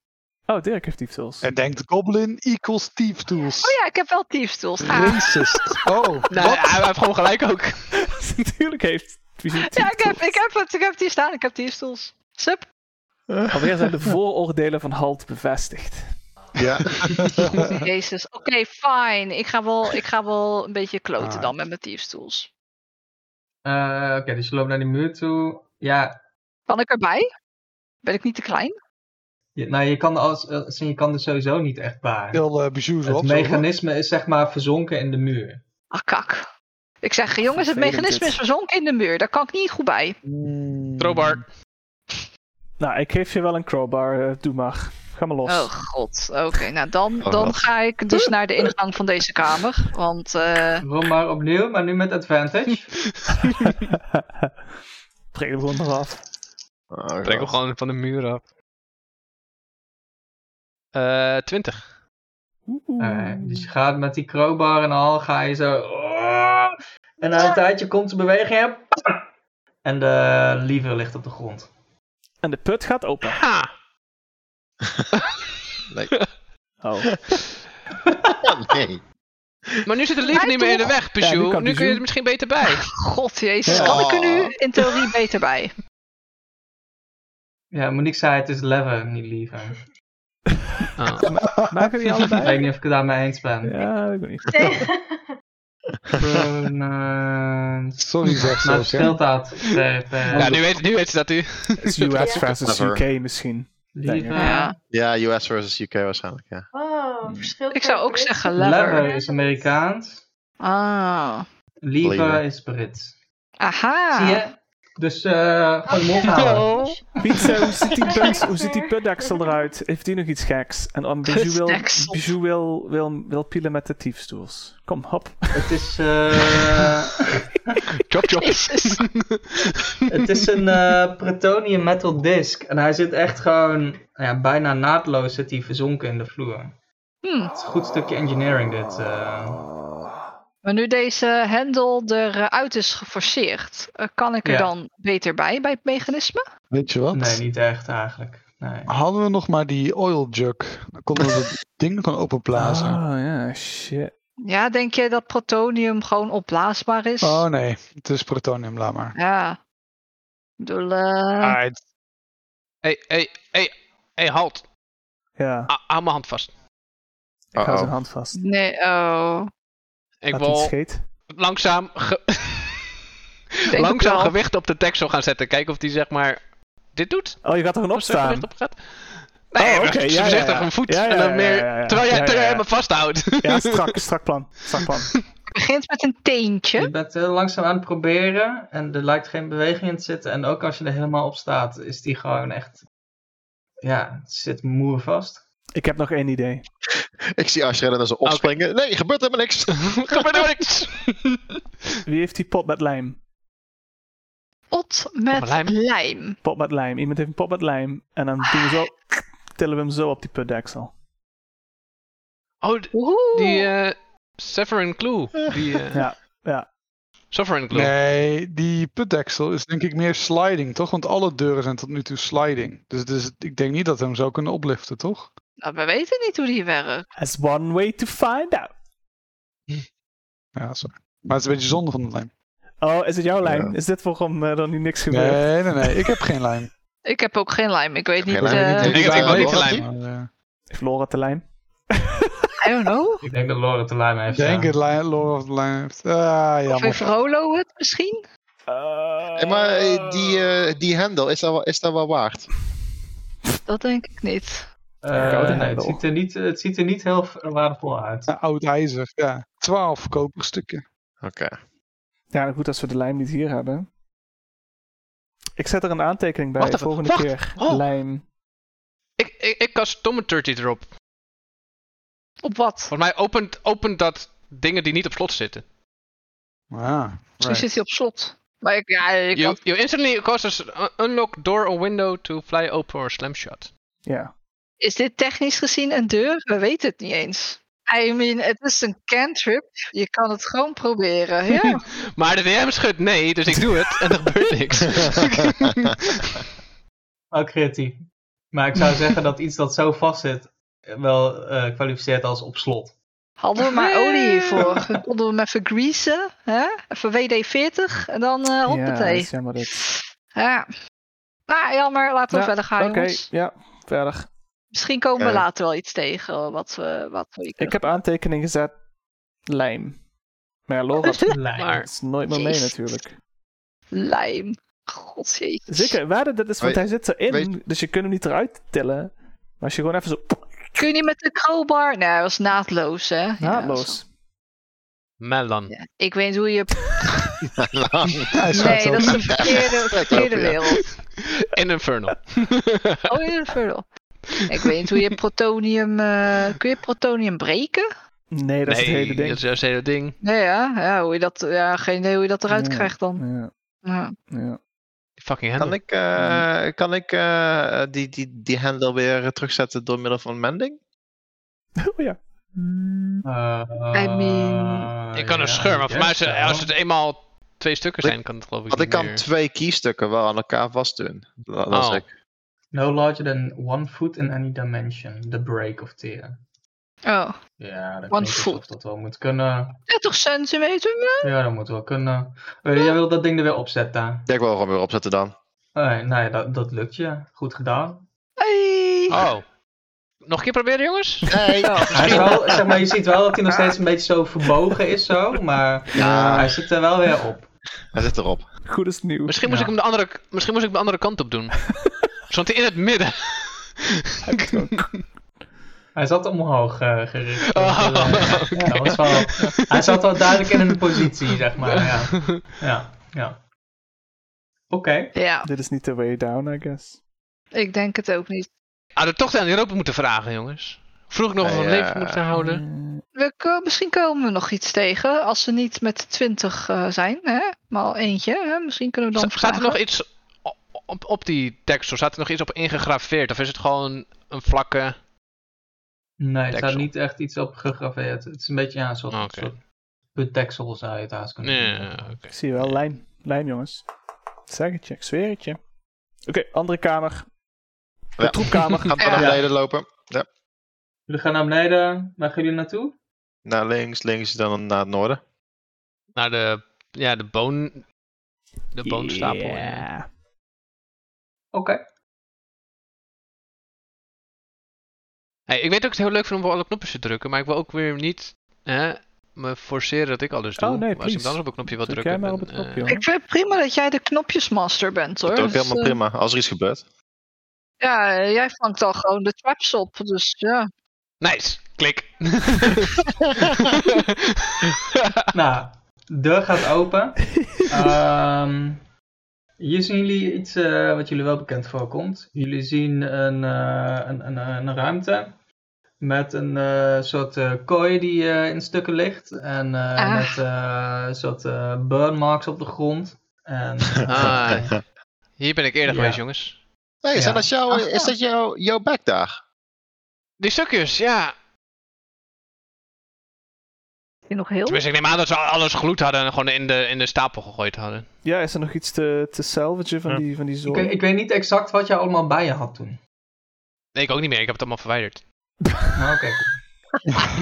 S1: Oh, Dirk heeft thief tools.
S5: En denkt Goblin equals Thief Tools.
S4: Oh ja, ik heb wel Thieves Tools. Ah,
S5: Racist. Oh,
S2: Nee, Nou, hij heeft gewoon gelijk ook.
S1: Natuurlijk heeft Bijou thief
S4: ja, ik heb,
S1: tools.
S4: ik heb het, ik heb het hier staan, ik heb Thieves Tools. Sup?
S1: Alweer zijn de vooroordelen van Halt bevestigd.
S6: ja.
S4: Jezus, oké, fine. Ik ga, wel, ik ga wel een beetje kloten dan met mijn Thieves Tools.
S3: Eh, Oké, dus je loopt naar die muur toe. Ja,
S4: Kan ik erbij? Ben ik niet te klein?
S3: je, nou, je, kan als, als in, je kan dus sowieso niet echt baren.
S5: heel eh bijou zo
S3: Het
S5: op.
S3: mechanisme is zeg maar verzonken in de muur.
S4: Ah, kak. Ik zeg, jongens, het
S1: Vervelend
S4: mechanisme
S1: dit.
S4: is verzonken in de muur. Daar kan ik niet goed bij.
S5: Mm.
S2: Crowbar.
S1: Nou, ik geef je wel een crowbar. eh, doe maar. Ga maar los.
S4: Oh god, oké. Nou, dan,
S6: Oh,
S4: dan
S6: wat.
S4: ga ik dus naar de ingang van deze kamer. Want eh,
S3: Rol maar opnieuw, maar nu met advantage.
S1: Prik hem gewoon eraf.
S6: Oh,
S2: Trek hem
S6: God.
S2: gewoon van de muur af. Eh 20.
S1: Oeh.
S3: Oké,
S4: Mm.
S3: dus je gaat met die crowbar en al, ga je zo... en
S4: Ah.
S3: na een tijdje komt de beweging en... En de lever ligt op de grond.
S1: En de put gaat open.
S2: Ha!
S6: Nee.
S1: Oh.
S6: nee.
S2: Maar nu zit de lift niet meer in de weg,
S1: Ja, nu
S2: Pichu.
S1: kan
S2: nu kun je
S1: Pichu.
S2: er misschien beter bij.
S4: God jezus,
S5: Ja.
S4: kan ik er nu in theorie beter bij?
S3: Ja, Monique zei het is lever, niet liever.
S2: Oh.
S1: Maken jullie
S3: Ik weet
S1: allebei?
S3: niet of ik het daarmee eens ben.
S1: Ja, ik weet niet.
S3: Pronouns.
S5: Sorry, zeg
S3: eh,
S5: ze
S3: Maar
S5: ook, hè.
S3: speelt dat? Zeg, eh,
S2: Ja, nu weet, nu weet ze dat u.
S1: Het is US
S7: Ja.
S1: versus UK misschien.
S3: liever.
S4: Ja.
S6: Ja, US versus UK waarschijnlijk, ja.
S7: Oh, verschil.
S4: Ik zou ook zeggen lever.
S3: Lever is Amerikaans.
S4: Ah.
S3: Liever
S6: Liever.
S3: is Brits.
S4: Aha.
S3: Zie je? Dus eh gewoon je mond houden.
S1: Pizza, hoe ziet die, put, hoe ziet die putdeksel eruit? Heeft die nog iets geks? En dan Bijou wil,
S4: Putdeksel.
S1: Bijou wil, wil, wil pielen met de tiefstoels. Kom, hop.
S3: Het is, eh,
S2: Chop, chop.
S4: Jezus.
S3: het is een eh, Protonium metal disc. En hij zit echt gewoon nou ja, bijna naadloos zit hij verzonken in de vloer.
S4: Hm.
S3: Het is een goed stukje engineering dit. eh.
S4: Maar nu deze hendel eruit is geforceerd, eh, kan ik er
S3: Ja.
S4: dan beter bij, bij het mechanisme?
S5: Weet je wat? Ah,
S3: nee, niet echt eigenlijk. Nee.
S5: Hadden we nog maar die oil jug, dan konden we dat ding gewoon openblazen.
S1: Oh ja, shit.
S4: Ja, denk je dat protonium gewoon opblaasbaar is?
S5: Oh nee, het is plutonium, laat maar.
S4: Ja. Ik bedoel, eh,
S5: Alright.
S2: Hey, hey, hey, hey, halt.
S1: Ja,
S2: Ah, hou mijn hand vast.
S1: ik hou
S6: Uh-oh.
S1: zijn hand vast.
S4: nee, oh.
S2: Ik
S1: Laat die
S2: wil
S1: scheet.
S2: langzaam, ge-
S4: het
S2: langzaam
S4: wel.
S2: gewicht op de deksel gaan zetten. Kijken of die zeg maar dit doet.
S1: Oh, je gaat er gewoon
S2: Als er
S1: opstaan.
S2: gewicht op gaat. Nee,
S1: oké,
S2: oh,
S1: ja, ja,
S2: voorzichtig
S1: ja.
S2: een voet.
S1: Ja, ja,
S2: en dan
S1: ja,
S2: meer,
S1: ja, ja, ja.
S2: Terwijl jij
S1: Ja, ja,
S2: terwijl jij
S1: ja.
S2: me vasthoudt.
S1: Ja, strak, strak plan. Strak plan.
S4: Het begint met een
S3: Je
S4: teentje.
S3: bent heel langzaam aan het proberen en er lijkt geen beweging in te zitten. En ook als je er helemaal op staat, is die gewoon echt. Ja, het zit moer vast.
S1: Ik heb nog één idee.
S6: Ik zie Ashredden als ze opspringen. Nee, gebeurt helemaal niks.
S2: Gebeurt er niks.
S1: Wie heeft die pot met lijm?
S4: Pot met
S2: lijm.
S4: lijm.
S1: Pot met lijm. Iemand heeft een pot met lijm. En dan doen we zo, tillen we hem zo op die putdeksel.
S2: Oh, d-
S4: Woehoe.
S2: die eh Severin Clue. Die, eh
S1: Ja, ja.
S2: Sovereign Clue.
S5: Nee, die putdeksel is denk ik meer sliding, toch? Want alle deuren zijn tot nu toe sliding. Dus, het is- ik denk niet dat we hem zo kunnen opliften, toch?
S4: Nou, we weten niet hoe die werkt.
S1: That's one way to find out.
S5: Ja, sorry. Maar het is een beetje zonde van de lijm.
S1: Oh, is het jouw lijm?
S6: Ja.
S1: Is dit waarom eh, er nu niks gebeurt?
S5: Nee, nee, nee. Ik heb geen lijm.
S4: Ik heb ook geen lijm. Ik weet
S6: heb
S4: niet.
S6: geen
S4: eh,
S6: lijm, ik
S2: denk- Ik heb
S5: Daar
S2: ook
S5: weet
S2: geen
S5: het,
S2: lijm.
S5: maar, eh,
S1: Heeft Laura de lijm?
S4: I don't know.
S3: Ik denk dat Laura te lijm
S5: Ik
S3: heeft.
S5: denk
S3: ja.
S5: het lijm, Lore of the Lijm heeft. Ah,
S4: Of heeft
S5: jammer.
S4: Rolo het misschien?
S6: Hey, maar eh, die, eh, die hendel, is dat, wel, is dat wel waard?
S4: Dat denk ik niet.
S3: Eh,
S1: Koude
S3: nee, het,
S1: hendel.
S3: ziet er niet, het ziet er niet heel v- waardevol uit.
S5: Ah, Oud ijzer, ja. Twaalf koperstukken.
S6: Oké.
S1: Ja, nou goed, als we de lijm niet hier hebben. Ik zet er een aantekening bij
S2: Wacht
S1: de
S2: even,
S1: volgende
S2: wacht.
S1: keer.
S2: Oh.
S1: Lijm.
S2: Ik, ik, ik kast Tomaturgy erop.
S4: Op wat?
S2: Volgens mij opent, opent dat dingen die niet op slot zitten.
S5: Ah,
S4: Misschien
S5: right.
S4: zit hij op slot. Maar ik, ja, ik
S2: You,
S4: had-
S2: you instantly causes un- unlock door or window to fly open or slam shut.
S1: Ja.
S4: is dit technisch gezien een deur? We weten het niet eens. I mean, het is een cantrip. Je kan het gewoon proberen. Ja.
S2: Maar de DM schudt nee, dus ik doe het en er gebeurt niks.
S3: Wel Oh, creatief. Maar ik zou zeggen dat iets dat zo vast zit, eh, wel eh, kwalificeert als op slot.
S4: Hadden we maar olie hiervoor. Dan konden we hem even greasen. Hè? Even WD-40. En dan eh
S1: ja, dat
S4: hoppatee.
S1: is jammer dit.
S4: Ja. Nou, jammer. Laten we
S1: Ja,
S4: verder gaan,
S1: Oké,
S4: jongens.
S1: ja, verder.
S4: Misschien komen we
S6: Ja.
S4: later wel iets tegen eh, wat we, wat we hier
S1: Ik
S4: kunnen-
S1: heb aantekening gezet. Lijm. Maar ja, Laura,
S3: Lijm.
S2: Maar
S1: dat is nooit meer mee
S4: Jezus.
S1: natuurlijk.
S4: Lijm. God jezus.
S1: Zeker, waarde, dat is, want
S6: Weet-
S1: hij zit erin,
S6: weet-
S1: dus je kunt hem niet eruit tillen. Maar als je gewoon even zo
S4: Kun je niet met de crowbar? Nee, dat was naadloos, hè? Ja,
S1: naadloos.
S2: Melon.
S4: zo. ik weet niet hoe je...
S6: Nou.
S5: Hij schuift
S4: Nee, dat is
S5: ook.
S4: de verkeerde, verkeerde
S6: ja.
S4: wereld.
S2: In Inferno.
S4: Oh, in de verdoel. Ik weet niet hoe je protonium. eh, kun je protonium breken?
S1: Nee, dat is het hele ding.
S2: Dat is juist het hele ding.
S4: Nee, ja, ja, hoe je dat, ja geen idee hoe je dat eruit
S1: Ja.
S4: krijgt dan.
S1: Ja,
S4: Ja.
S1: ja.
S2: Die fucking
S6: Kan
S2: hendel.
S6: ik, eh, kan ik eh, die, die, die hendel weer terugzetten door middel van mending?
S1: Oh ja.
S4: I
S3: Eh, Oh,
S4: mean-
S2: Ik kan een scheur, maar voor mij is het- als het eenmaal twee stukken zijn, kan het geloof ik
S6: Want ik
S2: niet
S6: kan
S2: meer.
S6: twee keystukken wel aan elkaar vastdoen. Dat dat is
S2: Oh.
S6: ik.
S3: No larger than one foot in any dimension. The break of tear.
S4: Oh,
S3: Ja, dat
S4: One
S3: klinkt
S4: foot.
S3: alsof dat wel moet kunnen.
S4: 30 centimeter?
S3: Ja, dat moet wel kunnen. Eh, jij wil dat ding er weer opzetten.
S6: Ja, ik wil gewoon weer opzetten dan.
S3: Eh, nou ja, dat, dat lukt je. Goed gedaan.
S4: Hey.
S2: Oh. Nog een keer proberen, jongens?
S6: Nee,
S3: Hij is wel, zeg maar, je ziet wel dat hij nog steeds een beetje zo verbogen is, zo, maar
S6: Ja,
S4: Ah.
S3: hij zit er wel weer op.
S6: hij zit erop.
S1: Goed is nieuw.
S2: Misschien
S3: Ja.
S2: moest, ik hem de andere, misschien moest ik hem de andere kant op doen. Stond hij in het midden?
S3: Hij zat omhoog eh, gericht.
S2: Oh,
S3: Dus, eh, ja, dat was wel, hij zat wel duidelijk in een positie, zeg maar. Ja, ja. ja. Oké.
S4: Ja,
S1: Dit is niet the way down, I guess.
S4: ik denk het ook niet.
S2: Hadden we toch Ah, aan Europa moeten vragen, jongens. Vroeg ik nog of we
S6: Ja.
S2: hem leven moeten houden.
S1: Eh,
S4: We, ko- misschien komen we nog iets tegen als ze niet met 20 eh, zijn, hè? maar al eentje. Hè? Misschien kunnen we dan.
S2: Z- Staat er
S4: vragen.
S2: nog iets o- op, op die tekst? Of staat er nog iets op ingegraveerd? Of is het gewoon een vlakke...
S3: Nee, er staat
S2: Deksel.
S3: niet echt iets op gegraveerd. Het is een beetje ja, een soort,
S2: Oké.
S3: soort putteksel zou je het haast kunnen
S2: Nee,
S3: noemen.
S2: oké.
S1: Ik zie wel lijm. Lijm, jongens. Ik Zeg het je, ik zweer het je. Oké, andere kamer. De
S6: Ja.
S1: troepkamer.
S6: Gaan we naar
S4: Ja.
S6: beneden lopen.
S3: Jullie gaan naar beneden. Waar gaan jullie naartoe?
S6: Naar links, links, dan naar het noorden.
S2: Naar de... Ja, de boon... De boonstapel. ja.
S1: Ja.
S3: Oké.
S2: Hey, ik weet dat ik het heel leuk vind om op alle knopjes te drukken, maar ik wil ook weer niet hè, me forceren dat ik alles doe.
S1: Oh, nee,
S2: maar als ik
S1: please.
S2: dan op een knopje wil
S1: Druk
S2: drukken.
S1: jij maar
S2: dan,
S1: op het knopje,
S2: eh,
S1: hoor.
S4: Ik vind het prima dat jij de knopjesmaster bent hoor.
S6: Dat is ook
S4: Dus,
S6: helemaal
S4: eh,
S6: prima. Als er iets gebeurt.
S4: Ja, eh, jij vangt al gewoon de traps op. Dus ja.
S2: Nice! Klik!
S3: Nou, de deur gaat open. Ehm, hier zien jullie iets eh, wat jullie wel bekend voorkomt. Jullie zien een, eh, een, een, een ruimte met een eh, soort eh, kooi die eh, in stukken ligt. En eh,
S4: Ah.
S3: met eh, een soort eh burn marks op de grond. En, eh,
S2: Ah. Hier ben ik eerder
S3: Ja.
S2: geweest, jongens.
S6: Hey,
S3: Ja.
S6: zijn dat jouw,
S4: Ach,
S6: is
S4: ja.
S6: dat jouw, jouw back daar?
S2: Die stukjes, ja.
S4: Is die nog heel?
S2: Tenminste, ik neem aan dat ze alles gloed hadden en gewoon in de, in de stapel gegooid hadden.
S1: Ja, is er nog iets te, te salvagen van
S6: Ja.
S1: die, van die
S3: ik,
S1: zooi?
S3: weet- ik weet niet exact wat jij allemaal bij je had toen.
S2: Nee, ik ook niet meer. Ik heb het allemaal verwijderd.
S3: Maar oké.
S2: Ah!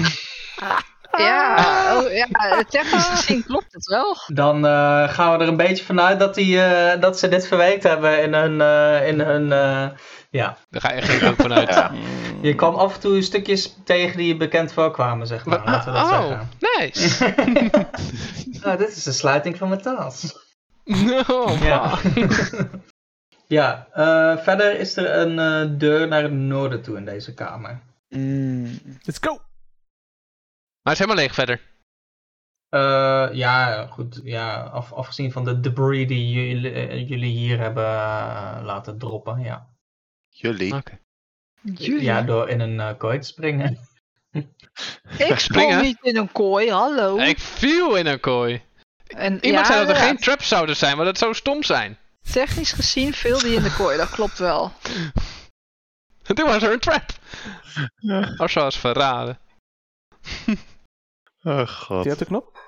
S4: Ja, oh, ja, eh, technisch gezien klopt het wel.
S3: Dan eh, gaan we er een beetje vanuit dat, die, eh, dat ze dit verwerkt hebben in hun... eh, in hun eh, ja.
S2: Daar ga ik er ook vanuit.
S6: Ja.
S1: Mm.
S3: Je kwam af en toe stukjes tegen die je bekend voorkwamen, zeg
S6: Nou,
S3: maar.
S2: Wa-
S3: Laten we dat
S2: oh, nice!
S3: zeggen. nou, dit is de sluiting van mijn taas.
S2: Oh,
S3: Ja.
S2: man.
S3: ja, eh, verder is er een eh, deur naar het noorden toe in deze kamer.
S5: Mm.
S1: Let's go!
S2: Maar het is helemaal leeg verder.
S3: Eh, ja, goed. Ja, af, afgezien van de debris die jullie, eh, jullie hier hebben eh, laten droppen. Ja,
S6: Jullie.
S2: Oké.
S3: ja door in een eh, kooi te springen.
S4: Ik
S2: Springen.
S4: sprong niet in een kooi, hallo.
S2: Ik viel in een kooi.
S4: en,
S2: Iemand
S4: ja,
S2: zei dat er
S4: ja,
S2: geen traps zouden zijn, maar dat zou stom zijn.
S4: Technisch gezien viel die in de kooi, dat klopt wel.
S2: En Toen was er een trap.
S6: Ja.
S2: Als was verraden.
S6: Oh god.
S1: Die had de knop?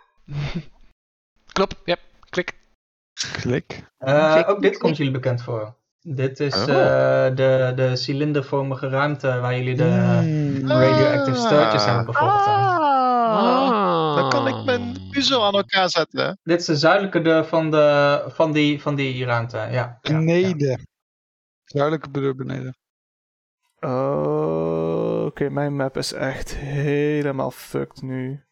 S2: Klopt, yep, klik.
S5: Klik.
S3: Eh,
S4: Klik,
S3: ook dit
S4: klik,
S3: komt jullie bekend voor. Dit is
S6: Oh.
S3: eh, de, de cilindervormige ruimte waar jullie de
S2: Hmm.
S1: Hmm.
S3: radioactive stootjes
S6: Ah.
S3: hebben bevochten.
S2: ah.
S4: Oh.
S6: Dan kan ik mijn puzzel aan elkaar zetten.
S3: Dit is de zuidelijke deur van, de, van, die, van die ruimte. Ja, ja, ja.
S5: Beneden. Duidelijke bedoel beneden.
S1: Oh, Oké, mijn map is echt helemaal fucked nu.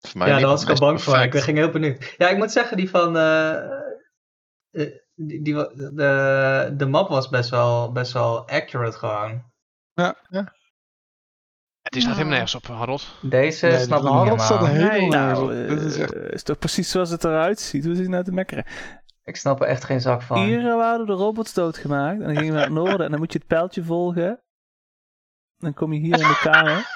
S6: Voor mij
S3: Ja,
S6: niet,
S3: daar was ik
S6: voor
S3: al
S6: mij
S3: bang
S6: is
S3: voor. Ik
S6: perfect.
S3: ging heel benieuwd. Ja, ik moet zeggen, die van. eh, eh, die, die, wa- de, de map was best wel, best wel accurate gewoon.
S2: Het is nog
S4: Ah.
S2: helemaal nergens op, Harold.
S3: Deze
S5: Nee,
S3: snap ik
S5: de
S3: niet
S5: Harold staat
S3: helemaal.
S5: helemaal
S1: Nou,
S4: Nee.
S5: nergens op.
S1: eh,
S5: Dit is echt...
S1: is toch precies zoals het eruit ziet? Hoe zit het nou te mekkeren?
S3: Ik snap er echt geen zak van.
S1: Hier waren de robots doodgemaakt. En dan gingen we naar het noorden. En dan moet je het pijltje volgen. Dan kom je hier in de kamer.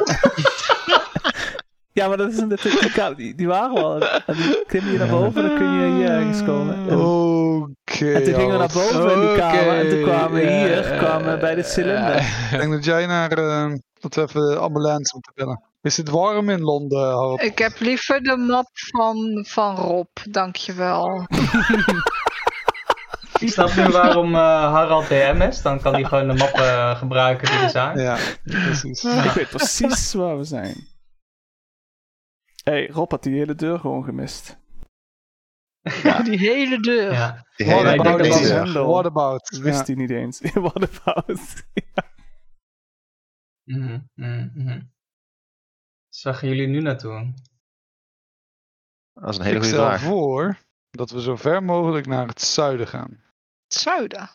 S1: ja, maar dat is een, dat is die, kamer- die, die waren al. En dan klim je naar boven. Dan kun je hier ergens komen. En,
S5: Oh, Oké.
S1: en toen gingen we naar
S5: Harold.
S1: boven in die kamer. En toen
S5: Oké,
S1: kwamen we
S5: ja,
S1: hier.
S5: ja,
S1: Kwamen we bij de
S5: ja.
S1: cilinder.
S5: Ik denk dat jij naar... eh, dat we even de ambulance moeten bellen. Is het warm in Londen, Harold?
S4: Ik heb liever de map van, van Rob, dankjewel.
S3: Ik snap nu waarom eh, Harald DM is. Dan kan hij gewoon de mappen gebruiken die er zijn.
S5: Ja, precies.
S1: Ik weet precies waar we zijn. Hé, hey, Rob had die hele deur gewoon gemist.
S4: Oh, Die hele deur.
S3: Ja.
S6: Die
S5: What
S3: Ja, ik
S5: about
S3: denk dat
S5: this?
S1: wel.
S5: handle? What about?
S1: Dat wist
S5: Ja.
S1: hij niet eens. What about?
S3: Mhm, mhm, mhm. Zag jullie nu naartoe?
S6: Dat is een hele
S5: ik
S6: goede
S5: stel
S6: vraag.
S5: voor dat we zo ver mogelijk naar het zuiden gaan.
S4: Het zuiden.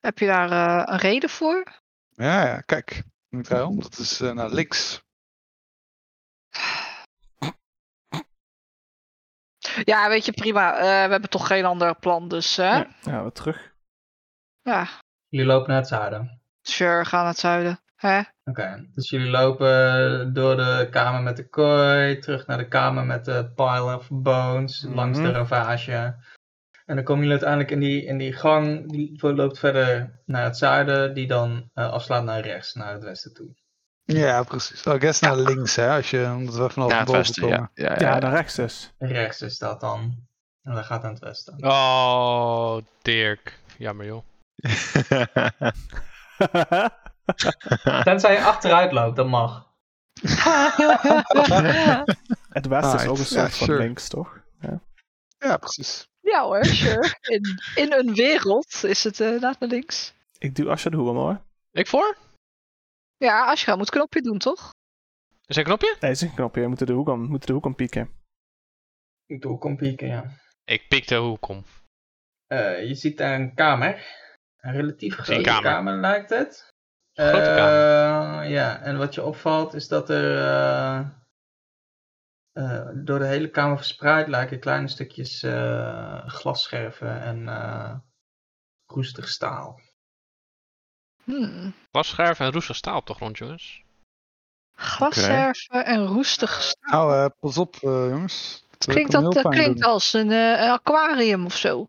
S4: Heb je daar eh, een reden voor?
S5: Ja, ja, kijk. Ik draai om, dat is eh, naar links.
S4: Ja, weet je, prima. Eh, we hebben toch geen ander plan, dus eh, ja.
S1: Ja, nou, we terug.
S3: Jullie lopen naar het zuiden.
S4: sure, ga naar het zuiden. Hè?
S3: Oké, dus jullie lopen door de kamer met de kooi, terug naar de kamer met de pile of bones, langs de
S1: Mhm.
S3: ravage. En dan komen jullie uiteindelijk in die, in die gang, die loopt verder naar het zuiden, die dan eh, afslaat naar rechts, naar het westen toe.
S5: Ja, precies. Oh, ik guess naar links, hè, als je, omdat we vanaf
S6: Ja, het
S5: boven
S6: westen,
S5: komen.
S6: ja. Ja, ja,
S1: Ja,
S6: ja.
S1: naar rechts dus.
S3: Rechts is dat dan, en dat gaat naar het westen.
S2: Oh, Dirk. Jammer joh.
S3: Tenzij je achteruit loopt, dat mag.
S1: Het westen is
S5: Right.
S1: ook een soort
S5: Ja,
S1: van
S5: sure.
S1: links, toch?
S5: Ja, precies.
S4: ja hoor, sure. In, in een wereld is het eh naar links.
S1: Ik doe Asha de Hoer, hoor.
S2: Ik voor?
S4: Ja, Ashra moet knopje doen, toch?
S2: Is er een knopje?
S1: Nee, is een knopje. We moeten de hoek om, we moeten de hoek om pieken.
S3: Ik doe kom pieken, ja.
S2: Ik pik de hoek om.
S3: Eh, je ziet daar een kamer. Een relatief
S2: zie
S3: grote
S2: een
S3: kamer.
S2: kamer.
S3: lijkt het.
S2: Grote
S3: Eh,
S2: kamer.
S3: Ja, en wat je opvalt is dat er eh, eh, door de hele kamer verspreid lijken kleine stukjes eh, glasscherven en eh roestig
S2: Oh.
S3: staal.
S4: Hmm.
S2: Glasscherf en roestig staal op de grond, jongens.
S4: Glasscherven en roestig staal.
S5: Nou, eh, pas op, eh, jongens. Het
S4: Klinkt
S5: kan
S4: dat
S5: heel
S4: eh,
S5: pijn
S4: klinkt
S5: doen.
S4: als een eh, aquarium of zo.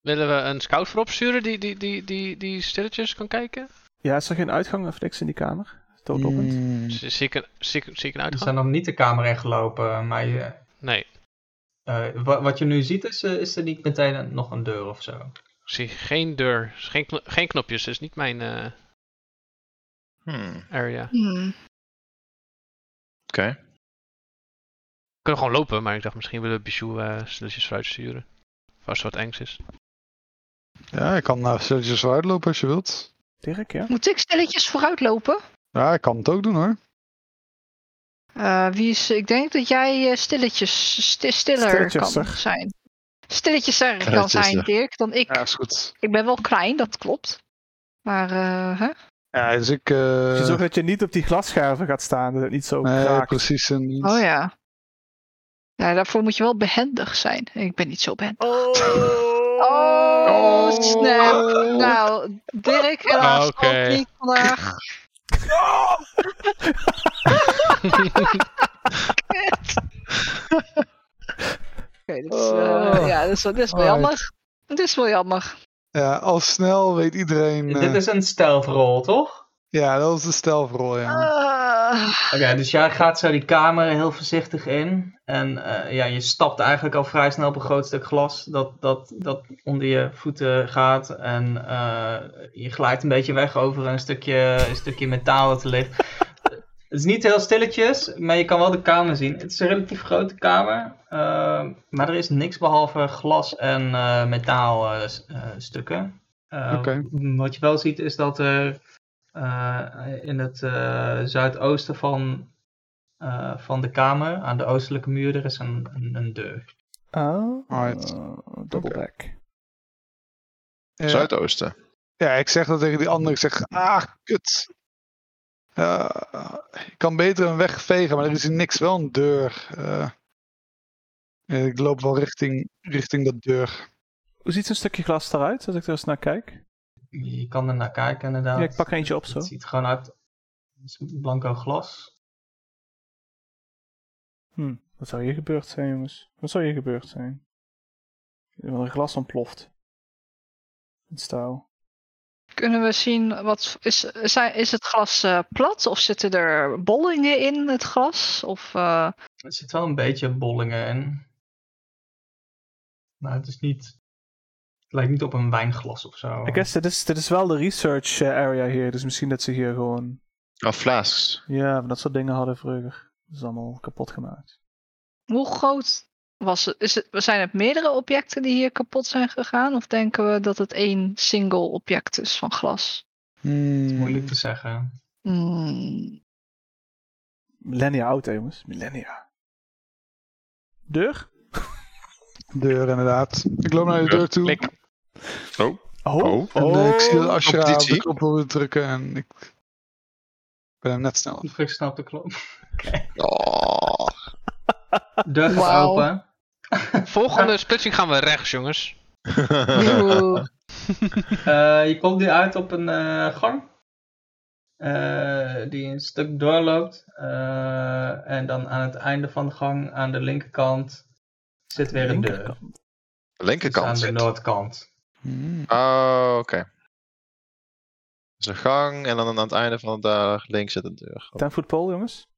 S2: Willen we een scout voorop sturen die, die, die, die, die stilletjes kan kijken?
S1: Ja, is er geen uitgang of niks in die kamer? Doodlopend.
S5: Mm,
S2: Z- Zie ik een, zie ik, zie ik een
S3: Ze
S2: uitgang?
S3: zijn nog niet de kamer ingelopen, maar je,
S2: Nee,
S3: eh, wa- wat je nu ziet is, eh, is er niet meteen een- nog een deur of zo.
S2: ik zie geen deur. Is Geen, kno- geen knopjes, dat is niet mijn eh,
S6: Hmm, Oké.
S2: area. We
S4: Hmm.
S2: kunnen gewoon lopen, maar ik dacht misschien willen we Bijou eh, stilletjes vooruit sturen. Of als er wat engs is.
S5: Ja, ik kan naar Sergio's zo uitlopen als je wilt.
S1: Dirk, ja?
S4: Moet ik stilletjes vooruitlopen?
S5: Ja, ik kan het ook doen hoor.
S4: Eh, wie is, ik denk dat jij eh, stilletjes, sti- stiller
S1: Stilletjesser.
S4: kan zijn. Stilletjes er kan zijn,
S6: Stilletjesser.
S4: Dirk, dan ik.
S5: Ja, is goed.
S4: Ik ben wel klein, dat klopt. Maar, eh, hè?
S5: Ja, dus ik. eh,
S1: Dus je zorgt dat je niet op die glasscherven gaat staan, dat het niet zo
S5: nee,
S1: kraakt.
S5: precies. En,
S4: Oh ja. Ja, daarvoor moet je wel behendig zijn. Ik ben niet zo behendig. Oh, snap. Nou, Dirk
S5: Oh.
S4: helaas
S2: Oké.
S4: ook niet vandaag. Oké, dit is, eh,
S5: Oh.
S4: ja, dit is, wel- dit is wel
S5: Alright.
S4: jammer. Dit is wel jammer.
S5: Ja, al snel weet iedereen. eh,
S3: Dit is een stealth roll, toch?
S5: Ja, dat was de stelvrol, ja.
S4: Ah.
S3: Oké, dus jij gaat zo die kamer heel voorzichtig in. En eh, ja, je stapt eigenlijk al vrij snel op een groot stuk glas dat, dat, dat onder je voeten gaat. En eh, je glijdt een beetje weg over een stukje, een stukje metaal dat er ligt. Het is niet heel stilletjes, maar je kan wel de kamer zien. Het is een relatief grote kamer, eh, maar er is niks behalve glas en eh, metaal metaalstukken.
S5: Oké.
S3: Eh, Wat je wel ziet is dat er eh, in het eh, zuidoosten van, eh, van de kamer, aan de oostelijke muur, er is een, een, een deur.
S1: Oh,
S5: Alright. Oké.
S1: dubbelback.
S5: Ja,
S6: Zuidoosten.
S5: ja, ik zeg dat tegen die ander. Ik zeg, ah, kut. Eh, ik kan beter een weg vegen, maar er is hier niks. Wel een deur. eh. Eh, ik loop wel richting, richting dat deur.
S1: Hoe ziet zo'n stukje glas eruit, als ik er eens naar kijk?
S3: Je kan er naar kijken inderdaad.
S1: Ja, ik pak er eentje op zo.
S3: Het ziet er gewoon uit als blanco glas.
S1: Hm, wat zou hier gebeurd zijn, jongens? Wat zou hier gebeurd zijn? Er een glas ontploft. Het staal.
S4: Kunnen we zien, wat is, zijn, is het glas eh, plat of zitten er bollingen in het glas? Of, eh,
S3: Er zit wel een beetje bollingen in. Maar het is niet Het lijkt niet op een wijnglas of
S5: Oh.
S3: zo.
S1: I guess dit is, dit is wel de research eh, area hier. Dus misschien dat ze hier gewoon...
S6: Oh, flasks.
S1: Ja, van dat soort dingen hadden vroeger. Dat is allemaal kapot gemaakt.
S4: Hoe groot was het? Is het? Zijn het meerdere objecten die hier kapot zijn gegaan? Of denken we dat het één single object is van glas?
S5: Hmm.
S3: Moeilijk te zeggen.
S4: Hmm.
S1: Millennia oud, hè, jongens. Millennia. Deur?
S5: Deur, inderdaad. Ik loop naar de
S6: Deur,
S5: deur toe.
S2: Klik.
S6: Oh,
S1: Oh.
S5: En eh, ik zie dat Ashra op de
S6: competitie.
S5: knop wil drukken en ik ben hem net snel.
S3: Ik snap de klop.
S6: Oh.
S3: Deur gaat
S4: Wauw.
S3: open.
S2: Volgende splitsing gaan we rechts, jongens.
S4: Oeh.
S3: Eh, je komt nu uit op een eh, gang. Eh, die een stuk doorloopt. Eh, en dan aan het einde van de gang, aan de linkerkant, zit weer een deur.
S1: Linkerkant.
S3: Dus
S6: Linkerkant.
S3: aan de
S6: zit.
S3: noordkant.
S5: Hmm.
S6: Oh, oké. Dus een gang en dan aan het einde van de dag links zit een deur. Oh.
S1: Ten foot pole, jongens.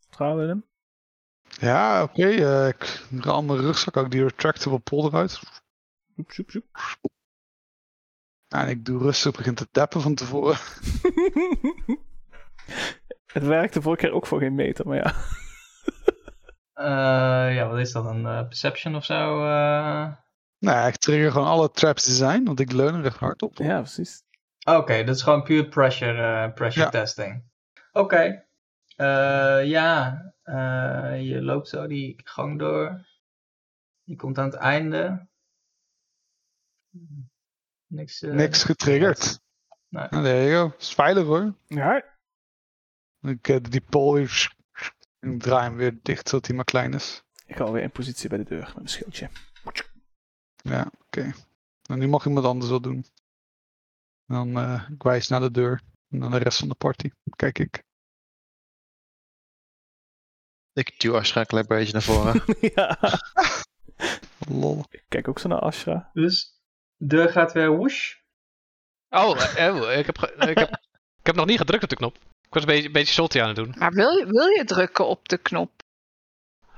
S1: Vertrouwen Willem.
S5: Ja, oké. eh, ik haal mijn rugzak ook die retractable pol eruit.
S1: Joep, joep, joep.
S5: Nou, En ik doe rustig, begin te tappen van tevoren.
S1: Het werkte vorige keer ook voor geen meter, maar ja.
S3: Eh, ja, wat is dat? Een eh, perception of zo? eh?
S5: Nou, ik trigger gewoon alle traps die zijn, want ik leun er echt hard op.
S1: Ja, precies.
S3: Oké, dat is gewoon puur pressure, eh, pressure
S5: Ja.
S3: testing. Oké. Eh, ja, eh, je loopt zo die gang door. Je komt aan het einde. Niks. eh,
S5: Niks getriggerd.
S3: Nee.
S5: Nou, there you go. Is veilig hoor.
S1: Ja,
S5: Ik eh, die pol weer... En ik draai hem weer dicht zodat hij maar klein is.
S1: ik hou weer in positie bij de deur met mijn schildje.
S5: Ja, oké. Nou, nu mag iemand anders wat doen. En dan eh ik wijs naar de deur. En dan de rest van de party. Kijk ik.
S6: Ik duw Ashra een klein beetje naar voren.
S1: ja.
S5: Lol.
S3: Eh,
S1: Ik kijk ook zo naar Ashra.
S3: Dus de deur gaat weer whoosh.
S2: Oh, eh, eh, ik, heb ge- ik, heb, ik heb nog niet gedrukt op de knop. Ik was een beetje, een beetje salty aan het doen.
S4: Maar wil je, wil je drukken op de knop?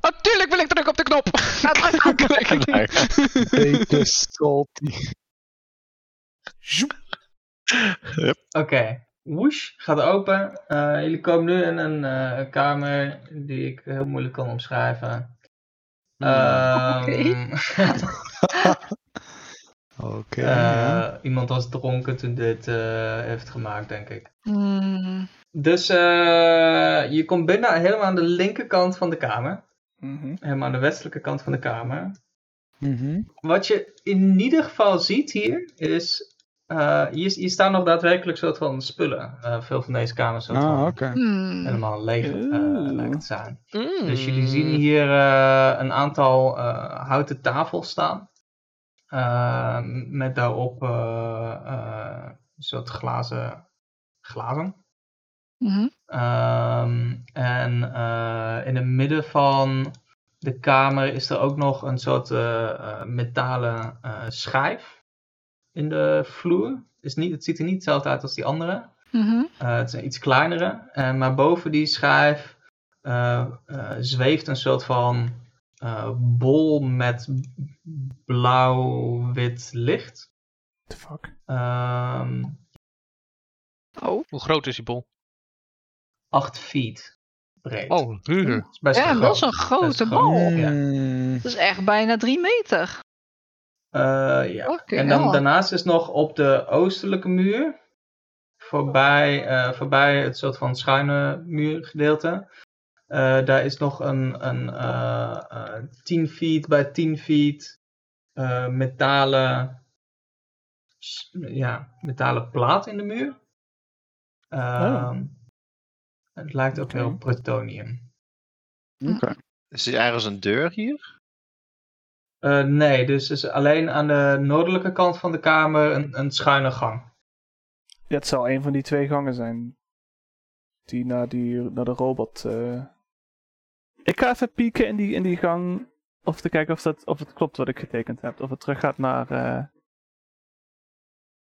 S2: Natuurlijk wil ik drukken op de knop!
S4: Ja, druk op
S2: Klik.
S5: Beetje salty.
S3: Oké, whoosh, gaat open. Eh, jullie komen nu in een eh, kamer die ik heel moeilijk kan omschrijven.
S5: Hmm.
S3: Ehm,
S5: Oké. ja.
S3: eh, iemand was dronken toen dit eh, heeft gemaakt, denk ik.
S4: Hmm.
S3: Dus eh, je komt binnen helemaal aan de linkerkant van de kamer.
S1: Mhm.
S3: Helemaal aan de westelijke kant van de kamer.
S5: Mhm.
S3: Wat je in ieder geval ziet hier is... eh, hier, hier staan nog daadwerkelijk soort van spullen. Eh, veel van deze kamers soort
S5: Ah,
S3: van
S5: oké.
S4: Hmm.
S3: helemaal leeg eh,
S1: Oeh.
S3: lijkt het te zijn.
S2: Mm.
S3: Dus jullie zien hier eh, een aantal eh, houten tafels staan. Eh, met daarop eh eh, een soort glazen glazen.
S4: Mhm.
S3: Ehm, en eh, in het midden van de kamer is er ook nog een soort eh, eh, metalen eh, schijf in de vloer. Is niet, het ziet er niet hetzelfde uit als die andere.
S4: Mhm.
S3: Eh, het is een iets kleinere. En, maar boven die schijf eh, eh, zweeft een soort van eh, bol met blauw-wit licht.
S1: The fuck.
S3: Ehm,
S4: Oh.
S2: Hoe groot is die bol?
S3: 8 feet breed.
S2: Oh,
S3: Dat is best
S4: Ja,
S3: groot.
S4: dat is een grote bal.
S3: Ja.
S5: Mm.
S4: Dat is echt bijna drie meter.
S3: Eh, ja.
S4: Oké.
S3: En dan, daarnaast is nog op de oostelijke muur, voorbij, eh, voorbij het soort van schuine muurgedeelte, eh, daar is nog een, een eh, eh, 10 feet bij 10 feet eh, metalen, s- ja, metalen plaat in de muur. Ehm, Het lijkt ook
S1: Oké.
S3: heel op plutonium. Hm.
S5: Oké.
S6: is er ergens een deur hier?
S3: Eh, nee, dus is alleen aan de noordelijke kant van de kamer een, een schuine gang.
S1: Ja, het zal een van die twee gangen zijn. Die naar, die, naar de robot. eh. Ik ga even pieken in die, in die gang. Of te kijken of, dat, of het klopt wat ik getekend heb. Of het terug gaat naar. eh,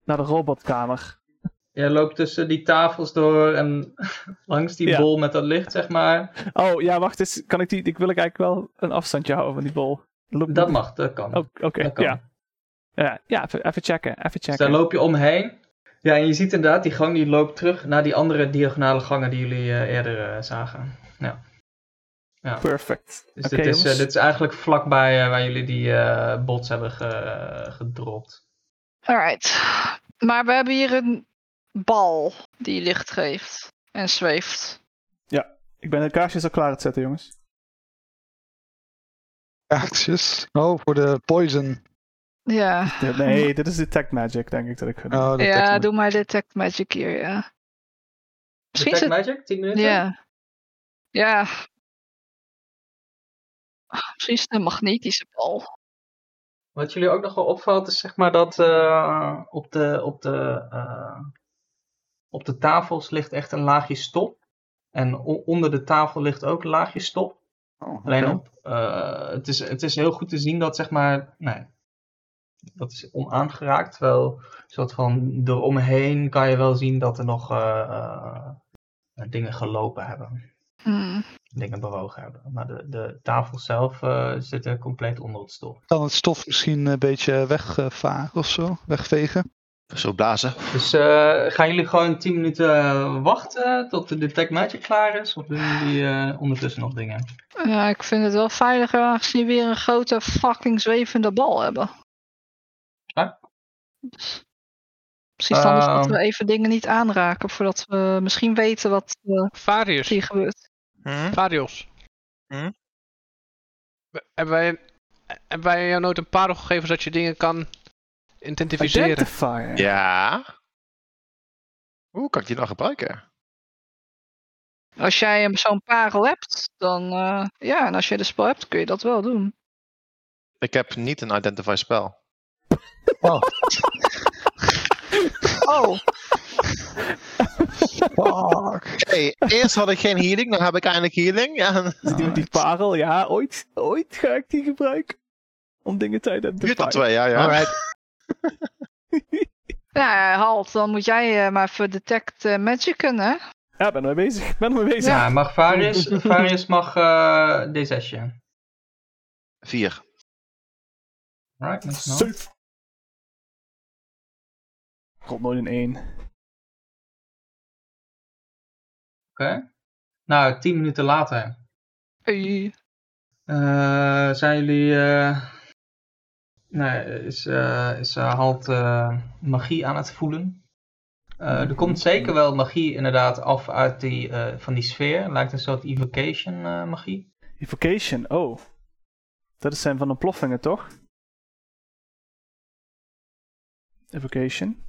S1: naar de robotkamer.
S3: Jij loopt tussen die tafels door en langs die
S1: Ja.
S3: bol met dat licht, zeg maar.
S1: Oh ja, wacht eens. Kan ik die. Ik wil ik eigenlijk wel een afstandje houden van die bol. Loop-
S3: Dat mag, dat kan.
S1: Oh, Oké,
S3: dat kan.
S1: ja. Ja, ja even, even checken. Even
S3: Dus
S1: checken.
S3: daar loop je omheen. Ja, en je ziet inderdaad, die gang die loopt terug naar die andere diagonale gangen die jullie eh, eerder eh, zagen.
S1: Perfect.
S3: Dus
S1: Oké,
S3: dit, is, eh,
S1: jongens.
S3: dit is eigenlijk vlakbij eh, waar jullie die eh, bots hebben ge- gedropt.
S4: Alright. Maar we hebben hier een bal die licht geeft en zweeft.
S1: Ik ben de kaarsjes al klaar aan het zetten, jongens.
S5: Kaartjes. Oh, voor de poison.
S4: Ja,
S1: Ja, Nee, dit is detect magic, denk ik dat ik ga doen.
S5: Oh, dat
S4: ja
S5: tekent.
S4: doe maar detect magic hier, ja. Misschien is
S3: Detect
S4: het...
S3: Magic, 10 minuten?
S4: Ja. Ja. Misschien is het een magnetische bal.
S3: Wat jullie ook nog wel opvalt is zeg maar dat eh, op, de, op, de, eh, op de tafels ligt echt een laagje stof. En o- onder de tafel ligt ook een laagje stof.
S5: Oh, oké.
S3: Alleen op, eh, het, is, het is heel goed te zien dat zeg maar, nee, dat is onaangeraakt. Terwijl, soort van eromheen kan je wel zien dat er nog eh, eh, dingen gelopen hebben.
S4: Hmm.
S3: Dingen bewogen hebben. Maar de, de tafel zelf eh, zit er compleet onder het stof.
S5: Kan het stof misschien een beetje wegvaren of zo? Wegvegen?
S6: Zo blazen.
S3: Dus eh, gaan jullie gewoon 10 minuten wachten tot de Detect Magic klaar is? Of doen jullie eh, ondertussen nog dingen?
S4: Ja, ik vind het wel veiliger aangezien we weer een grote fucking zwevende bal hebben.
S3: Ja.
S4: Dus Misschien is het anders dat
S3: Ehm.
S4: we even dingen niet aanraken voordat we misschien weten wat eh,
S2: Varius.
S4: hier gebeurt.
S2: Varios.
S6: Hm?
S2: We- Hebben wij, hebben wij jou nooit een parel gegeven zodat je dingen kan identificeren?
S1: Identifier.
S6: Ja. Hoe kan ik die nou gebruiken?
S4: Als jij een- zo'n parel hebt, dan eh, ja, en als je de spel hebt, kun je dat wel doen.
S6: Ik heb niet een identify spel.
S5: Oh,
S4: Oh,
S5: fuck.
S6: Hey, eerst had ik geen healing, dan heb ik eindelijk healing. Ja,
S1: Zit die met die parel? Ja, ooit, ooit ga ik die gebruiken. Om dingen te
S6: duurt al
S1: identificeren.
S6: twee jaar, ja.
S2: Alright.
S4: ja, halt, dan moet jij eh, maar even detect eh, magic kunnen. hè?
S1: Ja, ben ermee bezig. Ben ermee bezig.
S3: Ja, mag Varius, Varius mag eh D6'je.
S6: Vier.
S3: Right, met z'n allen.
S1: Zeuf. Rolt nooit een 1.
S3: Oké. Nou, tien minuten later
S4: Oei.
S3: eh, zijn jullie. eh, nee, is, eh is eh, Halt eh, magie aan het voelen. Eh, er komt zeker wel magie inderdaad af uit die, eh, van die sfeer. Lijkt een soort evocation eh, magie.
S1: Evocation, oh. Dat is zijn van de ploffingen, toch? Evocation.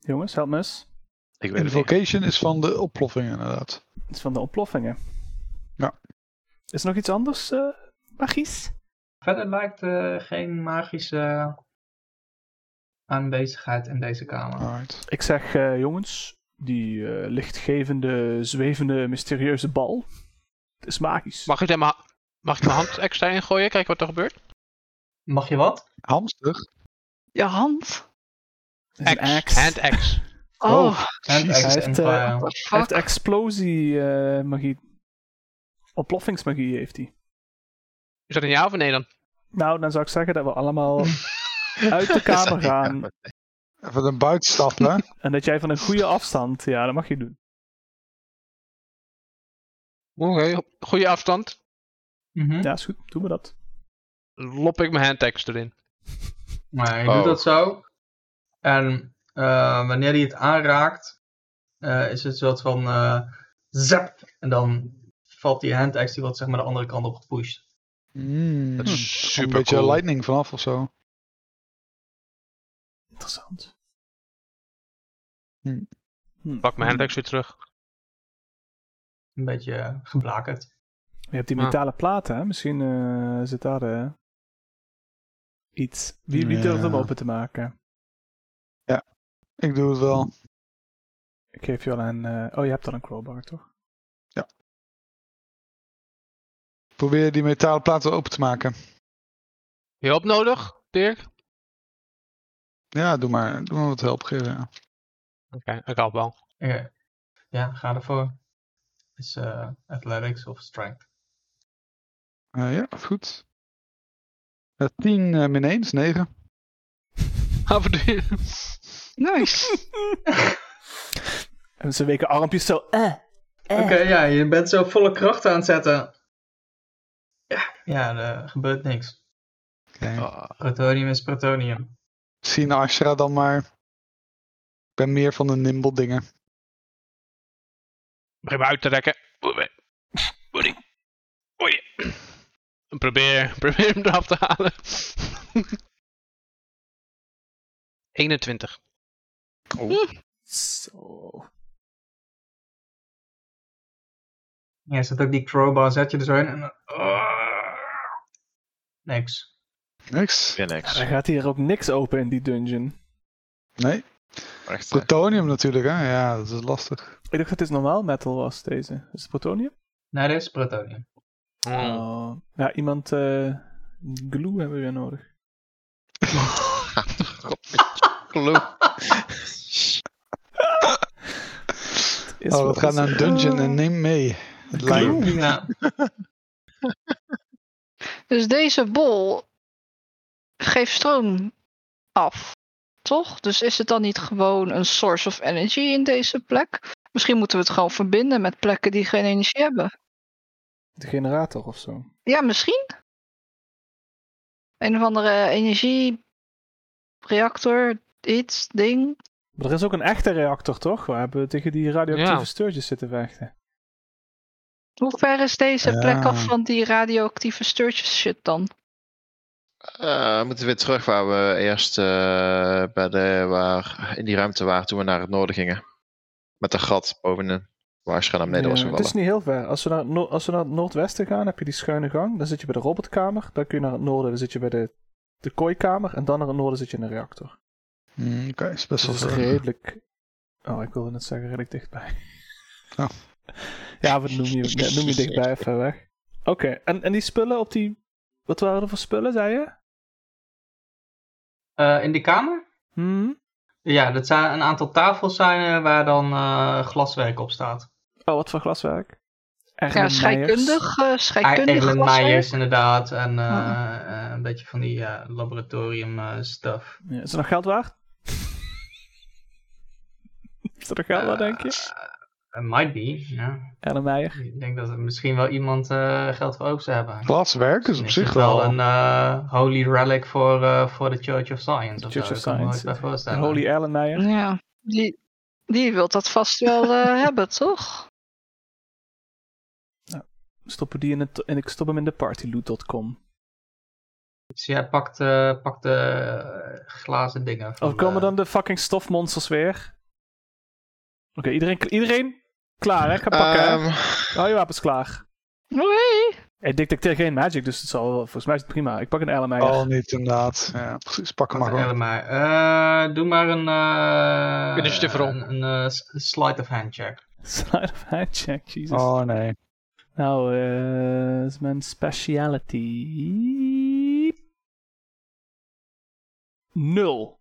S1: Jongens, help me eens.
S6: Ik weet het niet.
S5: Invocation is van de oploffing inderdaad.
S1: Het is van de ontploffingen.
S5: Ja.
S1: Is er nog iets anders, eh magisch?
S3: Verder lijkt eh, geen magische aanwezigheid in deze kamer.
S1: Ah.
S5: Alright.
S1: Ik zeg, eh, jongens, die eh, lichtgevende, zwevende, mysterieuze bal. Het is magisch.
S2: Mag ik, daar mijn, ha- mag ik mijn hand extra ingooien? Kijken wat er gebeurt?
S3: Mag je wat?
S5: Hamster?
S4: Je hand?
S1: Het is een axe.
S2: Hand axe.
S4: Oh,
S5: Oh.
S3: Hand
S5: Jezus.
S3: axe
S1: Hij heeft,
S3: en
S1: eh,
S3: fire.
S4: what the
S1: Hij
S4: fuck?
S1: heeft explosie eh magie. Ontploffingsmagie heeft hij.
S2: Is dat een ja of een nee dan?
S1: Nou, dan zou ik zeggen dat we allemaal uit de kamer gaan.
S5: Even een buitenstap, hè?
S1: En dat jij van een goede afstand, ja, dat mag je doen.
S2: Oké. Goede afstand.
S3: Mhm.
S1: Ja, is goed, doen we dat.
S2: Lop ik mijn hand axe erin.
S3: Maar hij
S6: Oh.
S3: doet dat zo. En eh, wanneer hij het aanraakt, eh, is het een soort van eh zap. En dan valt die hand axe die wordt zeg maar de andere kant op gepusht.
S5: Mm.
S6: Hmm.
S2: Dat
S5: Een
S2: is super
S5: beetje
S2: cool.
S5: lightning vanaf of zo.
S1: Interessant.
S5: Hm.
S1: Hm.
S2: Pak mijn hand axe weer terug.
S3: Een beetje eh, geblakerd.
S1: Je hebt die
S2: Ah.
S1: metalen platen, hè? Misschien eh, zit daar eh, iets. Wie, wie durft hem
S5: Ja.
S1: open te maken?
S5: Ik doe het wel.
S1: Ik geef je wel een. eh, oh, je hebt al een crowbar, toch?
S5: Probeer die metalen platen open te maken.
S2: Je hulp nodig, Dirk? Oké,
S5: Ja, doe maar. Doe maar wat help geven. Ja.
S2: ik help wel.
S3: Oké. Ja, ga ervoor. Is eh, athletics of strength.
S5: Eh, ja, goed. Eh, 10 eh, min 1 is 9.
S2: Haverdeer.
S4: Nice.
S1: En zijn weken armpjes zo. Eh, eh.
S3: Oké, ja, je bent zo volle kracht aan het zetten. Ja, ja er gebeurt niks.
S6: Ah,
S2: Oh,
S3: Protonium is protonium.
S5: Zien Ashra dan maar. Ik ben meer van de nimble dingen.
S2: begin me uit te rekken. Oei. Oei. Oei. En Probeer, probeer hem eraf te halen. 21.
S1: Zo.
S3: Ja, er zit ook die crowbar, zet je er zo in en dan... Ah, Niks.
S5: Niks.
S6: Weer niks.
S1: Er gaat hier ook niks open in die dungeon.
S5: Nee.
S6: Echt, eh. hè.
S5: Plutonium natuurlijk, hè? Ja, dat is lastig.
S1: Ik dacht dat dit normaal metal was, deze. Is het plutonium?
S3: Nee, dit is protonium.
S1: Oh. Ja, iemand... eh, glue hebben we weer nodig.
S6: Geloof.
S1: Het is
S5: Oh,
S1: wat
S5: we gaan
S1: het
S5: naar
S1: is.
S5: een dungeon en neem mee. Het lijkt.
S3: Ja,
S4: dus deze bol geeft stroom af, toch? Dus is het dan niet gewoon een source of energy in deze plek? Misschien moeten we het gewoon verbinden met plekken die geen energie hebben.
S1: De generator of zo.
S4: Ja, misschien. Een of andere energiereactor, iets, ding.
S1: Maar er is ook een echte reactor, toch? Waar hebben we tegen die radioactieve
S2: Ja.
S1: steurtjes zitten vechten?
S4: Hoe ver is deze plek
S5: Ja.
S4: af van die radioactieve steurtjes shit dan?
S6: Eh, we moeten weer terug waar we eerst eh, bij de, waar, in die ruimte waren toen we naar het noorden gingen. Met een gat bovenin. Waar schuin naar beneden was
S1: Ja, het
S6: gevallen.
S1: is niet heel ver. Als we, naar het noor- als we naar het noordwesten gaan, heb je die schuine gang. Dan zit je bij de robotkamer. Dan kun je naar het noorden, dan zit je bij de, de kooikamer. En dan naar het noorden zit je in de reactor.
S5: Mm, Oké, is
S1: Dus
S5: best wel
S1: het is
S5: ver.
S1: redelijk... Oh, ik wilde net zeggen, redelijk dichtbij.
S5: Oh.
S1: Ja, wat noem je, nee, noem je dichtbij even weg. Oké, en, en die spullen op die... Wat waren er voor spullen, zei je?
S3: Eh, in die kamer?
S1: Hm?
S3: Ja, dat zijn een aantal tafels zijn eh, waar dan eh, glaswerk op staat.
S1: Oh, wat voor glaswerk?
S4: Ja,
S1: Erlen Meijers.
S4: scheikundig, eh scheikundig
S3: Eigenlijk
S4: glaswerk. Oh.
S3: Meijers inderdaad. En eh, eh, een beetje van die ja, laboratorium eh, stuff.
S1: Ja, is er nog geld waard? is er nog geld waard, denk je?
S3: Eh, might be, ja.
S1: Erlen Meijer.
S3: Ik denk dat er misschien wel iemand eh, geld voor over zou hebben.
S5: Glaswerk is op
S3: Misschien
S5: zich
S3: is het
S5: wel.
S3: een eh, holy relic voor eh, voor de Church of Science. of
S1: Church
S3: zo.
S1: of
S3: Ik kan me
S1: Science,
S3: nooit bij voorstellen.
S1: Holy Erlen Meijer.
S4: Ja, die, die wilt dat vast wel eh, hebben, toch?
S1: Stoppen die in het, en ik stop hem in de partyloot.com.
S3: Dus jij pakt, eh, pakt de eh, glazen dingen.
S6: Oh,
S3: van,
S1: Of komen
S3: eh,
S1: dan de fucking stofmonsters weer? Oké, iedereen, iedereen klaar, hè? Ga pakken. hè?
S6: Ehm,
S1: Hou je wapens klaar.
S4: Oei!
S1: Ik detecteer geen magic, dus het zal wel, volgens mij is het prima. Ik pak een Erlen Meijer.
S6: Oh.
S5: Al Oh, niet inderdaad. Ja, precies. Pak hem maar
S3: Vertel
S5: gewoon.
S3: maar. Eh, doe maar een, eh,
S2: Initiative roll.
S3: een, een eh, s- sleight of hand check.
S1: Slide of hand check, Jesus.
S5: Oh nee.
S1: Nou, eh is mijn speciality. Nul.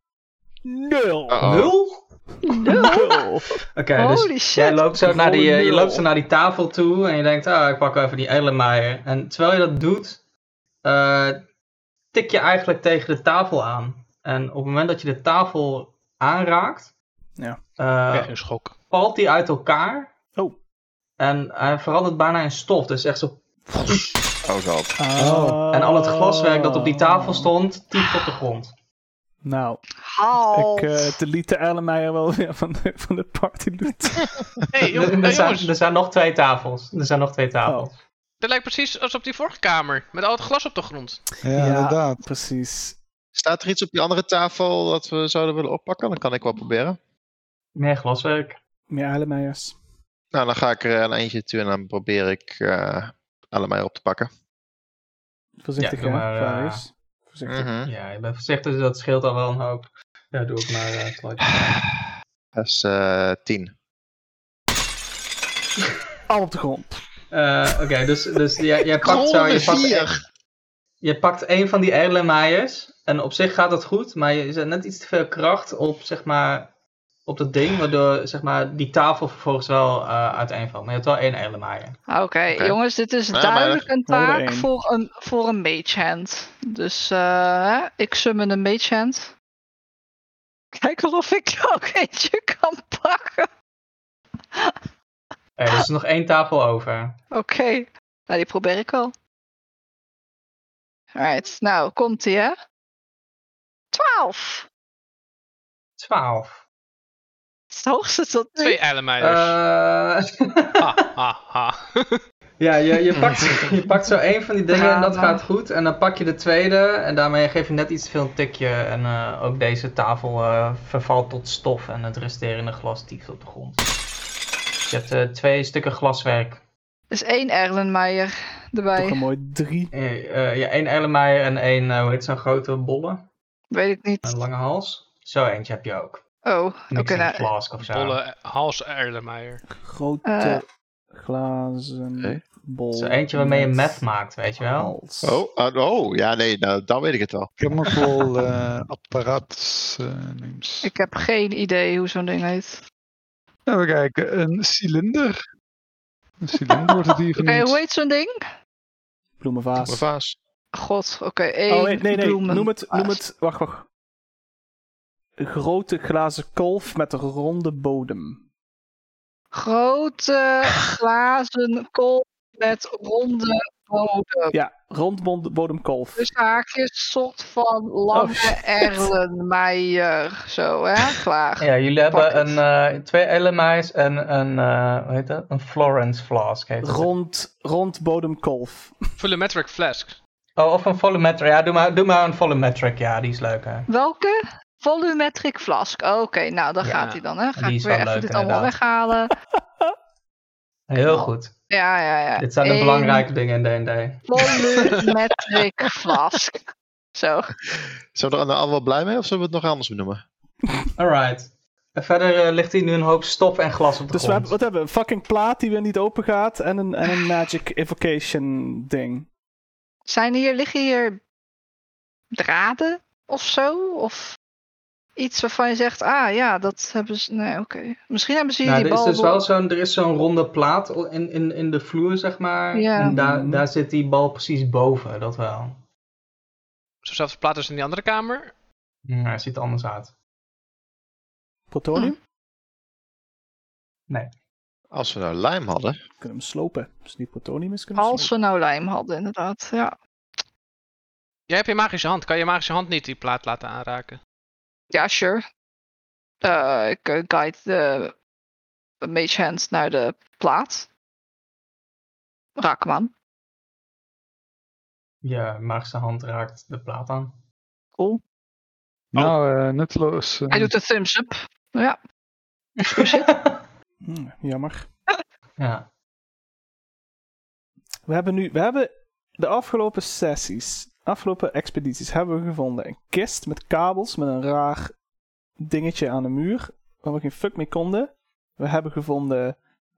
S1: Nul.
S6: Uh-oh.
S3: Nul?
S1: Nul.
S3: Oké, dus
S4: Holy shit!
S3: jij loopt, zo naar
S1: Gewoon
S3: die, eh, je
S1: nul.
S3: loopt zo naar die tafel toe en je denkt, ah, ik pak wel even die Erlenmeyer. En terwijl je dat doet, eh, tik je eigenlijk tegen de tafel aan. En op het moment dat je de tafel aanraakt,
S1: Ja.
S3: eh,
S2: Krijg een schok.
S3: valt die uit elkaar.
S1: Oh.
S3: En hij verandert bijna in stof. Dus echt zo.
S6: oh god.
S1: Ah.
S5: Oh.
S3: En al het glaswerk dat op die tafel stond, tiep op de grond.
S1: Nou,
S4: Halt.
S1: ik eh delete Erlenmeyer wel weer van de, van de partyloot.
S2: hey,
S3: Er,
S2: jongen, hey,
S3: er zijn,
S2: jongens.
S3: er zijn nog twee tafels. Er zijn nog twee tafels.
S1: Oh.
S2: Dat lijkt precies als op die vorige kamer. Met al het glas op de grond.
S5: Ja,
S1: Ja.
S5: inderdaad.
S1: Precies.
S6: Staat er iets op die andere tafel dat we zouden willen oppakken? Dan kan ik wel proberen.
S3: Meer glaswerk.
S1: Meer Erlenmeijers.
S6: Nou, dan ga ik er een eentje toe en dan probeer ik eh alle mij op te pakken.
S1: Voorzichtig,
S3: Ja, doe
S1: hè,
S3: maar, eh,
S1: Varius. Voorzichtig.
S6: Mhm.
S3: Ja, ik ben voorzichtig, dus dat scheelt al wel een hoop. Ja, doe ik maar eh, het slotje.
S6: Dat is eh, 10.
S1: Al op de grond.
S3: Eh, Oké, dus, dus jij, jij pakt zo. Je pakt,
S6: vier.
S3: je pakt een van die Erlenmeijers. En op zich gaat dat goed, maar je zet net iets te veel kracht op, zeg maar, op dat ding, waardoor zeg maar, die tafel vervolgens wel eh uiteenvalt. Maar je hebt wel één elemaaien.
S4: Ah, Oké,
S6: Oké.
S4: jongens, dit is
S6: Ja, maar
S4: duidelijk een
S1: we hadden
S4: taak
S1: één.
S4: voor een, voor een magehand. Dus eh, hè, ik summon een magehand. Kijken of ik er ook eentje kan pakken.
S3: Eh, er is nog één tafel over.
S4: Oké, nou die probeer ik al. Alright, nou komt ie hè. 12.
S3: 12.
S4: Het is het hoogste tot nu.
S2: Twee eilenmeiders.
S3: Eh
S2: Ha, ha, ha.
S3: ja, je, je, pakt, je pakt zo één van die dingen en dat
S4: Drama.
S3: gaat goed. En dan pak je de tweede en daarmee geef je net iets te veel een tikje. En eh, ook deze tafel eh, vervalt tot stof en het resterende glas tieft op de grond. Je hebt eh, twee stukken glaswerk
S4: Er is één Erlenmeyer erbij.
S1: Toch een mooi drie.
S3: Eh, eh, ja, één eilenmaaier en één, eh, hoe heet zo'n grote bolle?
S4: Weet ik niet.
S3: Een lange hals. Zo eentje heb je ook.
S1: Ah,
S4: Oh,
S3: Mixing
S4: oké. nou,
S3: flask of zo.
S2: Bolle hals eilenmeier.
S1: Grote
S4: Eh.
S1: glazen
S6: Oké.
S1: bol.
S3: Zo eentje waarmee je
S1: met
S3: meth maakt, weet je wel.
S1: hals.
S6: Oh, ah, oh, ja, nee, nou, dan weet ik het wel.
S5: Chemical eh apparaat eh, names.
S4: ik heb geen idee hoe zo'n ding heet.
S5: Even kijken, een cilinder. Een cilinder wordt het hier
S4: Oké,
S5: genoemd.
S4: hoe heet zo'n ding?
S6: Een
S1: Bloemenvaas.
S6: vaas.
S4: God, oké. één
S1: Oh nee, nee, nee.
S4: bloemen.
S1: Noem het, noem het. Wacht, wacht. Een grote glazen kolf met een ronde bodem.
S4: Grote glazen kool met ronde bodem.
S1: Ja, rondbond bodemkolf.
S4: Dus haakjes, soort van lange
S1: Oh, shit.
S4: erlenmeijer. Zo, hè? Klaar.
S3: Ja, jullie
S4: Pak
S3: hebben
S4: het.
S3: een, eh, twee eilenmaaiers en een, eh, hoe heet dat? Een Florence flask heet het.
S1: Rond, rond bodemkolf.
S2: Volumetric flask.
S3: Oh, of een volumetric. Ja, doe maar, doe maar een volumetric. Ja, die is leuker.
S4: Welke? Volumetric flask. Oké, nou, daar
S2: Ja,
S4: gaat hij dan, hè? Ga
S3: die
S4: ik
S3: is
S4: weer
S3: wel
S4: even
S3: leuk,
S4: dit allemaal
S3: inderdaad.
S4: weghalen.
S3: Heel
S4: Oh.
S3: goed.
S4: Ja, ja, ja.
S3: Dit zijn de
S4: Eén
S3: belangrijke dingen in D&D.
S4: Volumetric flask. Zo.
S6: Zijn we er nou allemaal wel blij mee of zullen we het nog anders benoemen?
S3: Alright. En verder eh, ligt hier nu een hoop stof en glas op de
S1: Dus we
S3: grond.
S1: hebben, wat hebben we? Een fucking plaat die weer niet open gaat en een, en een magic evocation ding.
S4: Zijn hier, liggen hier draden of zo? Of iets waarvan je zegt, ah ja, dat hebben ze... Nee, oké. Misschien hebben ze hier
S3: Nou,
S4: die
S3: er is
S4: bal...
S3: dus wel zo'n, er is zo'n ronde plaat in, in, in de vloer, zeg maar.
S4: Ja.
S3: En daar,
S1: Mhm.
S3: daar zit die bal precies boven, dat wel.
S2: Zo zelfs plaat dus in die andere kamer.
S1: Mhm.
S3: Maar hij ziet er anders uit.
S1: Plutonium?
S6: Als we nou lijm hadden.
S1: We kunnen hem slopen. Als het niet plutonium is, kunnen we hem
S4: Als we nou lijm hadden, inderdaad. Ja,
S2: Jij hebt je magische hand. Kan je magische hand niet die plaat laten aanraken?
S4: ja sure. Eh, ik eh, guide de mage hand naar de plaat. Raak hem aan.
S3: Je magische hand raakt de plaat aan.
S4: Cool.
S5: Nou, eh, nutteloos. eh,
S4: Hij doet de thumbs up. Ja, Oh,
S1: slopen. Hm, jammer.
S3: ja.
S1: We hebben nu, we hebben de afgelopen sessies, afgelopen expedities, hebben we gevonden een kist met kabels met een raar dingetje aan de muur waar we geen fuck mee konden. We hebben gevonden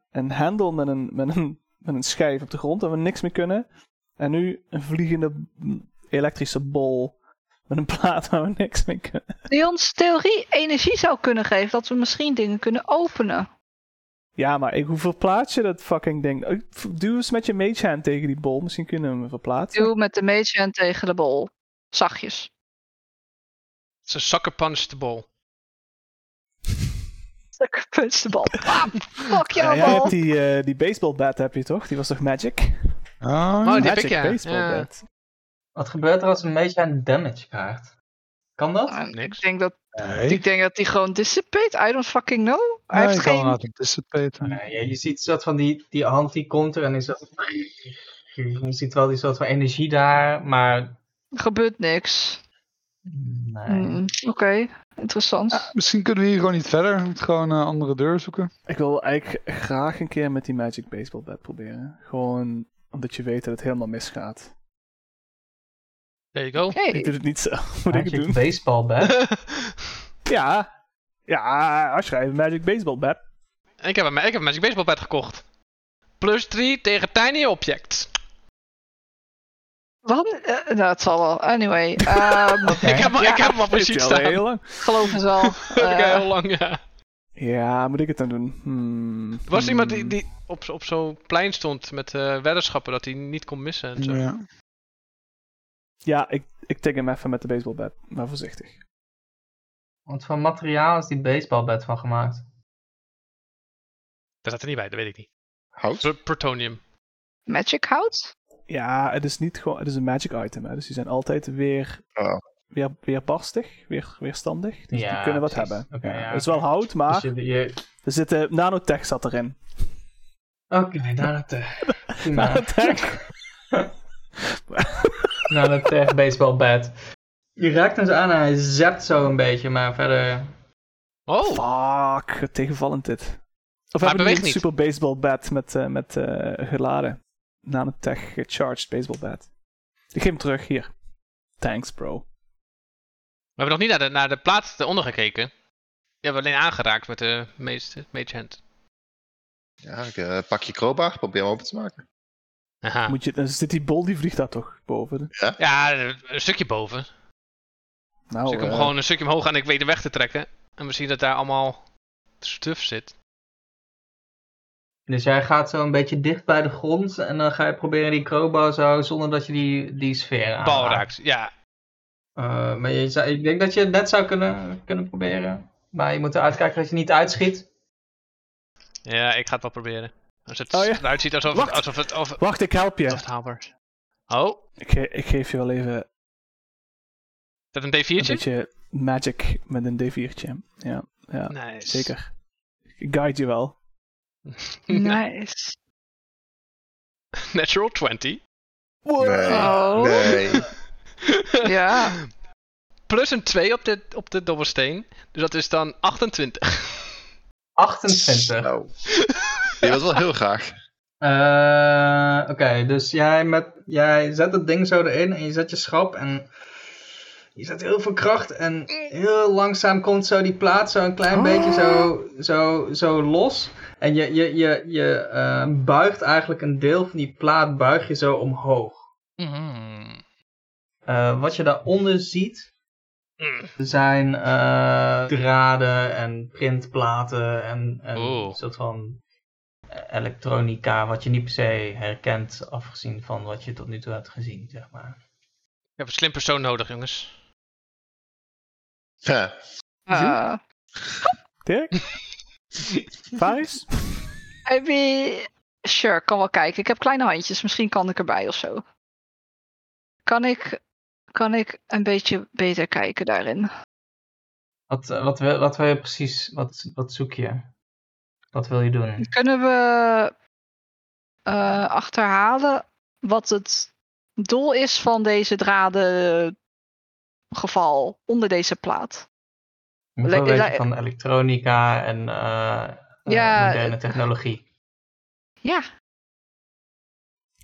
S1: een hendel met een, met een, met een schijf op de grond waar we niks mee kunnen. En nu een vliegende mm, elektrische bol met een plaat waar we niks mee kunnen.
S4: die ons theorie energie zou kunnen geven. Dat we misschien dingen kunnen openen.
S1: Ja, maar ik, hoe verplaats je dat fucking ding? Ik- Duw eens met je mage hand tegen die bol, misschien kunnen we hem verplaatsen.
S4: Doe met de mage hand tegen de bol. Zachtjes.
S2: Het is een sucker punch de bol.
S4: Stukken punch de bal. Bam! Fuck
S1: Ja,
S4: jou,
S1: jij
S4: bal.
S1: hebt die, eh, die baseball bat heb je toch? Die was toch magic?
S5: ah,
S2: Oh, die heb
S1: Magic
S2: ik ja.
S1: baseball
S2: Ja.
S1: bat.
S3: Wat gebeurt er als een beetje aan damage krijgt? Kan dat?
S4: Ah,
S2: Niks.
S4: Ik denk, dat,
S5: nee.
S4: ik denk dat die gewoon dissipate. I don't fucking know. Hij
S5: Nee,
S4: heeft
S5: ik kan
S4: geen...
S5: laten anticipaten.
S3: Nee, je, je ziet soort van die, die hand die komt er en is dat... Je ziet wel die soort van energie daar, maar...
S4: Er gebeurt niks.
S3: Nee.
S4: Mm, Oké,
S1: Ah,
S4: interessant.
S5: Misschien kunnen we hier gewoon niet verder. We moeten gewoon een andere deur zoeken.
S1: Ik wil eigenlijk graag een keer met die magic baseball bat proberen. Gewoon omdat je weet dat het helemaal misgaat.
S2: There you go.
S4: Hey,
S1: Ik doe het niet zelf. Moet ik het
S3: Magic
S1: doen?
S3: baseball bat.
S1: Ja. Ja, afschrijven. Magic baseball bat.
S2: ik, heb een, ik heb een Magic Baseball pad gekocht. Plus 3 tegen Tiny Object.
S4: wat? Eh, nou, het zal wel. Anyway, ehm,
S3: Oké.
S2: Ik heb, hem-
S4: Ja.
S2: ik heb hem op
S1: Heeft
S2: mijn
S1: hij
S2: sheet
S1: al
S2: staan.
S1: heel lang.
S4: geloof het wel.
S2: Heb ik
S4: Eh,
S2: heel lang, ja.
S1: Ja, moet ik het dan doen? Hmm.
S2: Er was iemand die,
S1: Hmm.
S2: die op, op zo'n plein stond met eh, weddenschappen dat hij niet kon missen en zo.
S5: Ja.
S1: Ja, ik, ik tik hem even met de baseballbat, maar voorzichtig.
S3: Want van materiaal is die baseballbat van gemaakt. Dus
S2: Daar staat er niet bij, dat weet ik niet.
S6: Hout?
S2: Pr- Protonium.
S4: Magic hout?
S1: Ja, het is niet gewoon, het is een magic item, hè, dus die zijn altijd weer,
S6: Oh.
S1: weer, weer barstig, weer, weerstandig. Dus
S3: Ja,
S1: die kunnen wat
S3: precies.
S1: hebben.
S3: Oké,
S1: ja.
S3: ja,
S1: het is
S3: oké.
S1: wel hout, maar
S3: Dus je, je...
S1: er zitten nanotech zat erin.
S3: Oké, naar het eh, prima.
S1: Nanotech.
S3: naar het eh, baseballbat. Je raakt hem zo aan en hij zept zo een beetje, maar verder...
S2: Oh,
S1: Fuck, tegenvallend dit. Of hebben
S2: Hij
S1: we
S2: beweegt
S1: een
S2: niet.
S1: super baseball bat met, eh, met eh, geladen. Nanotech gecharged baseball bat. Ik geef hem terug, hier. Thanks, bro.
S2: we hebben nog niet naar de, naar de plaats eronder gekeken. Die hebben we alleen aangeraakt met de meeste mage hand.
S6: Ja, ik, eh, pak je crowbar, probeer hem open te maken.
S3: Ah.
S2: Aha.
S1: Moet je, dan zit die bol, die vliegt daar toch boven?
S2: Ja, een stukje boven.
S1: Nou,
S2: dus ik hem
S1: eh,
S2: gewoon een stukje omhoog en ik weet hem weg te trekken. En we zien dat daar allemaal stuf zit.
S3: Dus jij gaat zo een beetje dicht bij de grond en dan ga je proberen die crowbar zo, zonder dat je die, die sfeer aanraakt.
S2: Bal raakt. Ja,
S3: Eh, maar je zou- ik denk dat je het net zou kunnen, kunnen proberen. Maar je moet eruit kijken dat je niet uitschiet.
S2: ja ik ga het wel proberen. Als het
S1: Oh ja.
S2: eruit ziet alsof,
S1: Wacht.
S2: alsof het... Of,
S1: Wacht, ik help je.
S2: alsof het haalbaar is. Oh,
S1: Ik, ge- ik geef je wel even een
S2: is dat een D4'tje?
S1: beetje magic met een D4'tje. Ja, ja
S2: Nee.
S1: zeker. Ik guide je wel.
S4: Nice.
S2: Natural 20.
S4: Oh.
S6: Nee.
S4: Ja.
S2: Plus een 2 op de, op de dobbelsteen. Dus dat is dan 28.
S3: 28.
S6: Zo. Je wilt wel heel graag.
S3: Eh, Oké, dus jij, met, jij zet het ding zo erin en je zet je schap en je zet heel veel kracht
S2: Mm.
S3: en heel langzaam komt zo die plaat zo een klein beetje
S2: Oh.
S3: zo, zo, zo los. En je, je, je, je eh, buigt eigenlijk een deel van die plaat buig je zo omhoog.
S2: Mm.
S3: Eh, wat je daaronder ziet
S2: Mm.
S3: zijn eh, draden en printplaten en, en
S2: Oeh.
S3: een soort van elektronica wat je niet per se herkent afgezien van wat je tot nu toe hebt gezien, zeg maar.
S2: Ik heb een slim persoon nodig, jongens.
S6: Ja.
S4: Eh,
S1: Dirk? Faris?
S4: Eh, I mean, sure, kan wel kijken. Ik heb kleine handjes, misschien kan ik erbij of zo. Kan ik, kan ik een beetje beter kijken daarin?
S3: Wat, eh, wat, wil, wat wil je precies, wat, wat zoek je? Wat wil je doen?
S4: Kunnen we eh, achterhalen wat het doel is van deze draden geval onder deze plaat?
S3: Hoeveel
S4: Le-
S3: weet je
S4: le-
S3: van elektronica en eh, eh,
S4: Ja,
S3: moderne
S4: het-
S3: technologie?
S4: Ja,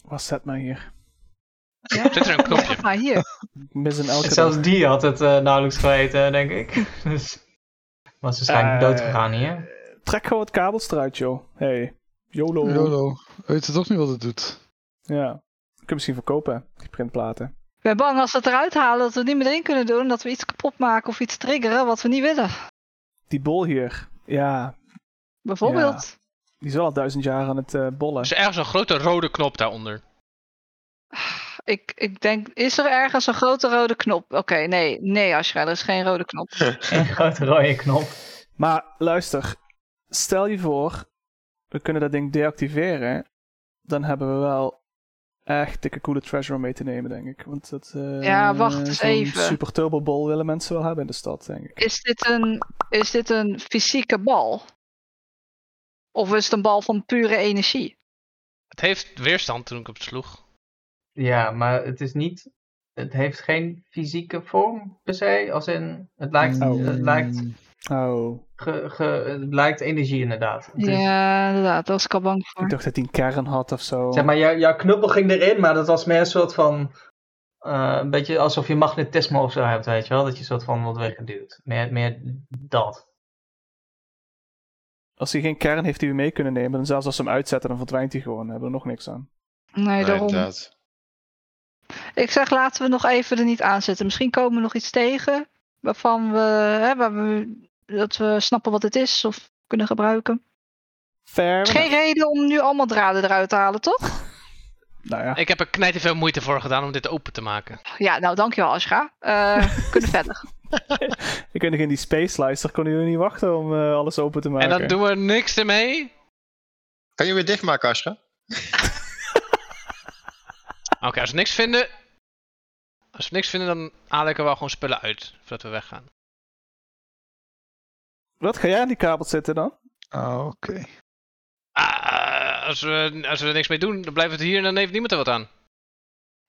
S1: Was zet maar hier.
S4: ja.
S2: Zit er een knopje?
S4: maar hier.
S1: Ik mis een elke dag.
S3: Zelfs die had het eh, nauwelijks geweten, denk ik. dus was waarschijnlijk
S1: Eh,
S3: dood gegaan hier.
S1: Trek gewoon het kabeltje eruit, joh. Hey, YOLO.
S5: Jolo, weet je toch niet wat het doet?
S1: Ja. Kun je misschien verkopen, die printplaten.
S4: Ik ben bang als we het eruit halen dat we het niet meer in kunnen doen. Dat we iets kapot maken of iets triggeren wat we niet willen.
S1: Die bol hier. Ja,
S4: Bijvoorbeeld.
S1: die is wel al duizend jaar aan het eh, bollen.
S2: Er is ergens een grote rode knop daaronder.
S4: Ik, ik denk, is er ergens een grote rode knop? Oké, nee, nee, Ashra, er is geen rode knop.
S3: Een grote rode knop.
S1: Maar luister, stel je voor, we kunnen dat ding deactiveren. Dan hebben we wel echt dikke coole treasure om mee te nemen, denk ik. Want dat, eh,
S4: Ja, wacht eens
S1: zo'n
S4: even.
S1: Super Turbo Ball willen mensen wel hebben in de stad, denk ik.
S4: Is dit een, is dit een fysieke bal? Of is het een bal van pure energie?
S2: Het heeft weerstand toen ik het sloeg.
S3: Ja, maar het is niet. Het heeft geen fysieke vorm per se. Als in. Het lijkt,
S4: Mm.
S1: Oh.
S3: het lijkt,
S1: Oh,
S3: ge, ge- het lijkt energie inderdaad. Het is-
S4: Ja, inderdaad, daar was ik al bang voor.
S1: ik dacht dat hij een kern had of zo.
S3: Zeg maar, jou- jouw knuppel ging erin, maar dat was meer een soort van. eh, een beetje alsof je magnetisme of zo hebt, weet je wel? Dat je een soort van wordt weggeduwd. Meer, meer dat.
S1: Als hij geen kern heeft die we mee kunnen nemen, dan zelfs als we hem uitzetten, dan verdwijnt hij gewoon. Dan hebben we er nog niks aan.
S4: Nee, daarom.
S6: inderdaad.
S4: Ik zeg, laten we nog even er niet aan zitten. Misschien komen we nog iets tegen waarvan we, hè, waar we dat we snappen wat het is. Of kunnen gebruiken.
S1: Fair.
S4: Het is geen reden om nu allemaal draden eruit te halen, toch?
S1: Nou ja,
S2: Ik heb er knijt veel moeite voor gedaan om dit open te maken.
S4: Ja, nou dankjewel Ashra. Eh we kunnen verder.
S1: ik weet nog in die space slice, daar konden jullie niet wachten om eh, alles open te maken.
S2: En dan doen we niks ermee.
S6: Kan je weer dichtmaken, Asra?
S2: Oké, als we niks vinden. Als we niks vinden, dan haal ik er wel gewoon spullen uit. Voordat we weggaan.
S1: Wat ga jij aan die kabel zitten dan?
S5: Oh, Oké.
S2: Ah, als, we, als we er niks mee doen, dan blijven we hier en dan heeft niemand er wat aan.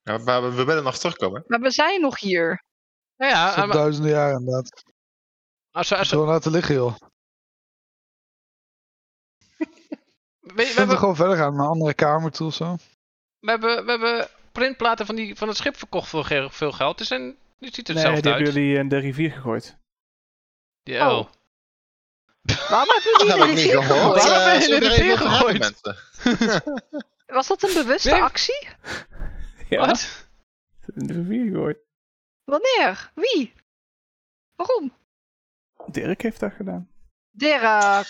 S6: Ja, maar we, we willen nog terugkomen.
S4: Maar we zijn nog hier.
S2: Nou ja,
S5: Dat is al
S2: maar
S5: duizenden jaren inderdaad.
S2: als we, als we,
S5: Gewoon laten liggen, joh.
S2: we,
S5: We
S2: we hebben,
S5: kunnen gewoon verder gaan naar een andere kamer toe of zo.
S2: we, hebben, we hebben printplaten van, die, van het schip verkocht voor ge- veel geld. Dus en, die ziet er
S1: nee,
S2: hetzelfde
S1: die
S2: uit.
S1: hebben jullie in de rivier gegooid.
S2: Die- oh.
S4: Oh. Waarom hebben jullie in de rivier gegooid?
S2: Waarom hebben
S6: Eh,
S2: jullie in de
S6: iedereen
S2: rivier
S6: wil verhalen,
S2: gegooid?
S6: mensen.
S4: Was dat een bewuste
S2: Nee.
S4: actie?
S1: Ja,
S2: Wat?
S1: in de rivier gegooid.
S4: Wanneer? Wie? Waarom?
S1: Dirk heeft dat gedaan.
S4: Dirk.
S3: Uiteraard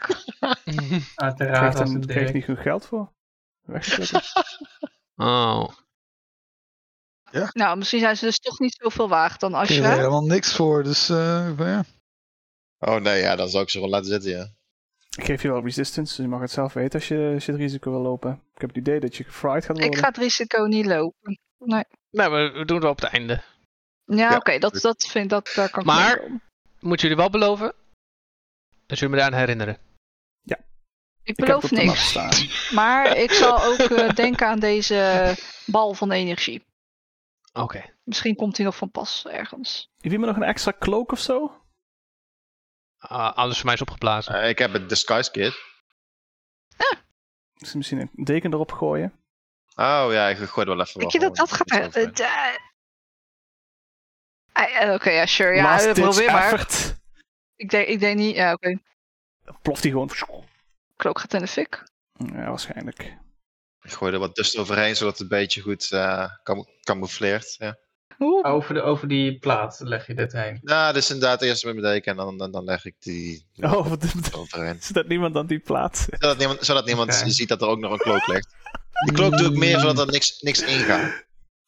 S1: Krijgt
S3: was
S1: dan
S3: het
S1: kreeg
S3: Dirk.
S1: niet goed geld voor. Weggezet.
S2: oh.
S4: Nou, misschien zijn ze dus toch niet zoveel waard dan
S5: Ik kreeg er
S4: Ashra.
S5: helemaal niks voor, dus eh, ja.
S6: Oh nee, ja, dan zou ik ze gewoon laten zitten, ja.
S1: ik geef je wel resistance, dus je mag het zelf weten als je, als je het risico wil lopen. Ik heb het idee dat je gefried gaat worden.
S4: Ik ga het risico niet lopen.
S2: Nou, we, we doen het wel op het einde.
S4: Ja,
S6: Ja.
S4: oké, dat, dat vind dat, daar kan ik
S2: Maar-
S4: mee komen.
S2: Moeten jullie wel beloven? Dat jullie me daaraan herinneren.
S4: Ik
S1: Ik heb het
S4: beloof
S1: op de map
S4: niks.
S1: staan.
S4: Maar ik zal ook eh, denken aan deze bal van energie.
S2: Oké.
S4: Misschien komt hij nog van pas ergens.
S1: Heeft iemand nog een extra cloak of zo?
S2: Ah, alles voor mij is opgeblazen.
S6: Eh, ik heb het Disguise Kit.
S1: Is er Misschien een deken erop gooien.
S6: Oh ja, ik gooi er wel even
S4: Weet je dat dat gaat... eh,
S6: uit.
S4: eh, eh, Oké, ja, sure. Ja,
S1: Last ditch
S4: probeer maar.
S1: effort.
S4: Ik denk, ik denk niet... Ja, oké.
S1: Ploft hij gewoon.
S4: Klok gaat in de fik.
S1: Ja, waarschijnlijk.
S6: Ik gooi er wat dust overheen, zodat het een beetje goed eh cam- camoufleert. Ja.
S4: Oeh.
S3: Over, de, over die plaat leg je dit heen.
S6: Nou, dus inderdaad eerst met mijn deken en dan, dan, dan leg ik die
S1: Oh, wat is
S6: overheen.
S1: dat niemand aan die plaats? zit.
S6: Zodat niemand, zodat niemand
S3: Oké.
S6: ziet dat er ook nog een klook ligt. Die klook doe ik meer zodat er niks, niks in gaat.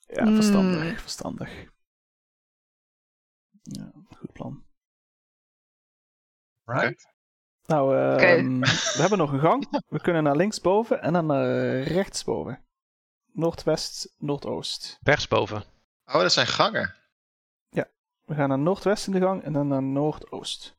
S1: Ja, verstandig.
S4: Mm.
S1: Verstandig. Ja, goed plan.
S3: Right?
S1: Nou, eh,
S4: Oké.
S1: ehm, we hebben nog een gang. We kunnen naar linksboven en dan naar rechtsboven. Noordwest, Noordoost.
S2: Rechtsboven.
S6: Oh, dat zijn gangen.
S1: We gaan naar Noordwest in de gang en dan naar Noordoost.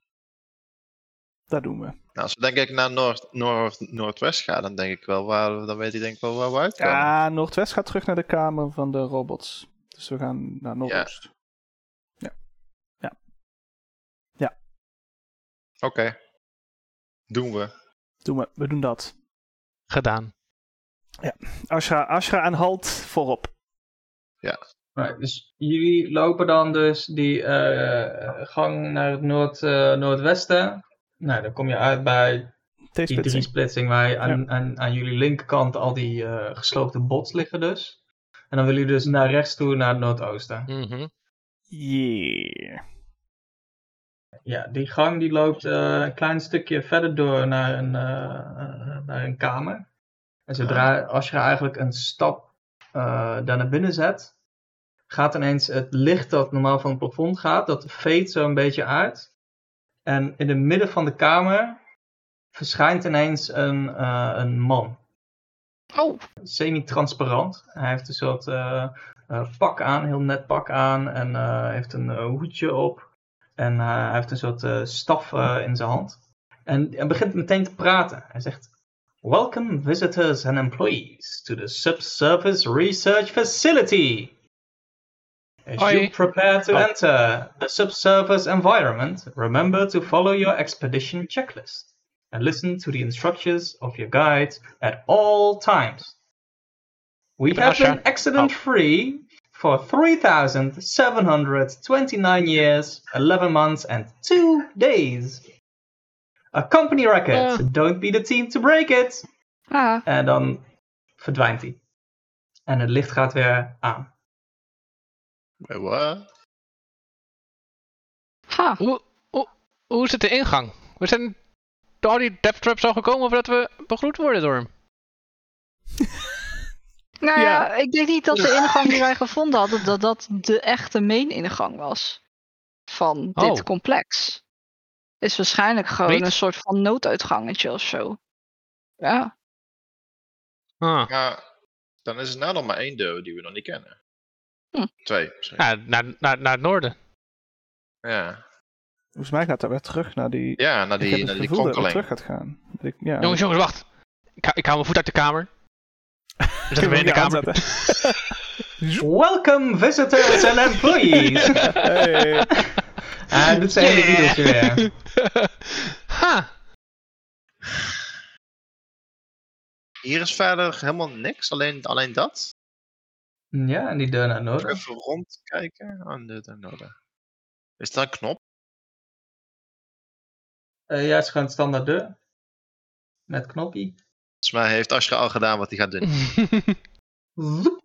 S1: Dat doen we.
S6: Nou, als we denk ik naar Noord, Noord, Noordwest gaan, dan denk ik wel waar, we- dan weet ik denk ik wel waar we uitkomen.
S1: Ja, Noordwest gaat terug naar de kamer van de robots. Dus we gaan naar Noordoost.
S6: Oké. Doen we.
S1: Doen we, we doen dat.
S2: Gedaan.
S1: Ashra, Ashra en Halt voorop.
S3: Right, dus jullie lopen dan dus die eh, gang naar het noord, eh, noordwesten. Nou, dan kom je uit bij die drie
S1: T-splitsing.
S3: splitsing waar je aan, aan, aan jullie linkerkant al die eh, gesloopte bots liggen dus. En dan willen jullie dus naar rechts toe, naar het noordoosten.
S2: Mhm.
S1: Yeah.
S3: Ja, die gang die loopt eh, een klein stukje verder door naar een, eh, eh, naar een kamer. En zodra Ashra eigenlijk een stap eh, daar naar binnen zet, gaat ineens het licht dat normaal van het plafond gaat, dat veet zo een beetje uit. En in het midden van de kamer verschijnt ineens een, eh, een man.
S4: Oh,
S3: semi-transparant. Hij heeft een soort eh, eh, pak aan, heel net pak aan. En eh, heeft een eh, hoedje op. En eh, hij heeft een soort eh, staf eh, in zijn hand. En hij begint meteen te praten. Hij zegt: Welcome visitors and employees to the subsurface research facility. As
S2: Hoi.
S3: you prepare to
S2: Oh.
S3: enter the subsurface environment, remember to follow your expedition checklist and listen to the instructions of your guide at all times. We have
S2: Russia.
S3: been accident free for 3,729 years, 11 months, and 2 days. A company record.
S2: Ja.
S3: Don't be the team to break it.
S4: ah,
S3: En dan verdwijnt hij. En het licht gaat weer aan.
S6: Wait, what?
S4: ha.
S2: Hoe, hoe, hoe zit de ingang? We zijn door die death trap zou gekomen voordat we begroet worden door hem.
S4: Nou ja,
S1: Ja.
S4: ik denk niet dat de ingang die wij gevonden hadden, dat dat de echte main ingang was van dit
S2: Oh.
S4: complex. Is waarschijnlijk gewoon
S2: Niet?
S4: een soort van nooduitgangetje of zo. Ja,
S2: Ah.
S6: Ja, dan is er nou nog maar één deur die we nog niet kennen.
S4: Hm.
S6: Twee misschien.
S2: Ja, naar, naar, naar het noorden.
S6: Ja,
S1: Volgens mij gaat dat weer terug naar die.
S6: ja naar
S1: ik
S6: die,
S1: heb
S6: naar
S1: het
S6: die
S1: gevoel dat het terug
S6: kronkeling.
S1: gaat gaan. Dat ik- ja,
S2: Jongens, jongens, wacht. Ik, hou- ik hou mijn voet uit de kamer.
S1: ik
S2: Zet hem weer in de kamer.
S3: Welcome visitors and employees!
S1: Hey.
S3: ah, dit zijn de iedertje weer.
S2: ha!
S6: Hier is verder helemaal niks, alleen, alleen dat.
S3: Ja, en die deur naar nodig.
S6: Even Oh, rondkijken aan de ten noorden. Is dat een knop?
S3: Eh ja, het is gewoon een standaard deur. Met knopje.
S6: Volgens mij heeft Ashra al gedaan wat hij gaat doen.
S3: Zoep.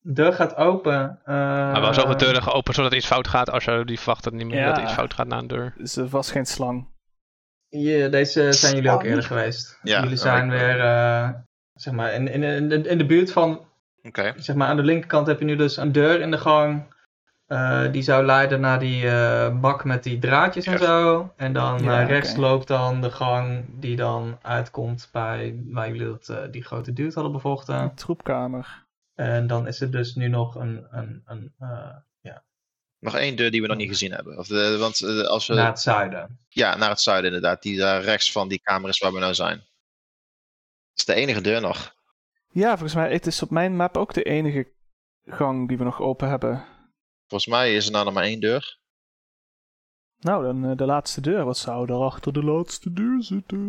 S3: Deur gaat open. eh
S2: Maar wel zoveel deuren geopend zodat iets fout gaat. Als je die verwacht dat niet meer
S1: Ja.
S2: dat er iets fout gaat na een deur.
S1: Is er vast geen slang.
S3: Ja, deze zijn jullie ook eerder geweest.
S6: Ja,
S3: jullie
S6: ja,
S3: zijn
S6: ik-
S3: weer, eh, zeg maar, in, in, in, de- in de buurt van,
S1: Hm.
S6: Oké.
S3: zeg maar, aan de linkerkant heb je nu dus een deur in de gang. eh, die zou leiden naar die eh, bak met die draadjes en
S6: Ja.
S3: zo. En dan
S1: Ja,
S3: eh, rechts
S1: oké.
S3: loopt dan de gang die dan uitkomt bij waar jullie dat, eh, die grote duurt hadden bevochten.
S1: Een troepkamer.
S3: En dan is er dus nu nog een, een, een eh,
S6: Nog één deur die we nog niet gezien hebben. Of, eh, want eh, als we.
S3: naar het zuiden.
S6: Ja, naar het zuiden inderdaad. Die daar rechts van die kamer is waar we nou zijn. Dat is de enige deur nog.
S1: Ja, volgens mij het is op mijn map ook de enige gang die we nog open hebben.
S6: Volgens mij is er nou nog maar één deur.
S1: Nou, dan eh, de laatste deur. Wat zou daar achter de laatste deur zitten?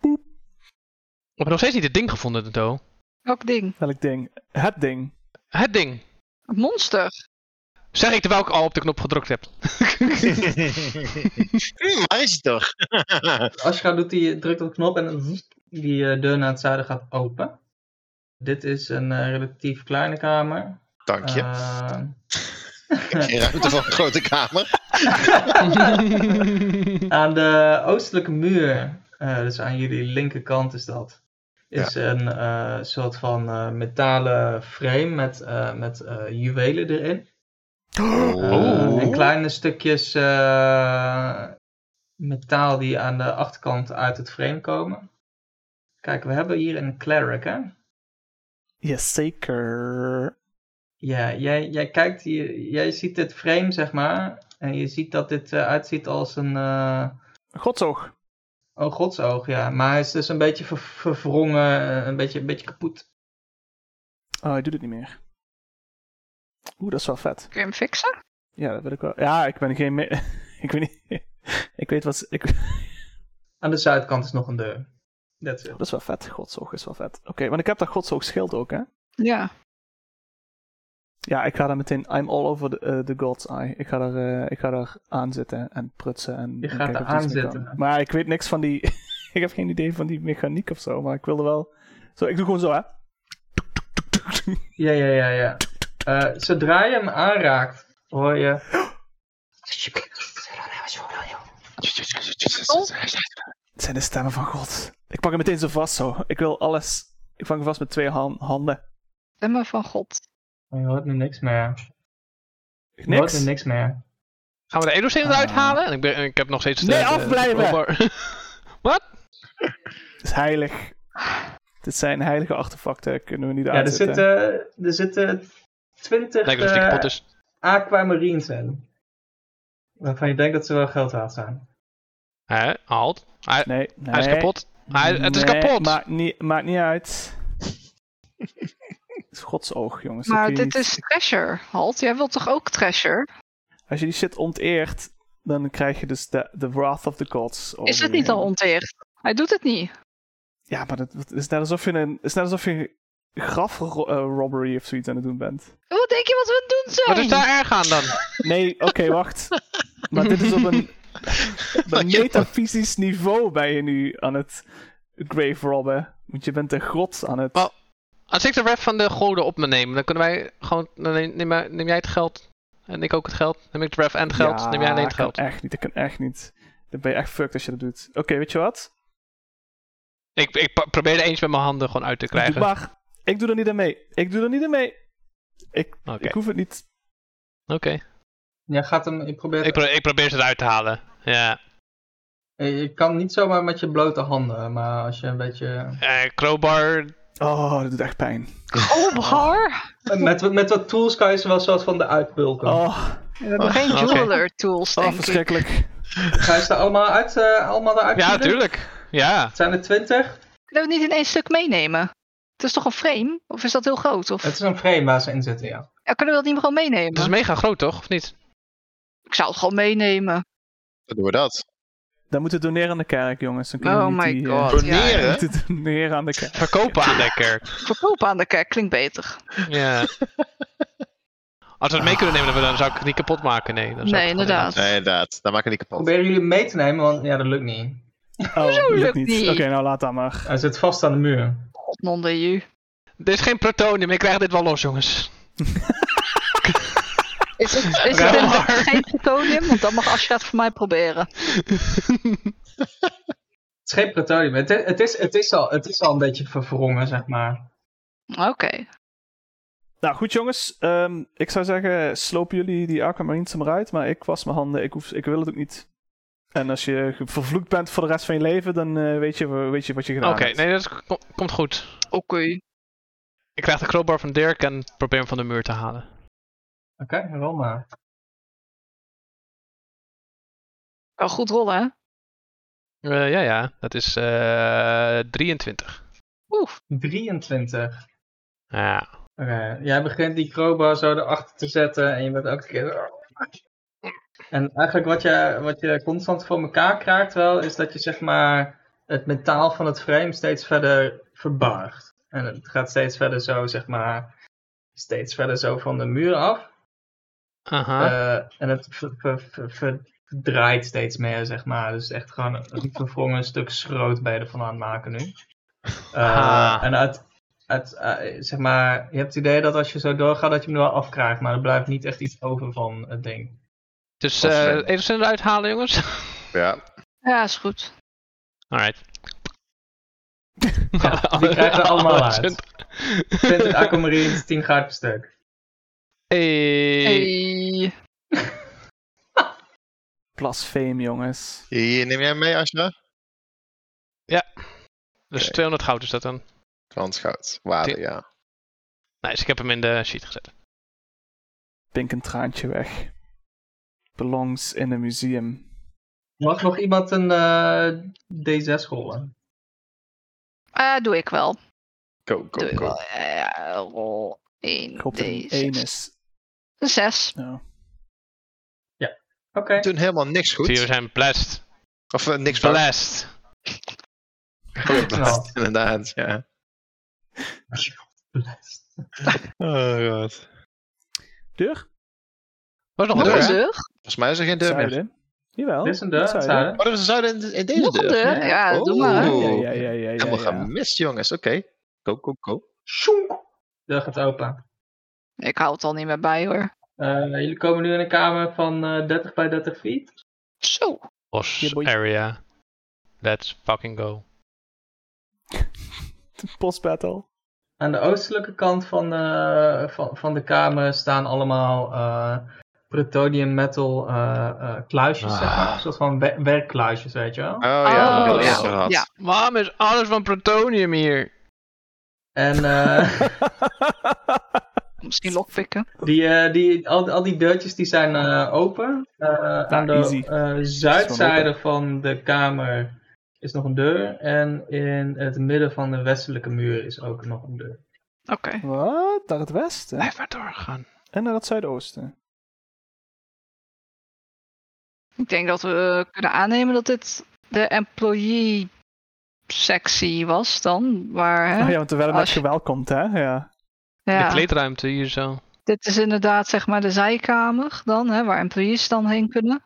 S1: Boep.
S2: We hebben nog steeds niet het ding gevonden, Toto.
S4: welk ding?
S1: Welk ding? Het ding.
S2: Het ding.
S4: Het monster.
S2: Zeg ik terwijl ik al op de knop gedrukt heb.
S4: Mm,
S6: Hm, waar is hij toch?
S3: Ashra doet die, drukt op de knop en dan zoet, die eh, deur naar het zuiden gaat open. Dit is een eh, relatief kleine kamer.
S6: Dank
S1: Ah.
S6: je.
S3: Eh,
S6: Geen ruimte voor een grote kamer.
S3: aan de oostelijke muur, eh, dus aan jullie linkerkant is dat, is een eh, soort van eh, metalen frame met, eh, met eh, juwelen erin. Eh,
S2: Oh.
S3: En kleine stukjes eh, metaal die aan de achterkant uit het frame komen. Kijk, we hebben hier een cleric, hè?
S1: Jazeker.
S3: Ja, jij, jij kijkt hier, jij ziet dit frame, zeg maar. En je ziet dat dit eh, uitziet als een, eh
S1: Godsoog.
S3: oh, godsoog, ja. Maar hij is dus een beetje ver- verwrongen, eh, een beetje, een beetje kapot.
S1: Oh, hij doet het niet meer. Oeh, dat is wel vet.
S4: Kun je hem fixen?
S1: Ja, dat weet ik wel. Ja, ik ben geen... me- ik weet niet... ik weet wat... Ik...
S3: Aan de zuidkant is nog een deur. That's it.
S1: Dat is wel vet. Godsoog is wel vet. Oké, want ik heb dat Godsoog schild ook, hè?
S4: Ja.
S1: Ja, ik ga daar meteen... I'm all over the, eh, the God's Eye. Ik ga daar, eh, ik ga daar aanzitten en prutsen en...
S3: Je
S1: en
S3: gaat
S1: kijken
S3: er
S1: of er iets mee
S3: aanzitten.
S1: kan. Maar ik weet niks van die... ik heb geen idee van die mechaniek of zo, maar ik wilde wel... Zo, ik doe gewoon zo, hè?
S3: Ja, ja, ja, ja. Eh, zodra je hem aanraakt, hoor je...
S1: Het zijn de stemmen van God. Ik pak hem meteen zo vast, zo. Ik wil alles... Ik vang hem vast met twee han- handen.
S4: Stemmen van God.
S3: Oh, je hoort nu niks meer. Je hoort nu
S1: Niks.
S3: niks meer.
S2: Gaan we de Edo eruit
S1: Ah.
S2: halen? En ik, ben, ik heb nog steeds. de-
S1: Nee,
S2: de- de
S1: afblijven!
S2: crowbar.
S1: Het is heilig. Dit zijn heilige artefacten, kunnen we niet
S3: Ja, er
S1: aanzetten.
S3: zitten, er zitten twintig eh,
S2: Lijkt alsof die kapot is.
S3: aquamarines in. Waarvan je denkt dat ze wel geld waard zijn.
S2: Hè? Halt. Hij,
S1: Nee, nee.
S2: hij is kapot. Hij, het is
S1: Nee,
S2: kapot.
S1: Maakt niet, maakt niet uit. Het is godsoog, jongens. dat
S4: Maar
S1: kun je
S4: dit
S1: niet-
S4: is treasure, Halt. Jij wilt toch ook treasure?
S1: Als je die shit onteert, dan krijg je dus de, de wrath of the gods.
S2: Oh,
S1: over
S4: Is het
S1: je
S4: niet al
S1: heen.
S4: onteerd? Hij doet het niet.
S1: Ja, maar dat- het is net alsof je een, het is net alsof je een grafrobbery of zoiets aan het doen bent.
S4: Wat denk je wat we aan het doen zijn?
S2: Wat is daar erg aan dan?
S1: Nee, oké, wacht. Maar dit is op een, op een
S6: Wat je-
S1: metafysisch niveau ben je nu aan het grave robben. Want je bent de god aan het...
S2: Wel- Als ik de ref van de goden op me neem, dan kunnen wij gewoon. Dan neem, neem jij- neem jij het geld. En ik ook het geld. Neem ik de ref en het geld.
S1: Ja,
S2: neem jij alleen het
S1: dat
S2: geld.
S1: kan echt niet, dat kan echt niet. Dan ben je echt fucked als je dat doet. Oké, weet je wat?
S2: Ik, ik pa- probeerde eens met mijn handen gewoon uit te krijgen. Oké.
S1: Mag. Ik doe er niet aan mee. Ik doe er niet aan mee. Ik, ik hoef het niet.
S2: Oké.
S3: Jij gaat hem, ik probeer,
S2: Ik,
S3: ik,
S2: pro- ik probeer ze eruit te halen. Ja.
S3: Eh, je kan niet zomaar met je blote handen, maar als je een beetje...
S2: Eh crowbar.
S1: Oh, dat doet echt pijn.
S4: Oh,
S2: Oh.
S4: Crowbar?
S3: Eh, Met, met wat tools kan je ze wel soort van de uitbulken.
S1: Oh,
S4: We hebben geen
S2: oké.
S4: jeweler tools,
S1: oh
S4: denk ik.
S1: verschrikkelijk.
S3: Ga je ze allemaal uit, eh, allemaal eruit
S2: Ja,
S3: pielen?
S2: tuurlijk. Ja.
S3: Het zijn er twintig.
S4: Kunnen we het niet in één stuk meenemen? Het is toch een frame? Of is dat heel groot? Of...
S3: Het is een frame waar ze in zitten, ja.
S4: Ja, kunnen we dat niet gewoon
S2: Het
S4: meenemen?
S2: is mega groot, toch? Of niet?
S4: Ik zou het gewoon meenemen.
S6: Dan doen we dat.
S1: Dan moeten we doneren aan de kerk, jongens. Dan kunnen
S4: Oh
S1: we niet
S4: my
S1: die, eh,
S4: god. Ja,
S6: Doneren?
S1: we moeten doneren aan de kerk.
S2: Verkopen aan de kerk.
S4: verkopen aan de kerk klinkt beter.
S2: Ja. Als we het mee kunnen nemen, dan- dan zou ik het niet kapot maken. Nee, dan zou ik
S4: Nee,
S2: het gewoon
S4: inderdaad.
S6: Nee, inderdaad. Dan maak ik niet kapot.
S3: Proberen jullie mee te nemen, want ja, dat lukt niet.
S1: Oh, lukt
S4: lukt
S1: niet.
S4: niet?
S1: Oké, nou laat dat maar.
S3: Hij zit vast aan de muur.
S4: Nonder you.
S2: laten. Er is geen protonium. Ik krijg dit wel los, jongens.
S4: Is het, is het een,
S2: Crowbar.
S4: geen plutonium? Want dan mag Asja het voor mij proberen.
S3: Het is geen plutonium. Het is, het, is, het, is al, het is al een beetje verwrongen, zeg maar.
S4: Oké.
S1: Nou goed, jongens. ehm, ik zou zeggen, sloop jullie die Arkham Marines er maar uit. Maar ik was mijn handen. Ik, hoef, ik wil het ook niet. En als je ge- vervloekt bent voor de rest van je leven, dan eh, weet, je, weet je wat je
S2: Oké, nou,
S1: gedaan hebt.
S2: nee, dat is- kom- komt goed.
S4: Oké.
S2: Ik krijg de crowbar van Dirk en probeer hem van de muur te halen.
S3: Oké, rol maar.
S4: Wel goed rollen, hè?
S2: Eh, ja, ja. Dat is eh 23.
S4: Oeh.
S3: 23.
S2: Ja.
S3: Oké, jij begint die crowbar zo erachter te zetten en je bent elke keer... En eigenlijk wat je, wat je constant voor elkaar krijgt wel, is dat je zeg maar het metaal van het frame steeds verder verbargt. En het gaat steeds verder zo, zeg maar, steeds verder zo van de muur af.
S2: Aha.
S3: Eh, en het ver- ver- ver- ver- verdraait steeds meer, zeg maar. Dus echt gewoon een verwrongen stuk schroot bij je ervan aan het maken nu. Eh,
S2: Ah.
S3: En uit, uit, eh, zeg maar, je hebt het idee dat als je zo doorgaat, dat je hem er wel afkraakt. Maar er blijft niet echt iets over van het ding.
S2: dus
S6: dat is
S2: eh
S6: slim.
S2: even snel eruit halen, jongens.
S6: Ja.
S4: Ja, is goed.
S2: Alright.
S3: die krijgen we allemaal uit. 20
S2: Hey.
S3: aquamarines, 10 gaat per stuk.
S4: Hey.
S1: Blasfeem, jongens.
S6: Hier, neem jij hem mee, Asja?
S2: Dus
S6: Oké.
S2: 200 goud is dat dan.
S6: Transgoud. Waarde, ja.
S2: Nice, ik heb hem in de sheet gezet.
S1: Pink een traantje weg. Belongs in een museum.
S3: Mag nog iemand een eh, D6 rollen?
S4: Eh, doe ik wel. Doe
S6: Go, go,
S4: ik
S6: go.
S4: wel. Eh, rol 1,
S1: Ik hoop dat het een
S4: D6.
S1: is.
S4: Een 6.
S1: Nou,
S3: Oké.
S6: We doen helemaal niks
S2: Zie je, we
S6: goed.
S2: zijn blessed.
S6: Of eh, niks fout.
S2: Blessed.
S3: Nou,
S6: Inderdaad, ja. Oh, god.
S1: Deur?
S2: Was nog een
S4: Nog
S6: deur,
S4: een
S6: hè?
S4: deur?
S6: Volgens mij is er geen deur meer.
S1: Zuiden? Jawel.
S3: Dit is een deur,
S1: het zuiden.
S3: zuiden.
S6: Oh, dat is een zuiden in, in deze
S4: Nog een
S6: deur.
S4: deur? Ja, doe maar, hè.
S1: Ja,
S6: Oeh.
S1: ja, ja, ja. ja,
S6: Helemaal
S1: ja.
S6: gemist, jongens. Oké. Go, go, go.
S3: Sjoenk! Deur gaat open.
S4: Ik hou het al niet meer bij, hoor.
S3: Eh, jullie komen nu in een kamer van eh, 30 bij 30 feet.
S6: Oh,
S4: Zo.
S1: Ja,
S2: Bos
S1: boy.
S2: area. Let's fucking go.
S1: De Postbattle.
S3: Aan de oostelijke kant van, eh, van, van de kamer staan allemaal eh plutonium metal eh, eh, kluisjes,
S2: Ah.
S3: zeg maar. Een soort van we- werkkluisjes, weet je wel.
S6: Oh ja, dat
S4: Oh,
S6: hebben we
S4: ja.
S6: eerst gehad.
S4: Ja.
S2: Waarom is alles van plutonium hier?
S3: En eh,
S4: Misschien lockpicken.
S3: die, eh, die, al, al die deurtjes die zijn eh, open. Eh, aan de
S1: easy.
S3: eh, zuidzijde van de kamer is nog een deur. En in het midden van de westelijke muur is ook nog een deur.
S4: Oké.
S1: Wat? Naar het westen?
S2: Blijf maar doorgaan.
S1: En naar het zuidoosten.
S4: Ik denk dat we kunnen aannemen dat dit de employee sectie was dan. Waar, hè?
S1: Oh ja, want terwijl het met
S4: Eh, Als je-
S1: geweld komt, hè? Ja.
S2: De
S4: Ja.
S2: kleedruimte hier zo.
S4: Dit is inderdaad zeg maar de zijkamer dan, hè, waar employees dan heen kunnen.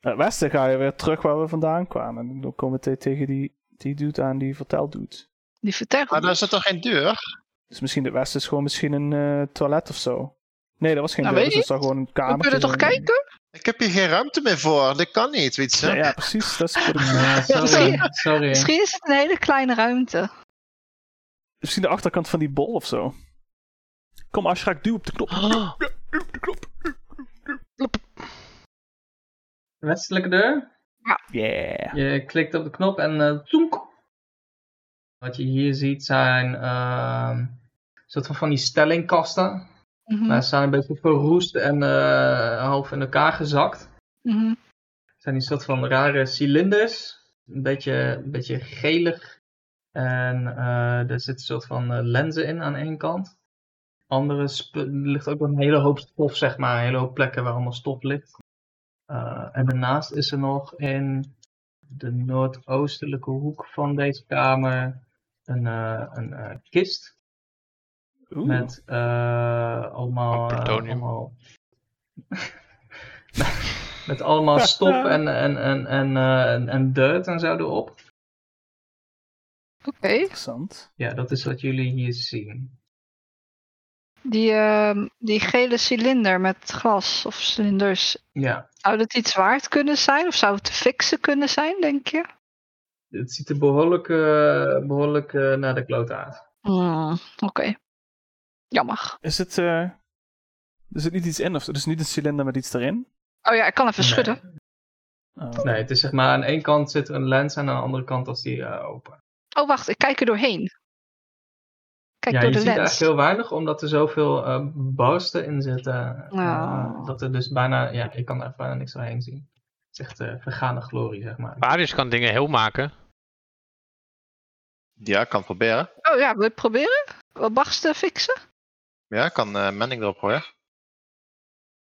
S1: Naar het westen ga je weer terug waar we vandaan kwamen. En dan komen we te- tegen die, die dude aan die verteld doet.
S4: Die vertellen.
S6: Maar daar zit toch geen deur?
S1: Dus misschien het westen is gewoon misschien een eh, toilet of zo. Nee, dat was geen
S4: Nou,
S1: deur,
S4: weet
S1: dus dat was gewoon een kamer.
S4: we kunnen toch kijken?
S6: Ik ik heb hier geen ruimte meer voor. Dit kan niet, weet je.
S1: Ja, ja, precies. Dat is wat ik-
S3: Ja, sorry.
S4: misschien-
S3: sorry.
S4: Misschien is het een hele kleine ruimte.
S1: Misschien de achterkant van die bol of zo. Kom, Ashrak, duw op de knop.
S2: Oh,
S1: Duw op de knop.
S3: Westelijke deur.
S1: Yeah.
S3: Je klikt op de knop en eh zoenk. Wat je hier ziet zijn ehm soort van, van die stellingkasten.
S4: Mhm,
S3: Maar ze zijn een beetje verroest en eh, half in elkaar gezakt.
S4: mhm.
S3: Het zijn die soort van rare cilinders. Een beetje, een beetje gelig. En eh, er zit een soort van eh, lenzen in aan één kant. Andere sp- er ligt ook wel een hele hoop stof, zeg maar. Een hele hoop plekken waar allemaal stof ligt. Eh, en daarnaast is er nog in de noordoostelijke hoek van deze kamer een, eh, een eh, kist.
S1: Oeh.
S3: Met eh, allemaal. eh,
S2: Plutonium.
S3: allemaal... met allemaal stof en, en, en, en, eh, en, en dirt en zo erop.
S4: Oké,
S1: Interessant.
S3: Ja, dat is wat jullie hier zien.
S4: die, ehm, die gele cilinder met glas of cilinders.
S3: Ja,
S4: Zou dat iets waard kunnen zijn? Of zou het te fixen kunnen zijn, denk je?
S3: het ziet er behoorlijk, eh, behoorlijk eh, naar de klote uit.
S4: Hmm, Oké. Jammer.
S1: Is het. eh, er zit niet iets in of zo? Dus niet een cilinder met iets erin?
S4: Oh ja, ik kan even
S3: Nee.
S4: schudden.
S1: Oh.
S3: Nee, het is zeg maar aan één kant zit er een lens en aan de andere kant als die eh, open.
S4: Oh, wacht, ik kijk er doorheen. Kijk
S3: ja,
S4: door
S3: je
S4: de
S3: ziet
S4: lens.
S3: eigenlijk heel weinig omdat er zoveel eh, barsten in zitten. eh,
S4: Nou.
S3: dat er dus bijna, ja, ik kan er echt bijna niks doorheen zien. Het is echt eh, vergane glorie, zeg maar.
S2: Varius kan dingen heel maken.
S6: Ja, kan proberen.
S4: Oh ja, wil je het proberen? Wat barsten fixen?
S6: Ja, kan eh Manning erop gooien.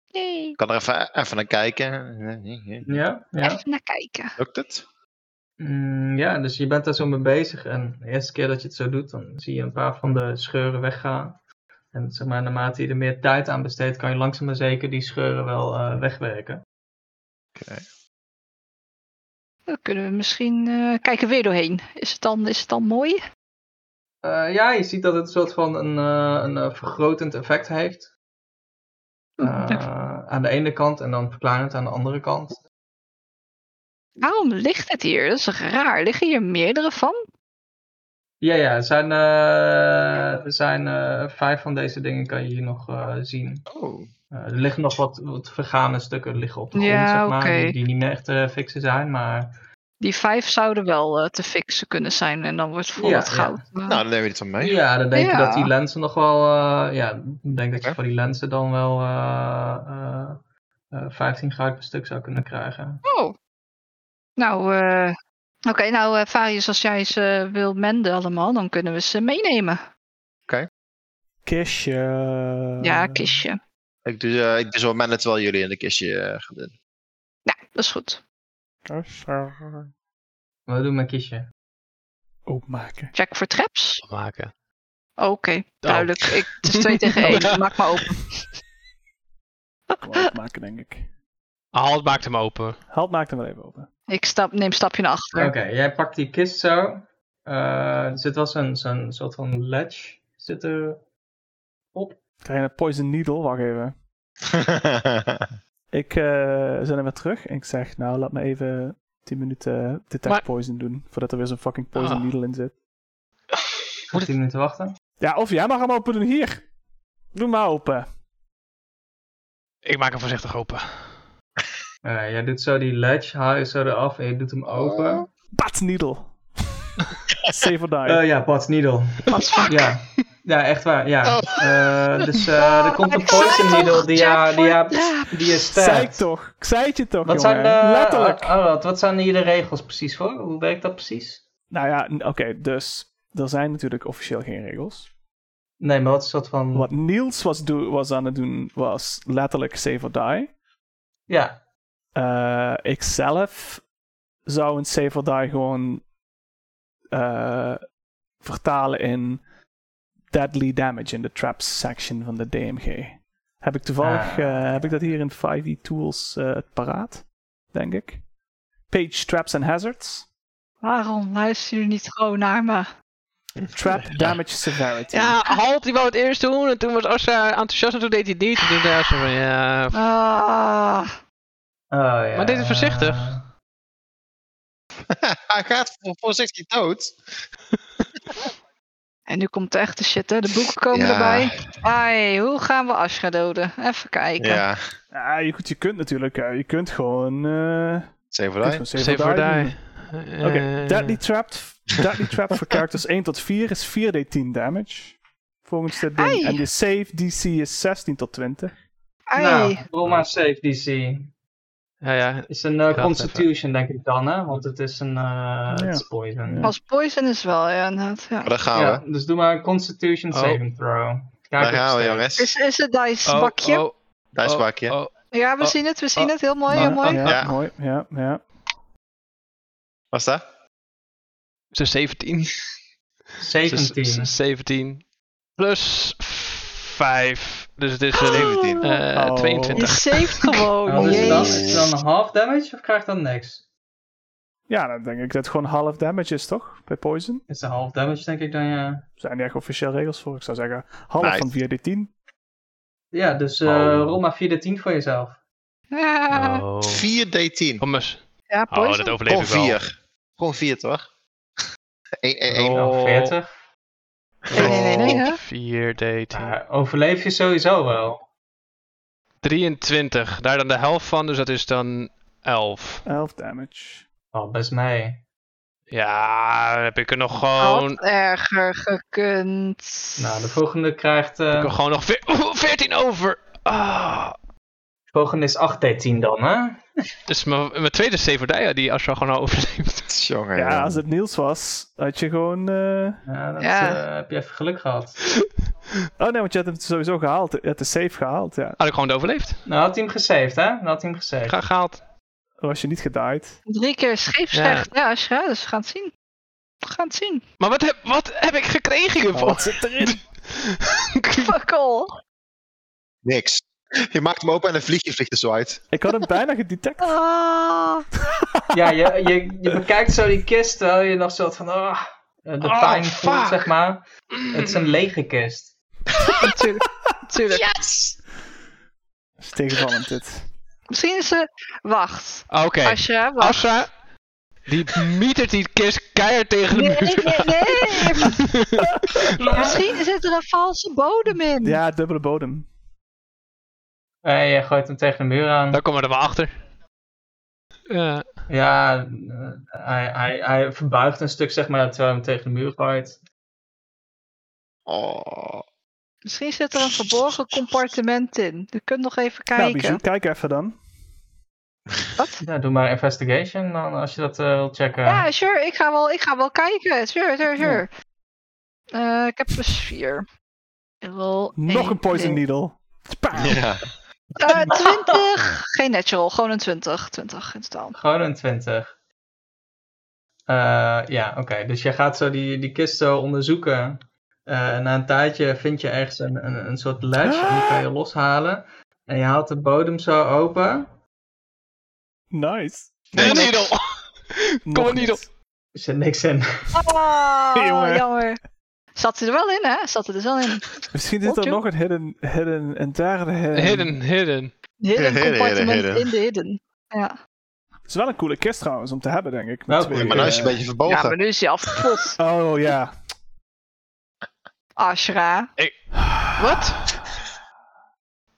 S4: Yay.
S6: Kan er even, even naar kijken.
S3: Ja, ja.
S4: Even naar kijken.
S6: Lukt het?
S3: Mm, ja, dus je bent daar zo mee bezig. En de eerste keer dat je het zo doet, dan zie je een paar van de scheuren weggaan. En zeg maar, naarmate je er meer tijd aan besteedt, kan je langzaam maar zeker die scheuren wel eh, wegwerken.
S4: Dan kunnen we misschien eh, kijken weer doorheen. Is het dan, is het dan mooi?
S3: Eh, ja, je ziet dat het een soort van een, eh, een eh, vergrotend effect heeft.
S4: Ja.
S3: Eh, aan de ene kant en dan verklarend aan de andere kant.
S4: Waarom ligt het hier? Dat is raar. Liggen hier meerdere van?
S3: Ja, ja, er zijn, eh, er zijn eh, vijf van deze dingen kan je hier nog eh, zien.
S6: Oh.
S3: Eh, er liggen nog wat, wat vergane stukken liggen op de grond,
S4: Ja,
S3: zeg maar,
S4: oké.
S3: die, die niet meer echt te fixen zijn, maar...
S4: Die vijf zouden wel eh, te fixen kunnen zijn. En dan wordt vol
S3: Ja,
S4: het
S3: ja.
S4: goud.
S6: Nou, dan nemen we iets van mee.
S3: Ja, dan denk ik
S4: Ja.
S3: dat die lenzen nog wel. eh, ja, ik denk dat je
S6: Oké.
S3: voor die lenzen dan wel eh, eh, eh, 15 goud per stuk zou kunnen krijgen.
S4: Oh. Nou, eh, oké. nou, eh, Varius, als jij ze eh, wil menden allemaal, dan kunnen we ze meenemen.
S1: Kistje.
S4: ja,
S3: Eh.
S4: kistje.
S6: Ik doe, eh, ik doe zo mannen terwijl jullie in de kistje eh, gaan doen.
S4: Ja, Nou, dat is goed.
S3: Wat doen mijn kistje?
S1: Openmaken.
S4: Check voor traps. Oh,
S2: Maken.
S4: Oké, duidelijk. Ik, het is twee tegen één. Maak maar open.
S1: Kom, openmaken, denk ik.
S2: Halt maakt hem open.
S1: Halt maakt hem wel even open.
S4: Ik stap, neem stapje naar achter.
S3: Oké, jij pakt die kist zo. Eh, er zit wel zo'n zo'n soort van ledge. Zit er.
S1: Krijg je een poison needle? Wacht even. Ik eh zet hem weer terug en ik zeg, nou, laat me even 10 minuten detect
S2: Maar-
S1: poison doen. Voordat er weer zo'n fucking poison
S2: Ah.
S1: needle in zit.
S3: 10 minuten wachten.
S1: Ja, of jij mag hem open doen. Hier. Doe maar open.
S2: Ik maak hem voorzichtig open.
S3: Eh, jij doet zo die ledge, haal je zo eraf en je doet hem
S6: Oh.
S3: open.
S1: Bat needle. Save or die.
S3: Eh, ja, Bats Needle.
S4: Pas van-
S3: Ja. ja, echt waar. Ja.
S6: Oh.
S3: Eh, dus eh, er komt een
S4: Ik zei
S3: poison
S4: toch,
S3: needle die
S4: check
S3: je, die
S4: voor
S3: je,
S4: traps.
S3: die je
S1: zei ik
S3: staat.
S1: toch. Ik zei het je toch,
S3: Wat zijn, eh,
S1: jongen.
S3: de,
S1: Letterlijk.
S3: Arad, wat zijn hier de regels precies voor? Hoe werkt dat precies?
S1: Nou ja, n- oké, dus er zijn natuurlijk officieel geen regels.
S3: Nee, maar wat is dat van...
S1: Wat Niels was, do- was aan het doen was letterlijk save or die.
S3: Ja,
S1: Eh ik zelf zou een save or die gewoon eh, vertalen in deadly damage in de traps section van de DMG. Heb ik toevallig,
S3: Ah.
S1: eh, heb ik dat hier in 5e Tools eh, paraat, denk ik. Page Traps and Hazards.
S4: Waarom luister je niet gewoon naar me?
S1: Trap Damage Severity.
S2: Ja, Halt die wou het eerst doen. En toen was Asha enthousiast en toen deed hij het niet. En toen dacht ze van ja...
S4: Ah,
S3: Oh, ja.
S2: Maar dit is voorzichtig.
S6: Hij gaat voor, voorzichtig dood.
S4: En nu komt de echte shit, hè? De boeken komen
S6: Ja.
S4: erbij. Ai, hoe gaan we Ashra doden? Even kijken.
S6: Ja,
S1: Ja, je, goed, je kunt natuurlijk, eh, je kunt gewoon. eh
S6: save
S1: je kunt
S6: right.
S1: gewoon save
S2: Save or
S1: doen.
S2: die.
S1: Oké,
S2: Eh,
S1: Deadly Trapped. Deadly Trapped voor characters 1 tot 4 is 4d10 damage. Volgens dit ding.
S4: Ai.
S1: En de save DC is 16 tot 20.
S4: Ai.
S3: Nou, roll maar safe DC.
S2: Ja, ja.
S3: is een eh,
S2: Wacht
S3: constitution, denk ik dan, hè? Want het is een eh, het is poison.
S1: Ja.
S4: Als poison is wel, ja, inderdaad. Ja.
S6: Maar daar gaan
S3: Ja,
S6: we.
S3: dus doe maar een constitution
S2: Oh.
S3: saving throw. Kijk
S6: Daar
S3: of
S6: gaan we,
S3: het
S6: jongens.
S4: Is, is het dice bakje?
S2: Oh,
S6: Daar is
S2: oh,
S6: Wakje.
S2: oh.
S4: Ja, we
S2: oh,
S4: zien het, we zien
S2: oh,
S4: het. Heel mooi, heel
S1: Maar-
S4: mooi.
S1: Ja,
S6: Ja.
S1: mooi. Ja, ja.
S6: Was dat?
S2: Ze is 17.
S3: steekt.
S2: Ze
S3: 17.
S2: is 17. Plus 5. Dus het is een,
S6: zeventien.
S4: Oh,
S2: eh,
S1: Oh.
S2: 22.
S4: je saved gewoon.
S3: Oh, Wat is dus dat?
S4: Jezus.
S3: Is het dan half damage of krijgt dat niks?
S1: ja, dan denk ik dat het gewoon half damage is, toch? Bij Poison.
S3: Is een half damage, denk ik dan, ja.
S1: Zijn er echt officieel regels voor? Ik zou zeggen, half
S6: Nice.
S1: van 4d10.
S3: Ja, dus eh
S2: Oh.
S3: rol maar 4 de 10 voor jezelf.
S4: Ja,
S2: Oh.
S6: 4d10.
S2: Kom eens.
S4: ja,
S2: Oh,
S4: poison.
S2: dat overleef
S6: Gewoon
S2: ik wel.
S6: 4. Gewoon 4, toch? 1, 1, 1.
S2: Oh.
S3: Nou, 40.
S4: Nee, nee, nee, nee. hè?
S2: 4 d
S3: Maar overleef je sowieso wel.
S2: 23. Daar dan de helft van, dus dat is dan 11.
S1: 11 damage.
S3: Oh, best mee.
S2: Ja, dan heb ik er nog gewoon.
S4: Had erger gekund.
S3: Nou, de volgende krijgt... eh,
S2: heb ik er gewoon nog veer- 14 over. Ah,
S3: de volgende is 8d10 dan, hè?
S2: dus mijn, mijn tweede Severdija die Ashra gewoon al overleeft.
S6: Jongen.
S1: Ja, als het Niels was, had je gewoon. eh,
S3: Ja, dat
S4: Ja.
S3: eh, heb je even geluk gehad.
S1: Oh nee, want je had hem sowieso gehaald. Je had de save gehaald, ja.
S2: Had ik gewoon overleefd.
S3: Nou, had hij hem gesaved, hè? Nou, had hij hem gesaved.
S2: Ga gehaald.
S1: Dan was je niet gedied.
S4: Drie keer scheepsrecht. Ja, Ashra, dus we gaan het zien. We gaan het zien.
S2: Maar wat heb, wat heb ik gekregen hiervoor?
S1: wat zit erin?
S4: Fuck all.
S6: Niks. Je maakt hem open en een vliegje vliegt er zo uit.
S1: Ik had hem bijna gedetect.
S4: Ah.
S3: Ja, je, je, je bekijkt zo die kist, terwijl je nog soort van, ah, eh, de
S2: Oh,
S3: pijn voelt,
S2: fuck.
S3: zeg maar. Het is een lege kist.
S4: Natuurlijk. Natuurlijk.
S1: Dat is tegenvallend dit.
S4: Misschien is ze. Wacht.
S2: Ah, Oké.
S4: Ashra, wacht.
S2: Ashra, die mietert die kist keihard tegen de
S4: Nee,
S2: muur.
S4: nee, nee. Misschien zit er een valse bodem in.
S1: Ja, dubbele bodem.
S3: En Eh, je gooit hem tegen de muur aan.
S2: Daar komen we er maar achter. Ja.
S3: Ja, eh, hij, hij, hij verbuigt een stuk, zeg maar, terwijl je hem tegen de muur gooit.
S6: Oh.
S4: Misschien zit er een verborgen compartiment in. Je kunt nog even
S1: Nou,
S4: kijken.
S1: Bijou, kijk even dan.
S4: Wat?
S3: Ja, doe maar investigation dan, als je dat eh, wilt checken.
S4: Ja, sure. Ik ga wel, ik ga wel kijken. Sure, sure, sure. Eh, ik heb een sfeer. Rol
S1: Nog
S4: één
S1: een poison
S4: ding.
S1: needle. Pam!
S6: Ja.
S4: Eh, 20. Geen natural, gewoon een 20. 20 in totaal.
S3: Gewoon een 20. Eh, ja, oké. Dus je gaat zo die, die kist zo onderzoeken. Eh, en na een tijdje vind je ergens een, een, een soort ledge. En die kan je loshalen. En je haalt de bodem zo open.
S1: Nice.
S6: Nee,
S2: Kom
S6: niks.
S2: niet op. Kom
S1: Nog
S2: er niet op.
S3: Er zit niks in.
S4: Oh,
S1: Jongen.
S4: jammer. Zat hij er wel in, hè? Zat hij er wel in.
S1: Misschien zit
S4: Op,
S1: er
S4: joh.
S1: nog een hidden, hidden en daar de hidden.
S2: Hidden, hidden.
S4: Hidden
S6: hidden,
S4: compartiment
S6: hidden.
S4: in de hidden. Ja.
S1: Het is wel een coole kist trouwens om te hebben, denk ik. met
S3: Nou,
S1: twee,
S6: Ja, maar nou is
S1: eh,
S6: je een beetje
S4: ja, maar
S6: verbogen.
S4: nu is hij afgepot.
S1: Oh ja.
S4: Ashra.
S2: Wat?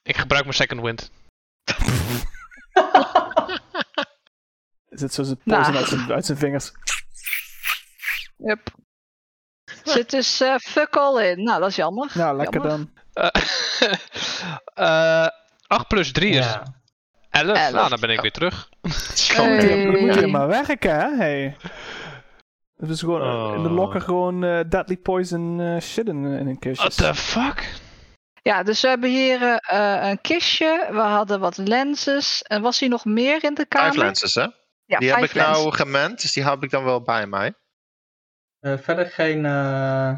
S2: Ik gebruik mijn second wind.
S1: Is het zo zijn
S4: Nou.
S1: poison uit zijn- uit zijn vingers?
S4: Yep. Zit dus eh, fuck all in. Nou, dat is jammer.
S1: Nou, lekker
S4: Jammer.
S1: dan.
S2: Eh, eh, 8 plus 3 is
S3: Ja.
S2: 11.
S4: Elf.
S2: Nou, dan ben ik weer terug.
S6: Jongen.
S4: Hey.
S1: Dan moet je maar werken, hè? Hey. Het is gewoon eh, in de
S2: Oh.
S1: lokken gewoon eh, deadly poison eh, shit in, in een kistje.
S2: What the fuck?
S4: Ja, dus we hebben hier eh, eh, een kistje. We hadden wat lenses. En was hier nog meer in de kamer?
S6: Five lenses, hè?
S4: Ja,
S6: Die heb
S4: vijf
S6: ik nou gemend, dus die heb ik dan wel bij mij.
S3: Eh, verder geen. eh,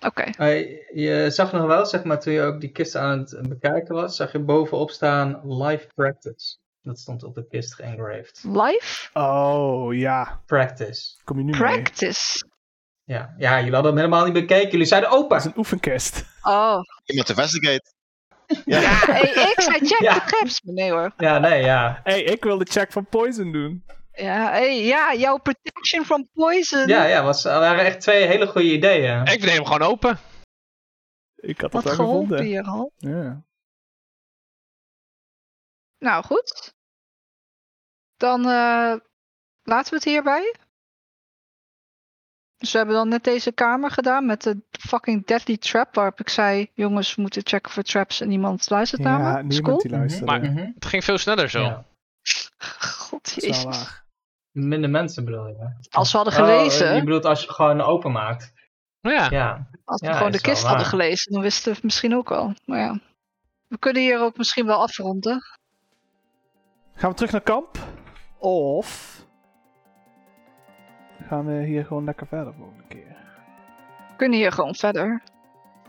S4: Oké.
S3: eh, je zag nog wel, zeg maar, toen je ook die kist aan het bekijken was, zag je bovenop staan live practice. Dat stond op de kist geëngraved.
S4: Life?
S1: Oh ja,
S3: Practice.
S1: kom je nu mee.
S4: Practice.
S3: Ja. ja, jullie hadden hem helemaal niet bekeken. Jullie zeiden
S1: Dat is
S3: open.
S1: een oefenkist.
S4: Oh,
S6: Iemand investigate.
S4: Ja, hey, ik zei check
S3: Ja.
S4: de caps. Nee hoor.
S3: Ja, nee, ja.
S1: hey, ik wil de check van Poison doen.
S4: Ja, hey, ja, jouw protection from poison.
S3: Ja, ja, was, er waren echt twee hele goede ideeën.
S2: Ik deed hem gewoon open.
S1: Ik had dat
S4: Wat
S1: wel
S4: geholpen
S1: gevonden.
S4: hier al.
S1: Ja.
S4: Nou goed. Dan eh, laten we het hierbij. Dus we hebben dan net deze kamer gedaan met de fucking deadly trap. Waarop ik zei: jongens, we moeten checken voor traps en niemand luistert naar me.
S1: Ja,
S4: Dat is
S1: niemand
S4: cool.
S1: die luisterde.
S2: Maar-
S3: Mhm.
S2: Het ging veel sneller zo.
S3: Ja.
S4: God
S1: Dat is
S4: jezus.
S1: wel waar.
S3: Minder mensen bedoel je.
S4: Als we hadden
S3: Oh,
S4: gelezen,
S3: je bedoelt als je gewoon openmaakt.
S2: Ja.
S3: Ja.
S4: als we
S3: ja,
S4: gewoon de
S3: is wel
S4: kist hadden
S3: waar.
S4: gelezen, dan wisten we het misschien ook al. Maar ja. We kunnen hier ook misschien wel afronden.
S1: Gaan we terug naar kamp? Of... Gaan we hier gewoon lekker verder volgende keer?
S4: We kunnen hier gewoon verder.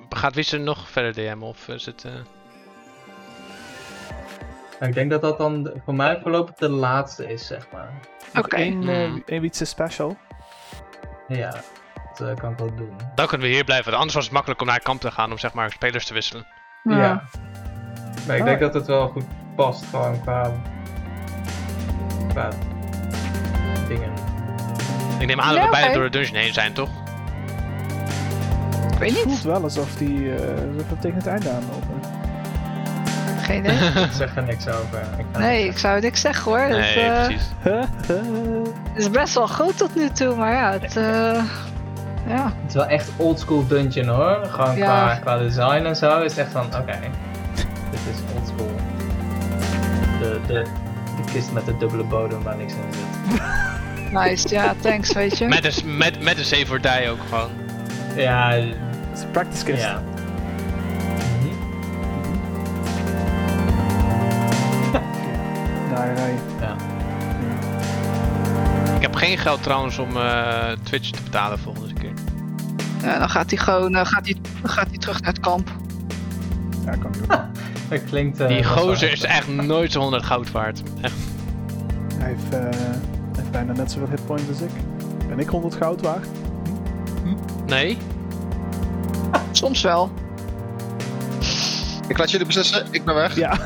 S2: Gaat Wisse nog verder DM of is het... eh,
S3: Maar Nou, Ik denk dat dat dan de- voor mij voorlopig de laatste is, zeg maar.
S4: Oké.
S1: Eén eh,
S2: Hmm.
S1: één Wietse special.
S3: Ja, dat eh, kan ik wel doen.
S2: Dan kunnen we hier blijven. want Anders was het makkelijk om naar kamp te gaan om zeg maar spelers te wisselen.
S4: Ja. Oh.
S3: Maar ik
S1: Ah, ja.
S3: denk dat het wel goed past, gewoon qua... qua dingen.
S2: Ik neem aan dat
S4: Ja,
S2: we bijna
S4: oké.
S2: door de dungeon heen zijn, toch?
S4: Ik weet
S1: voelt
S4: niet.
S1: wel alsof die eh, dat we tegen het einde aanlopen.
S4: Geen idee.
S3: Ik zeg er niks over. Ik ga
S4: Nee,
S3: niks
S4: ik zou niks zeggen hoor. Het,
S2: Nee,
S4: eh,
S2: precies.
S4: het is best wel groot tot nu toe, maar ja, het. eh, ja.
S3: Het is wel echt oldschool dungeon hoor. Gewoon
S4: Ja.
S3: qua, qua design en zo. Is het echt van, oké. dit is oldschool. De, de, de kist met de dubbele bodem waar niks in zit.
S4: Nice, ja, thanks, weet je.
S2: Met een, met, met een save or die ook gewoon.
S3: Ja,
S1: Het is een practice case.
S3: ja. Mhm.
S1: Daar rij je.
S3: Ja.
S2: Ik heb geen geld trouwens om eh, Twitch te betalen volgende keer.
S4: Ja, dan gaat hij gewoon eh, gaat hij, gaat hij terug naar het kamp.
S1: Ja, kan ik
S4: Ah.
S1: doen.
S3: Dat klinkt... eh,
S2: Die
S3: best wel
S2: gozer
S3: heftig.
S2: is echt nooit zo'n 100 goud waard. Echt.
S1: Hij heeft, eh, hij heeft bijna net zoveel hitpoints als ik. Ben ik 100 goud waard?
S2: Nee?
S4: Soms wel.
S6: Ik laat jullie beslissen, ik ben weg.
S1: Ja.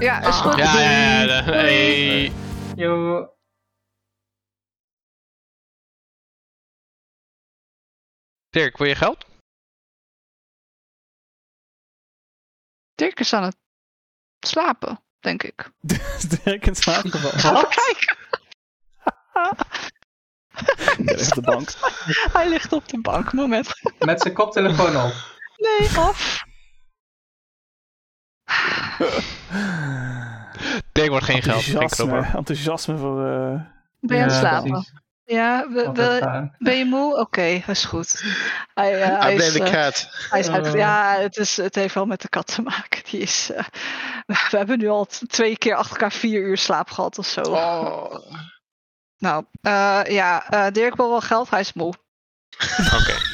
S4: Ja,
S3: Ah.
S4: is goed.
S2: Ja, ja, ja. de- hey.
S3: Yo.
S2: Dirk, wil je geld?
S4: Dirk is aan het slapen, denk ik.
S1: Dirk in slaap gevallen.
S4: Ga maar kijken.
S1: Ja, dat is de bank.
S4: Hij ligt op de bank, moment.
S3: Met zijn koptelefoon op.
S4: Nee, af.
S2: Dirk wordt geen geld. Geen
S1: Enthousiasme,
S2: knopper.
S1: enthousiasme voor... eh,
S4: Ben je aan het
S3: Ja,
S4: slapen?
S3: precies.
S4: Ja, we-
S3: Altijd
S4: we-
S3: daar.
S4: ben je moe? Oké, is goed. Hij, eh, hij
S6: I blame
S4: is,
S6: the
S4: eh,
S6: cat.
S4: Hij is uit-
S3: Eh.
S4: ja, het, is, het heeft wel met de kat te maken. Die is, eh, we hebben nu al t- twee keer achter elkaar vier uur slaap gehad of zo.
S6: Oh.
S4: Nou, eh, ja, eh, Dirk wil wel geld, hij is moe.
S2: Oké.